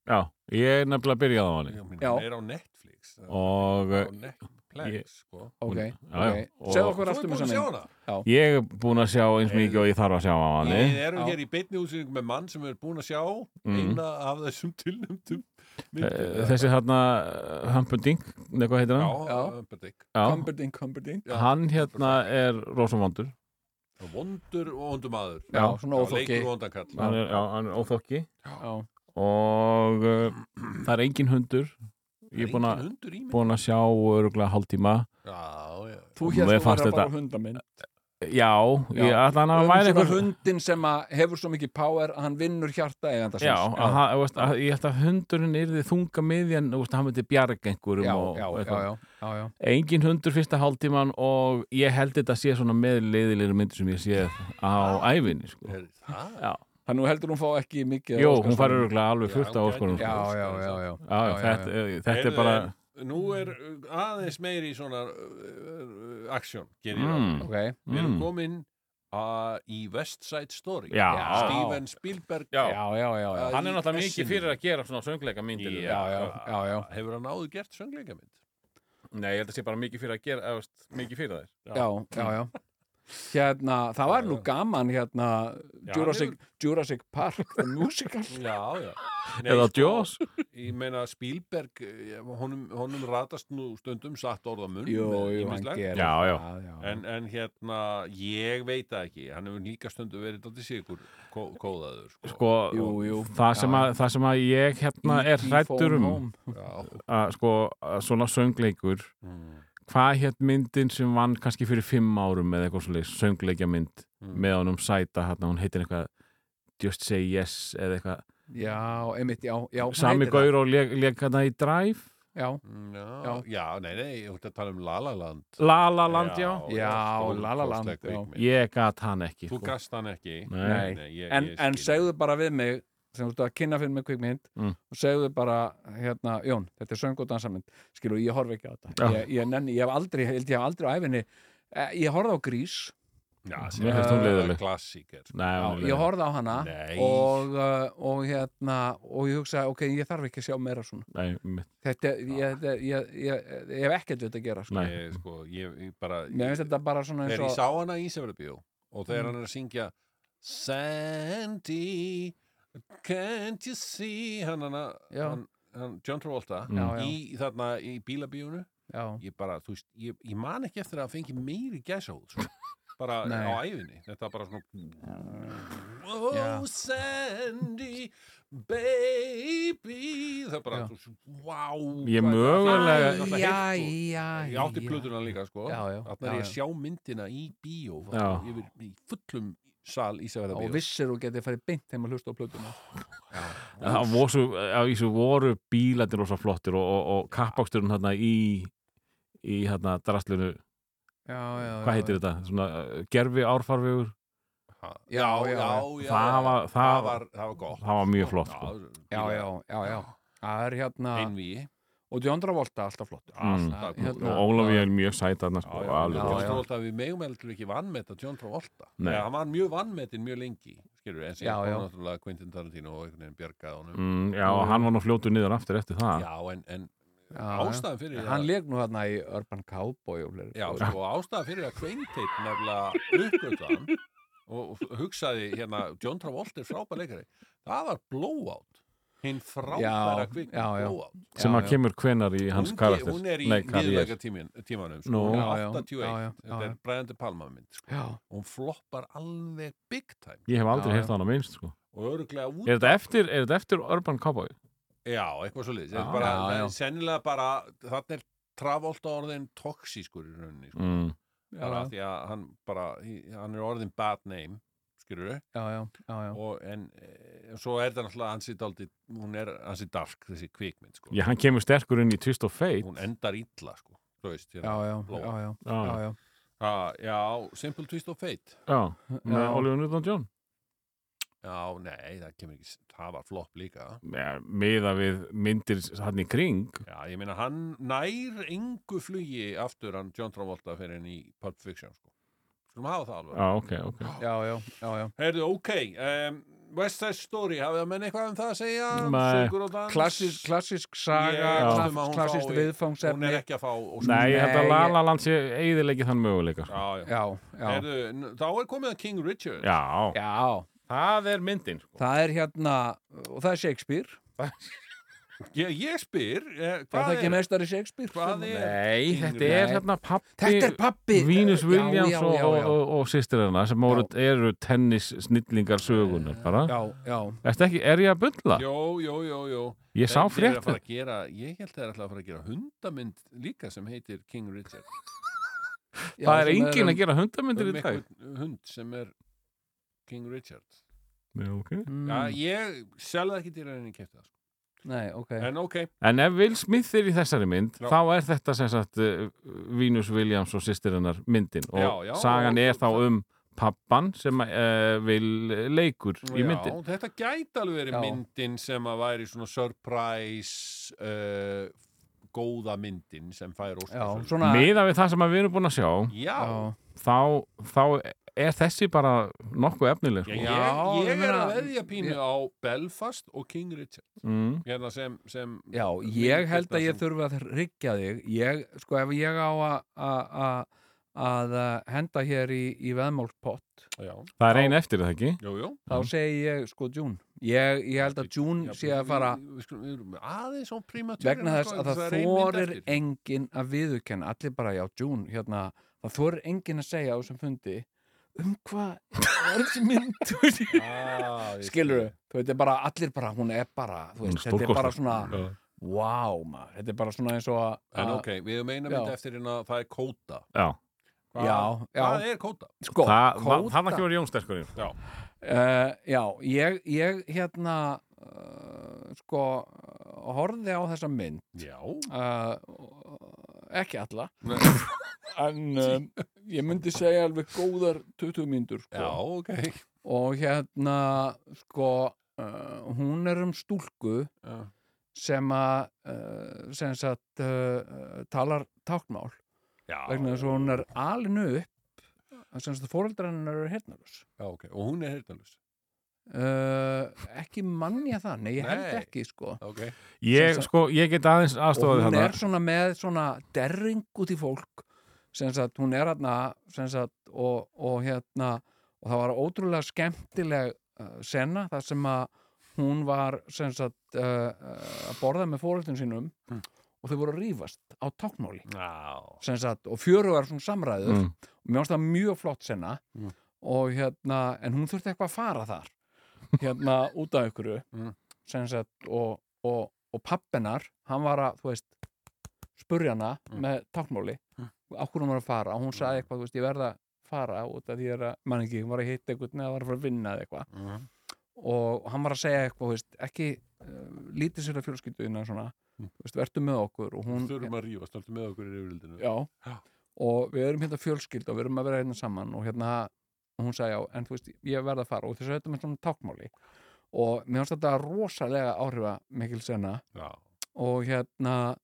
Já, ég er nefnilega að byrjað á
Já,
hann.
minn,
Já.
hún er á Netflix
Og
Hún
eh,
er á Netflix, sko
ok,
Já, já.
ok,
Og-
segð
Þú
okkur
er
allt um
búin að
þess
sjá
að
hana
ég er búin að sjá eins mikið og ég þarf að sjá á hann.
Við erum
Já.
hér í beinni útsynning með mann sem er búin að sjá
Mm.
eina af þessum tilnumtum myndum.
Eh,
eh,
Þessi þarna, eh, Humperdinck, neða hvað heitir
Já,
hann?
Já.
Humperdinck.
Já.
Cumberding, Cumberding
Já.
Hann hérna er rosamandur.
Vondur og vondur maður.
Já, svona óþokki.
Leikur og vondakall.
Hann er, já, hann er óþokki.
já,
og uh, það er engin hundur ég er búin að-
Hundur í mig.
búin að sjá öruglega hálftíma
Já, já.
Þú
Og
hérst
mér
að
fannst
vera bara
þetta-
hundaminn
já, ég
Já.
ætla hann að
um
væri
svona
eitthvað
hundin sem að hefur svo mikið power að hann vinnur hjarta eiganda síns.
já, að, hann- þú veist, að, ég ætla að hundurinn yrði þunga miðjan, þú veist, hann myndi bjarga einhverjum
já, já,
og, og
já,
eitthvað.
já, já, já.
engin hundur fyrsta hálftíman og ég held þetta sé svona með leiðilegri myndir sem ég sé á ævinni sko.
Er það?
já,
Þannig að þú heldur hún fá ekki mikið
Jú,
af
hún fær
Óskarsverðlaunum.
öruglega alveg fullt
Já,
á
hún
óskonum
gæti-
sko.
Já, já, já, já.
Já, já, þetta, þetta er
Heyrðu,
bara
en Nú er uh, aðeins meiri í svona uh, aksjón, gerir
Mm.
ég ráð fyrir.
Ok,
Við erum
Mm.
komin uh, í West Side Story.
Já.
Steven Spielberg.
Já.
já, já, já, já.
Hann
í
er náttúrulega
essinu.
mikið fyrir að gera svona söngleika myndir
Já, já, já, já.
Hefur hann áður gert söngleikamynd?
Nei, ég held að sé bara mikið fyrir að gera eða, veist, mikið fyrir þær
já, já, já. Hérna, það var nú gaman hérna Jurassic, Jurassic Park the musical
Já, já.
Eða
sko,
Jaws
Ég meina Spielberg, eh, honum, honum ratast nú stundum satt orðamun.
Jú, jú, hann gerir
Já, já.
það, já.
eh, En, en hérna, ég veit það ekki, hann hefur líka stundu verið daldið sigur kó, kóðaður. Sko.
Sko,
Jú, jú.
það sem,
Já.
að, það sem að ég hérna
E.T.
er hrættur
phone
um
home.
Já.
að, sko, að svona söngleikur
Mm.
hvað hétt myndin sem vann kannski fyrir fimm árum eða eitthvað svolítið söngleikjamynd
Mm.
með honum sæta hérna, hún heitir eitthvað Just Say Yes eða eitthvað
Já, einmitt, já, já hún
Sami
heitir það.
Gaur og leka það í Drive
Já,
Já, Mm, já,
Já.
nei, nei, ég ætti að tala um La La Land.
La La Land, já,
Já,
stórkostleg
La La Land, já.
kvikmynd.
ég gat hann ekki
Þú
sko.
gast hann ekki.
Nei.
ég,
en,
ég
en
skil.
segðu bara við mig sem þú ert að kynna fyrir mig kvikmynd
Mm.
og segðu bara, hérna, Jón, þetta er söng og dansamynd skilu, ég horf ekki á þetta
Já.
ég, ég, nenni, ég hef aldrei, ég held ég hef aldrei á æfinni Eh, ég horfði á Grís
Já,
Mér finnst hún leiðileg.
Klassíker.
Nei,
já, ég
hún er leiðileg.
horfði á hana
Nei.
og, uh, og hérna og ég hugsaði, ok, ég þarf ekki að sjá meira svona
Nei, mitt,
þetta, ég, þetta, ég, ég, ég, ég hef ekkert við þetta að gera sko.
nei.
Ég, sko, ég, ég bara...
mér finnst þetta Mm. bara svona eins
Þegar ég
og
sá hana í Ísafjörðabíó og þegar hann er að syngja Sandy, can't you see hann hana,
Já.
hann, hann John Travolta
Já, já.
í þarna í bílabíónu
já,
ég bara, þú veist, ég, ég man ekki eftir að hann fengi meiri gæsahúð sko. bara
Nei.
á æfinni, þetta var bara svona Oh
Já.
Sandy baby það er bara,
Já.
þú veist, wow
Ég
hvað-
mögulega-
það er náttúrulega
já,
heilt og-
já,
sko. Ég átti
já.
plötuna líka sko
Já, já,
Þarna
já,
er ég
já.
að sjá myndina í bíó
Já.
Ég verið í fullum sal í Ísafjörða
og
bíó
vissir þú getið farið beint þeim að hlusta á plötuna
Það voru svo- á þessu voru bílarnir rosa flottir og, og, og kappaksturinn hérna í í hérna drastlunu,
já, já,
hvað heitir þetta? Svona, uh, gerfi árfarvegur,
Ha.
Já, já,
já. Það var- það
var, það var gott
það var mjög flott sko.
Já,
já, já, já, já. það er hérna
Einvíi
og Djóndra Volta, alltaf flott
Mm.
Alltaf
Hérna-
og Ólafí er mjög sæt hérna sko,
Já, já,
alveg
John
rosa.
já.
Travolta við megum heldur ekki vannmeta John Travolta
Nei.
Eða, hann var mjög vannmetin mjög lengi skilur, en
Já,
síðan
já.
kom náttúrulega Quentin Tarantino og einhvern veginn bjargaði honum
Mm, já, og hann var nú fljótu niður aftur eftir það
já, en, en
Já, já.
ástæðan fyrir að-
hann leik nú þarna í Urban Cowboy og fleiri
Já,
stóri.
sko, ástæða fyrir að Quentin nefnilega uppgöðan og hugsaði hérna John Travolta er frábær leikari það var Blowout hinn frábæra
Já,
kvikmynd
já, já.
Blowout
sem
Já,
að
já.
kemur hvenar í hans
hún,
karakter
hún er í
Nei, karriér.
niðurleika tímanum sko,
Nú.
hún
Já,
er
já,
88
já, já, já,
þetta
já.
er Brian De Palma mynd sko.
já,
hún floppar alveg big time
ég hef aldrei
Já,
heyrt á hana minnst sko.
og öruglega út
er þetta eftir, er þetta eftir Urban Cowboy?
já, eitthvað svo liðs
Já,
bara,
já,
það
já.
er sennilega bara þannig er Travolta orðin toxískur í rauninni sko.
Mm.
bara af
já,
því að hann bara hann er orðin bad name skilur
já, já, já, já.
og en e, svo er það náttúrulega ansi daldi, hún er ansi dark þessi kvikmynd sko,
já, hann kemur sterkur inn í Twist of Fate
hún endar illa sko, þú veist,
Já, já,
hérna Blóa.
já, já, já,
já,
já.
ah, já, Simple Twist of Fate
já,
Já.
með Oliver Newton-John
já, nei, það kemur ekki það var flopp líka
ja, meða við myndir hann í kring
já, ég meina, hann nær engu flugi aftur hann John Travolta fyrir henni í Pulp Fiction sko, skulum hafa það alveg
já, ok, ok
já, já, já, já.
heyrðu, ok um, West Side Story, hafið það menn eitthvað um það að segja
Nei.
Sögur og dans
Klassisk, klassisk saga,
Ég
held
um að hún
klassist
fái- hún
viðfangsefni
er ekki að fá og svo-
Nei, ég held að
Nei,
La
ég-
La Land sé eigðilegi þann möguleika sko.
já, já.
Já, já,
Heyrðu, n- þá er komið að King Richard
Já,
já
það er myndin sko.
Það er hérna, og það er Shakespeare
Ég, ég spyr, eh,
Það er
hvað
það
er,
ekki meistari Shakespeare
Hvað
Svona.
er-
Nei, þetta
Nei.
er hérna pappi
Þetta er pappi
Vínus
Já,
Williams
já,
og,
já,
og,
já.
og, og sýstir hennar sem voru, eru tennis snillingar sögunar bara
Já, já,
Ertu ekki, er ég að bulla?
Jó, jó, jó, jó
Ég sá
Þeir eru að
fréttu
fara að gera, Ég held þeir ætla að fara að gera hundamynd líka sem heitir King Richard
já
Það er
sem
enginn
um-
að gera hundamyndir
um
í dag
einhvern hund sem er King Richard
Nei, ok.
Mm,
Já, ég sel það ekki til henni kefti það sko.
Nei, ok
En ok,
En ef Will Smith er í þessari mynd
Já.
þá er eh, þetta sem sagt uh, Vínus Williams og sýstir hennar myndin og
Já, já,
sagan
og-
er þá um pappan sem uh, vil leikur í myndin.
Já, þetta gæti alveg verið
Já.
myndin sem að væri svona surprise uh, góða myndin sem fær óskarsverðlaun.
svona
Miða við það sem að við erum búin að sjá,
Já,
já,
þá, þá er þessi bara nokkuð efnileg.
já,
sko.
ég,
Já,
ég,
ég
er
meina-
að veðja pínu
ég-
á Belfast og King Richard
Mm.
hérna sem, sem
já, ég held að ég
sem-
þurfi að ryggja þig ég, sko ef ég á að að- að að uh, henda hér í, í veðmálspott
Já,
Það er ein eftir er það ekki.
jú, jú
þá segi ég sko June ég, ég held að
Já,
June sé að fara
við- Við skulum, við erum aðeins á sko, primatúrin
vegna þess að það þorir engin að viðurkenna, allir bara já, June hérna, það þorir engin að segja á þessum fundi um hvað er þessi mynd þú veist?
Ah,
skilur þau, þetta er bara, allir bara hún er bara, þú
Hún er
veist, þetta er bara
stórkostleg.
svona
Já.
wow, maður, þetta er bara svona eins og að
En ok, við erum eina mynd
Já.
eftir hérna það er kóta
Já,
Hvað-
já,
Hvað
já,
er kóta?
sko
það, það,
Kóta-
það ekki verið Jónsterkurinn.
Já,
Eh, já, ég, ég hérna uh, sko eh, horfði á þessa mynd
já.
uh, ekki alla
Nei.
en um, ég myndi segja alveg góðar 20 mínútur
já,
sko.
ok
og hérna sko uh, hún er um stúlku
Já.
sem að uh, sem sagt uh, talar táknmál
Já,
vegna þess að hún er alinu upp sem sagt fóreldrarinn eru heyrnarlaus
já, ok, og hún er heyrnalus
Uh, ekki mannja það, nei ég held
Nei.
ekki sko.
Ok,
Ég,
Sem sagt-
sko, ég get aðeins
og
aðstofaði
hún
þetta.
er svona með svona derring út í fólk sem sagt, hún er hérna sem sagt, og, og hérna og það var ótrúlega skemmtileg uh, sena þar sem að hún var sem sagt uh, uh, að borða með fóröldin sínum
Mm.
og þau voru að rífast á táknmáli
já
sem sagt, og fjörugar svona samræður
Mm.
og mér finnst það mjög flott senna
Mm.
og hérna, en hún þurfti eitthvað að fara þar hérna út af ykkur
Mm.
sem sagt og, og, og pappinar, hann var að þú veist, spurja hana
Mm.
með táknmáli,
Mm.
á hvernig hún var að fara og hún
Mm.
sagði eitthvað, þú veist, ég verða að fara út af því ég er að, mann ekki, hún var að hitta eitthvað neða var að fara að vinna eða eitthvað
Mhm.
og hann var að segja eitthvað, þú veist, ekki uh, lítið sér að fjölskylduðina svona,
Mm.
þú veist, vertu með okkur og hún,
Þurfum að rífast, alltaf með okkur í yfirvildinu
já,
Já.
og við erum hérna fjölskyld og við erum að vera hérna saman og hérna, og hún sagði já, en þú veist ég verð að fara og þess að þetta með svona tákmáli og mér fannst þetta rosalega áhrifa mikil sena
já.
og hérna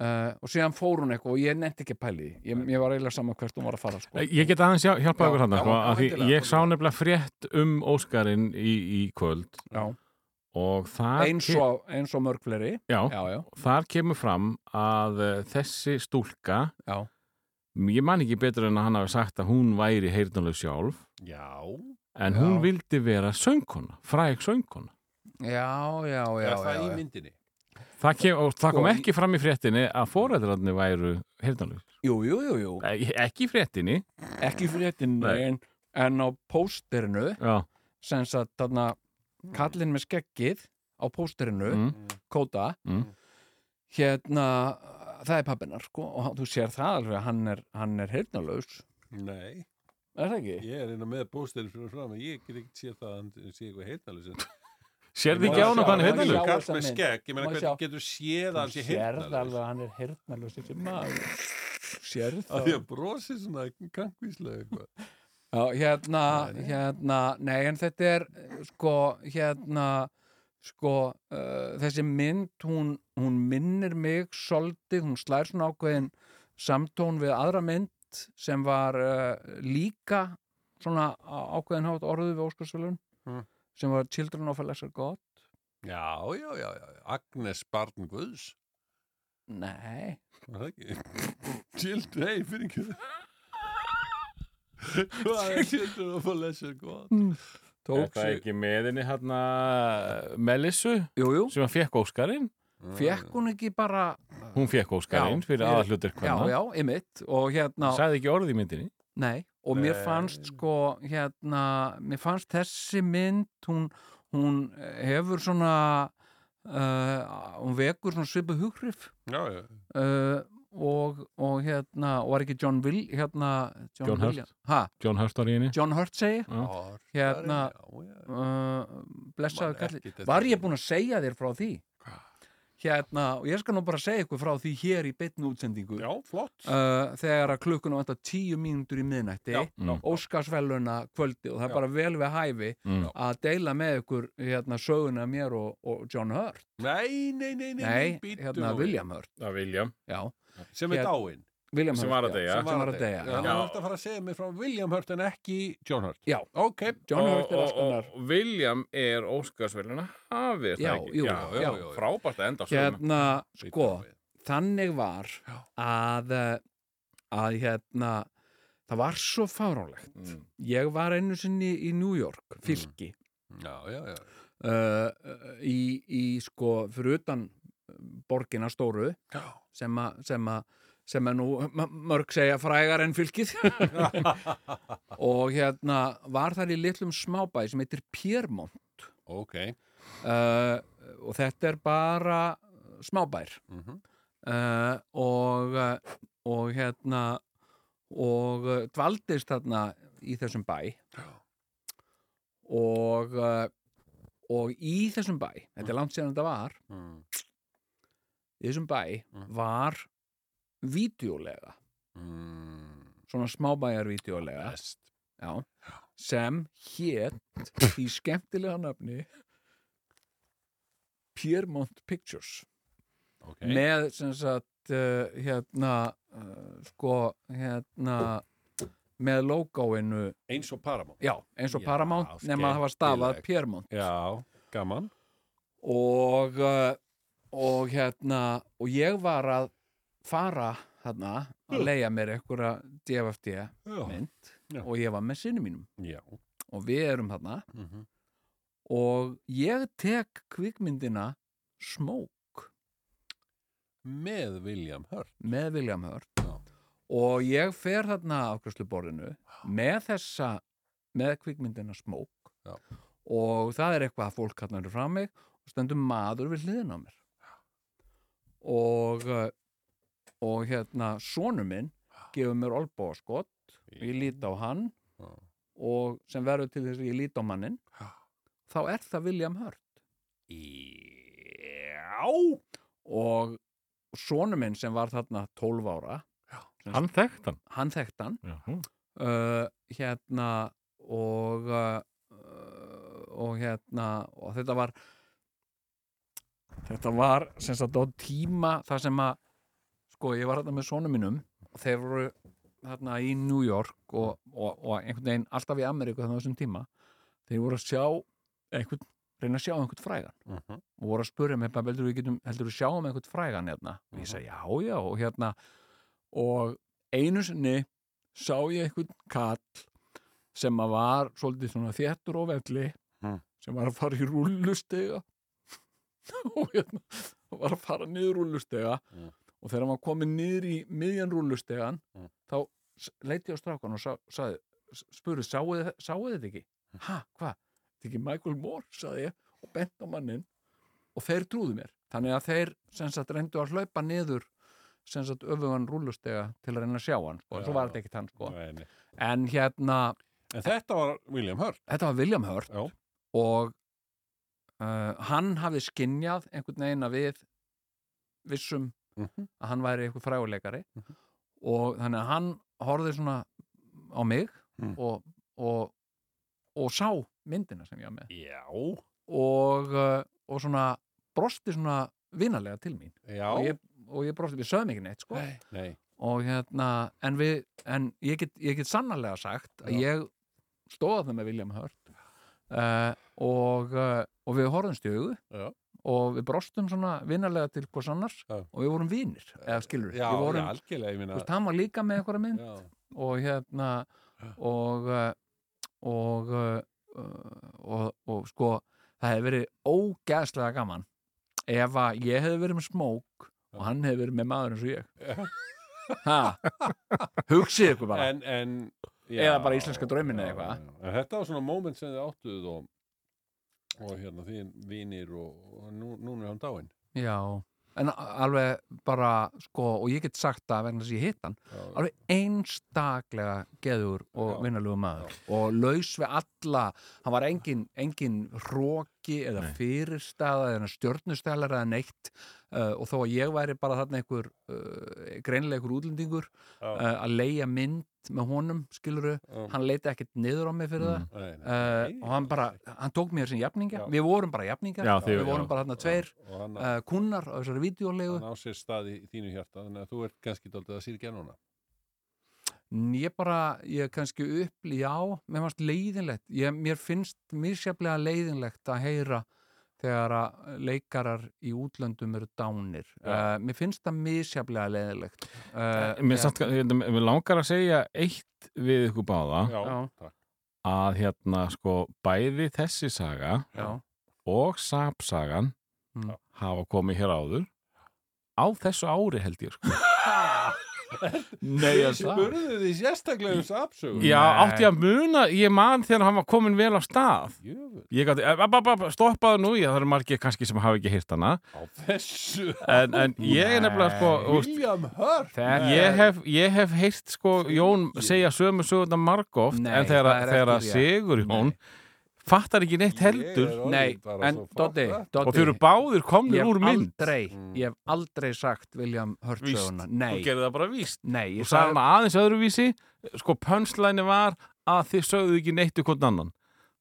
uh, og síðan fór hún eitthvað og ég nefndi ekki að pæli því ég, ég var eiginlega saman hvert hún var að fara sko.
Ég get aðeins hjá- hjálpað
Já,
ykkur hann
já,
sko,
já,
að því
endilega,
ég sá nefnilega frétt um Óskarinn í, í kvöld
Já.
og það
eins
ke-
og, eins og mörg fleiri
já,
já, já,
þar kemur fram að eh, þessi stúlka
Já.
ég man ekki betur en að hann hafi sagt að hún væri heyrnuleg sjálf
Já,
en
Já.
hún vildi vera söngkona fræg söngkona
já, já, já,
er það
já,
í
já.
myndinni?
það, kem, og það
Sko,
kom
í-
ekki fram í fréttinni að foreldrarnir væru heyrnuleg
Jú, jú, jú, jú.
ekki í fréttinni
ekki fréttin
Nei.
en, en á pósterinu
já,
sem sagt þarna kallinn með skeggið á pósterinu
mm,
kóta
Mm.
hérna, það er pappinar sko, og hann- þú sér það alveg að hann er, hann er heyrnalaus,
Nei,
er það ekki?
ég er einna með bóstelur fyrir fram að ég get ekkert séð það að hann sé eitthvað heyrnalus
sérði
Ég má
ekki á hann
sjá-
hvað hann
ég
er
má
heyrnuleg
sjá-
Kall
þessa
með
mynd.
skegg, ég meina
Má
hvernig
sjá.
getur séð að hann sé
Þú sérð alveg
heyrnalus
að hann er heyrnalaus þessi maður sérð
að
það
því að brosi svona kankvíslega eitthvað
Já, hérna,
Nei, nei.
hérna, nei en þetta er eh, sko, hérna sko, uh, þessi mynd hún, hún minnir mig svolítið, hún slær svona ákveðin samtón við aðra mynd sem var uh, líka svona á- ákveðin hátt orðið við Óskarsvölun
Mm.
sem var Children of a Lesser God
Já, já, já, já, Agnes Barn Guðs
Nei,
var það ekki? Child, nei, fyrir ekki Hvað er Children of a Lesser God?
tók sig
ekki meðinni hann Melissu
Jú, jú,
eh, sem að fekk Óskarinn
fekk hún ekki bara
hún fekk Óskarinn
Já,
fyrir
fyrir-
aðallutir
Já,
hvernig
já, ymmit og hérna
sagði ekki orðið í myndinni
Nei, og mér
Nei.
fannst sko, hérna, mér fannst þessi mynd, hún, hún hefur svona, uh, hún vekur svona svipu hughrif
Já, já,
uh, og, og hérna, og var ekki John Will, hérna,
John Hurt.
William- Ha,
John Hurt var í henni
John Hurt segi,
Já.
Orðarinn,
hérna,
já, já.
uh, blessaðu
Man
kalli.
ekkert eftir
Var ég
því.
búin að segja þér frá því?
Hvað?
hérna, og ég skal nú bara segja ykkur frá því hér í beinni útsendingu
Já, flott.
uh, þegar að klukkuna vantar tíu mínútur í miðnætti
Já,
Mm.
óskarsveluna kvöldi og það er
Já.
bara vel við hæfi
Mm.
að deila með ykkur hérna, söguna af mér og, og John Hurt
Nei, nei, nei, nei,
nei,
bíddu
hérna
nú við.
William Hurt
að vilja
já,
Sem er
Hér-
dáinn.
William
Sem
Hurt,
var að
já,
deyja.
sem var að deyja
Þannig að
já.
þú
Já.
ert að fara að segja mig frá William Hurt en ekki John Hurt.
Já.
Ok.
John
og,
Hurt er alls
og- og-
konar
og William er Óskarsverðina hafið er það
Já,
ekki?
jú,
já,
já.
já, frábært að enda á söguna.
hérna, sko
Bíddu við.
þannig var að eh, að hérna það var svo fáránlegt
Mm.
ég var einu sinni í New York fylki
Já, já, já.
uh, í, í sko fyrir utan eh, borgina stóru
Já.
sem að sem að sem er nú m- mörg segja frægar en fylkið og hérna var þar í litlum smábæ sem heitir Piermont
Ok.
uh, og þetta er bara smábær
Mhm.
uh, og, uh, og hérna og uh, dvaldist þarna í þessum bæ og uh, og í þessum bæ þetta er langt síðan þetta var
Mm,
í þessum bæ
Mm.
var vídeolega,
mm,
svona smábæjarvídeolega
Best.
já, sem hétt í skemmtilega nafni Piermont Pictures
Ok.
með sem sagt uh, hérna uh, sko hérna með logoinu,
Eins og Paramount.
já, eins og
Já,
Paramount nema að það var stafað
skemmtilegt.
Piermont
Já, gaman.
og uh, og hérna og ég var að fara hérna að leia mér einhverja DFFD
Já.
mynd
Já.
og ég var með sinni mínum
Já.
og við erum þarna
Mhm.
og ég tek kvikmyndina Smoke
Með William Hurt.
með William Hurt
Já.
og ég fer þarna afgjörsluborðinu með þessa með kvikmyndina Smoke
Já.
og það er eitthvað að fólk hann eru frá mig og stendur maður við hliðin á mér og uh, og hérna sonu minn gefur mér olbóaskot og ég lít á hann
Já.
og sem verður til þess að ég lít á mannin
Já.
þá er það William Hurt
Já.
og sonu minn sem var þarna 12 ára
hann þekkt hann
hann þekkt hann
já.
uh, hérna og uh, og hérna og þetta var þetta var sem sagt á tíma þar sem að sko ég var hérna með sonum mínum og þeir voru hérna í New York og, og, og einhvern veginn alltaf í Ameríku þannig á þessum tíma þeir voru að sjá einhvern, reyna að sjá einhvern frægan
Mhm.
og voru að spurja mig, "Babbi, heldur við getum, heldur við sjáum einhvern frægan hérna og ég sagði, já, já, og hérna og einu sinni sá ég einhvern kall sem að var svolítið svona þéttur og velli
Mm.
sem var að fara í rúllustega og hérna og var að fara niður rúllustega
Mm.
og þegar hann var komin niður í miðjan rúllustegan
Mm.
þá s- leit ég á strákan og sa, saði, s- spurði, sáu þið- sáu þið þetta ekki? Ha, hvað? Þetta ekki Michael Moore, saði ég og bent á mannin og þeir trúðu mér þannig að þeir sem sagt reyndu að hlaupa niður sem sagt öfugan rúllustega til að reyna að sjá hann sko. en svo
Já.
var þetta ekkert hann sko
Nei, nei.
en hérna,
En þetta var William Hurt.
þetta var William Hurt
Já.
og uh, hann hafði skinjað einhvern veginn að við vissum
Mhm.
að hann væri einhver fræguleikari og þannig að hann horfði svona á mig
Mm.
og, og, og sá myndina sem ég var með
Já.
og, uh, og svona brosti svona vinalega til mín
Já.
og ég, og ég brosti, við sögum ekki neitt sko
Nei. Nei.
og hérna, en við en ég get, ég get sannarlega sagt að
Já.
ég stóða það með William Hurt uh, og, uh, og við horfðum stjögu
Já.
og við brostum svona vinarlega til hvers annars
Já.
og við vorum vinir, eða skilur
Já,
við
já,
vorum,
algjörlega, ég
þú
minna.
veist, hann var líka með einhverja mynd
Já.
og hérna
Já.
og uh, og, uh, og, og sko það hefði verið ógeðslega gaman ef að ég hefði verið með smók og hann hefði verið með maður eins og ég ha, hugsið ykkur bara
En, en, já,
Eða bara íslenska drauminn eða
já,
eitthvað.
já, já. En þetta var svona moment sem þið áttuð og, og hérna þín vinir og, og nú, núna er hann dáinn.
já, en a- alveg bara sko, og ég get sagt það vegna þess að ég hitt hann
Já,
alveg einstaklega geður og
Já.
vinnalegu maður og laus við alla, hann var engin, engin merki eða
Nei.
fyrirstaða eða stjörnustælar eða neitt uh, og þó að ég væri bara þarna einhver uh, greinilega einhver útlendingur
Já.
uh, að leia mynd með honum skiluru,
Já.
hann leita ekkert niður á mig fyrir
Mm.
Nei, nei.
það
Nei,
uh, og hann bara, hann tók mér sem jafninga
Já.
við vorum bara jafninga,
Já, þið-
við vorum
já.
bara þarna tveir
og hann,
uh, kunnar á þessari videólegu
hann á sér stað í þínu hjarta þannig að þú ert kannski daldið að sýrkja núna
N- Ég bara, ég kannski upp, já, mér fannst leiðinlegt. Ég, mér finnst misjaflega leiðinlegt að heyra þegar að leikarar í útlöndum eru dánir. Uh,
Já.
mér finnst það misjaflega leiðinlegt. Uh,
Mm. Eh, Mér,
ég-
samt, ég- mér langar að segja eitt við ykkur báða
Já.
takk
að hérna sko bæði þessi saga
Já,
og sapsagan
Mm.
hafa komið hér áður á þessu ári held ég sko. Nei,
Ég
ég sagði
spurði því sérstaklega um sapsögu
Já,
Nei.
átti ég að muna, ég man þegar hann var komin vel af stað
Jöfull,
Ég eh, gæti, ab, ab, ab, stoppaðu nú, ég, það eru margir kannski sem hafa ekki hýrt hana
á þessu
En, en ég er nefnilega sko,
Nei.
þú veist,
William Hurt
Þetta-
ég hef, ég hef heyrt sko Jón segja sömu sögurna margóft
Nei,
En þegar,
það er ekki
þegar
rétt.
Sigur Jón fattar ekki neitt heldur
Nei, en Doddi, Doddi.
Og þau eru báðir komnir
ég hef
úr mynd
Aldrei,
Mm.
Ég hef aldrei sagt William Hurt
Víst.
söguna.
Þú
Nei,
gerði það bara víst
nei,
Þú
ég sagði,
sagði maður aðeins öðruvísi Sko pönslæni var að þið sögðu ekki neitt ykkur annan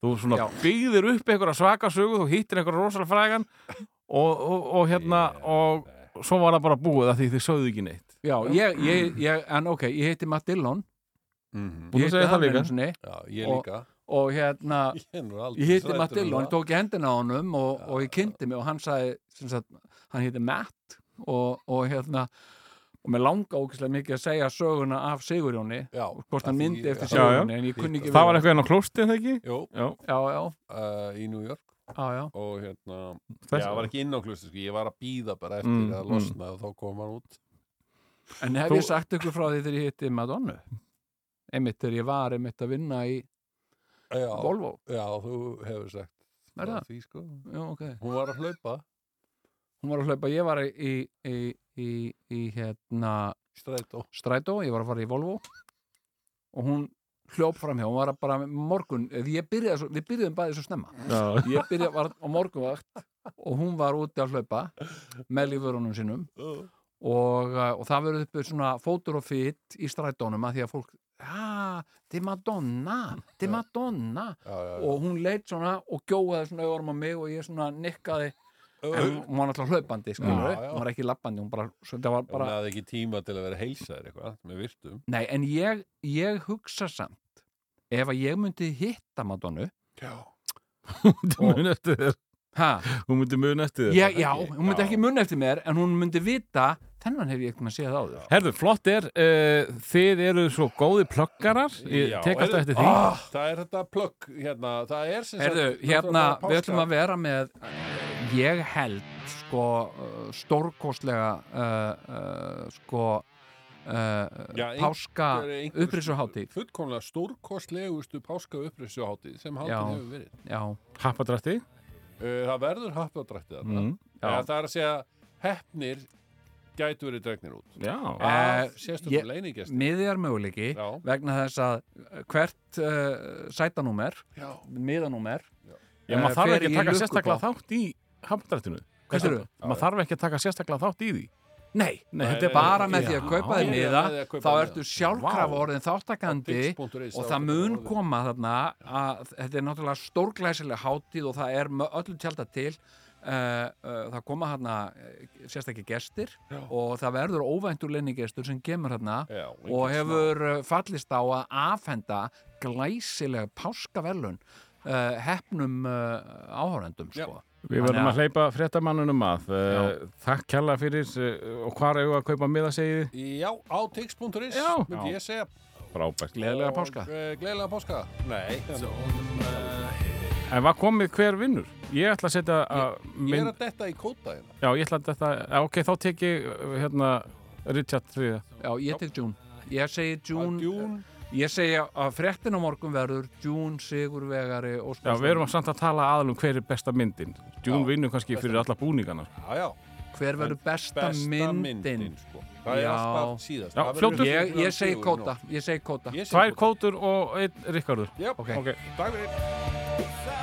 Þú svona
Já.
byggðir upp einhverja svaka sögu Þú hittir einhverja rosalega frægan og, og, og hérna og svo var það bara búið að því þið sögðu ekki neitt
já, ég, ég, ég, en ok, ég heiti Matt Dillon.
Búin
Ég
að
heiti
segja það
hann
líka.
einu sinni
Mhm. Já, ég
Og-
líka
og hérna,
Ég er nú aldrei
ég hitti
hræddur um
Matt Dillon, ég
það.
tók í hendina á honum og,
Já.
og ég kynnti mig og hann sagði, sem sagt, hann hitti Matt og, og hérna og mér langa ókvæslega mikið að segja söguna af Sigurjóni,
Já,
hvort hann
af því-
myndi eftir
Já, já.
Sigurjóni, en ég kunni ekki
Það var
við-
eitthvað enn á klósti en það ekki?
Jú,
Já,
Já, já,
uh, í New York
já, já
og hérna
þess,
Já, ég var ekki inn á klustu, sko, ég var að býða bara eftir
Mm,
að losna og þá kom hann út
En hef
Þú-
ég sagt ykkur frá því þegar ég hitti Madonnu? Einmitt þegar ég var einmitt að vinna í
Já,
Volvo
já þú hefur sagt
Er
frá
það?
því, sko.
Já, ok
Hún var að hlaupa
Hún var að hlaupa, ég var í, í, í, í, í hérna
strætó
strætó, ég var að fara í Volvo og hún hljóp fram hjá, hún var að bara morgun, eh, ég byrjaði svo, við byrjuðum bæði svo snemma
Já,
ég byrjaði var á morgunvakt og hún var úti að hlaupa með lífurunum sínum og, uh, og það verður uppið svona fótur og fit í strætónum að því að fólk aaa, þið Madonna þið Madonna
Já, já, já.
og hún leitt svona og gjóðaði svona öðrum á mig og ég svona nikkaði en
Hún
hún var náttúrulega hlaupandi, skilur
Já, já.
hún var ekki lappandi, hún bara, þetta var bara
hafði ekki tíma til að vera heilsaður eitthvað með virtum
Nei, en ég, ég hugsa samt ef að ég myndi hitta Madonnu
Já,
þú myndi muna eftir þér
ha,
Þú myndi muna eftir þér
ég, já,
ekki?
hún myndi
Já.
ekki munna eftir mér en hún myndi vita, þennan hef ég ekki maður séð áður
Herðu, flott er, uh, þið eru svo góði plöggarar Ég
Já,
tek alltaf eftir
heyrðu.
því
oh,
það er þetta plögg hérna, það er sem
Herðu, hérna, við ætlum að vera með ég held sko uh, stórkostlega uh, uh, sko uh,
Já,
páska upprisuhátíð
Fullkomlega stórkostlegustu páska upprisuhátíð sem haldin
Já.
hefur verið
Já,
Happadrætti
Uh, Það verður happjádrætti þarna
mm.
já.
Eða, Það er að segja hefnir gætu verið dregnir út
Já,
Af
Eh, ég-
sérstökum leiningjast
miðjar möguleiki
Já,
vegna þess að uh, hvert uh, sætanúmer,
já,
miðanúmer
Já, maður þarf
fer í
ekki að taka
lukkupott.
sérstaklega þátt í hafndrættinu.
Hvað sérðu?
Maður þarf ekki að taka sérstaklega þátt í því.
Nei,
Nei,
Nei,
þetta er
nei,
bara...
bara með því að
Já.
kaupa þér
Bara
miða
með því að kaupa
þá
miða.
ertu sjálfkrafa
Vá.
orðin þáttakandi
Dix.is,
og
þá
það
getur
mun
orðið.
koma þarna að þetta er náttúrulega stórglæsileg hátíð og það er með öllu tjálta til uh, uh, það koma þarna uh, sérstakki gestir
Já.
og það verður óvæntur lenningestur sem kemur þarna
Já,
og
engin
hefur uh, fallist á að afhenda glæsileg páskavelun uh, hefnum uh, áhórendum
Já.
sko.
Við verðum
Þannig
að hleypa fréttamannunum að. Uh, Takk kjalla fyrir uh, og hvar eigum við að kaupa miða segið þið?
Já, á tix.is
Já.
myndi ég segja
Frábært.
Gleðilega páska.
uh, Gleðilega páska Nei,
En hvað komið hver vinnur? Ég ætla að setja að...
ég er
Mynd...
að detta í kóta hérna
Já, ég ætla að þetta... Já, Ok, þá tek ég uh, hérna Richard þriða.
Já, ég tek June ég segi
Að
June,
Djún
Ég segja að fréttin á morgun verður Djún, Sigurvegari og
Já, við erum samt að tala aðalum hver er besta myndin. Djún
Já,
vinnur kannski
besta
fyrir alla búningana.
Já, já,
Hver verður besta,
besta myndin,
myndin?
sko. Það er
Já.
alltaf síðast
Já,
Það verður
fljótur.
Ég, ég segi
24 í nótt.
kóta, ég segi kóta
Ég segi
Tvær
kóta
kótur og einn Rikkardur.
Já,
Ok.
Ok.
takk fyrir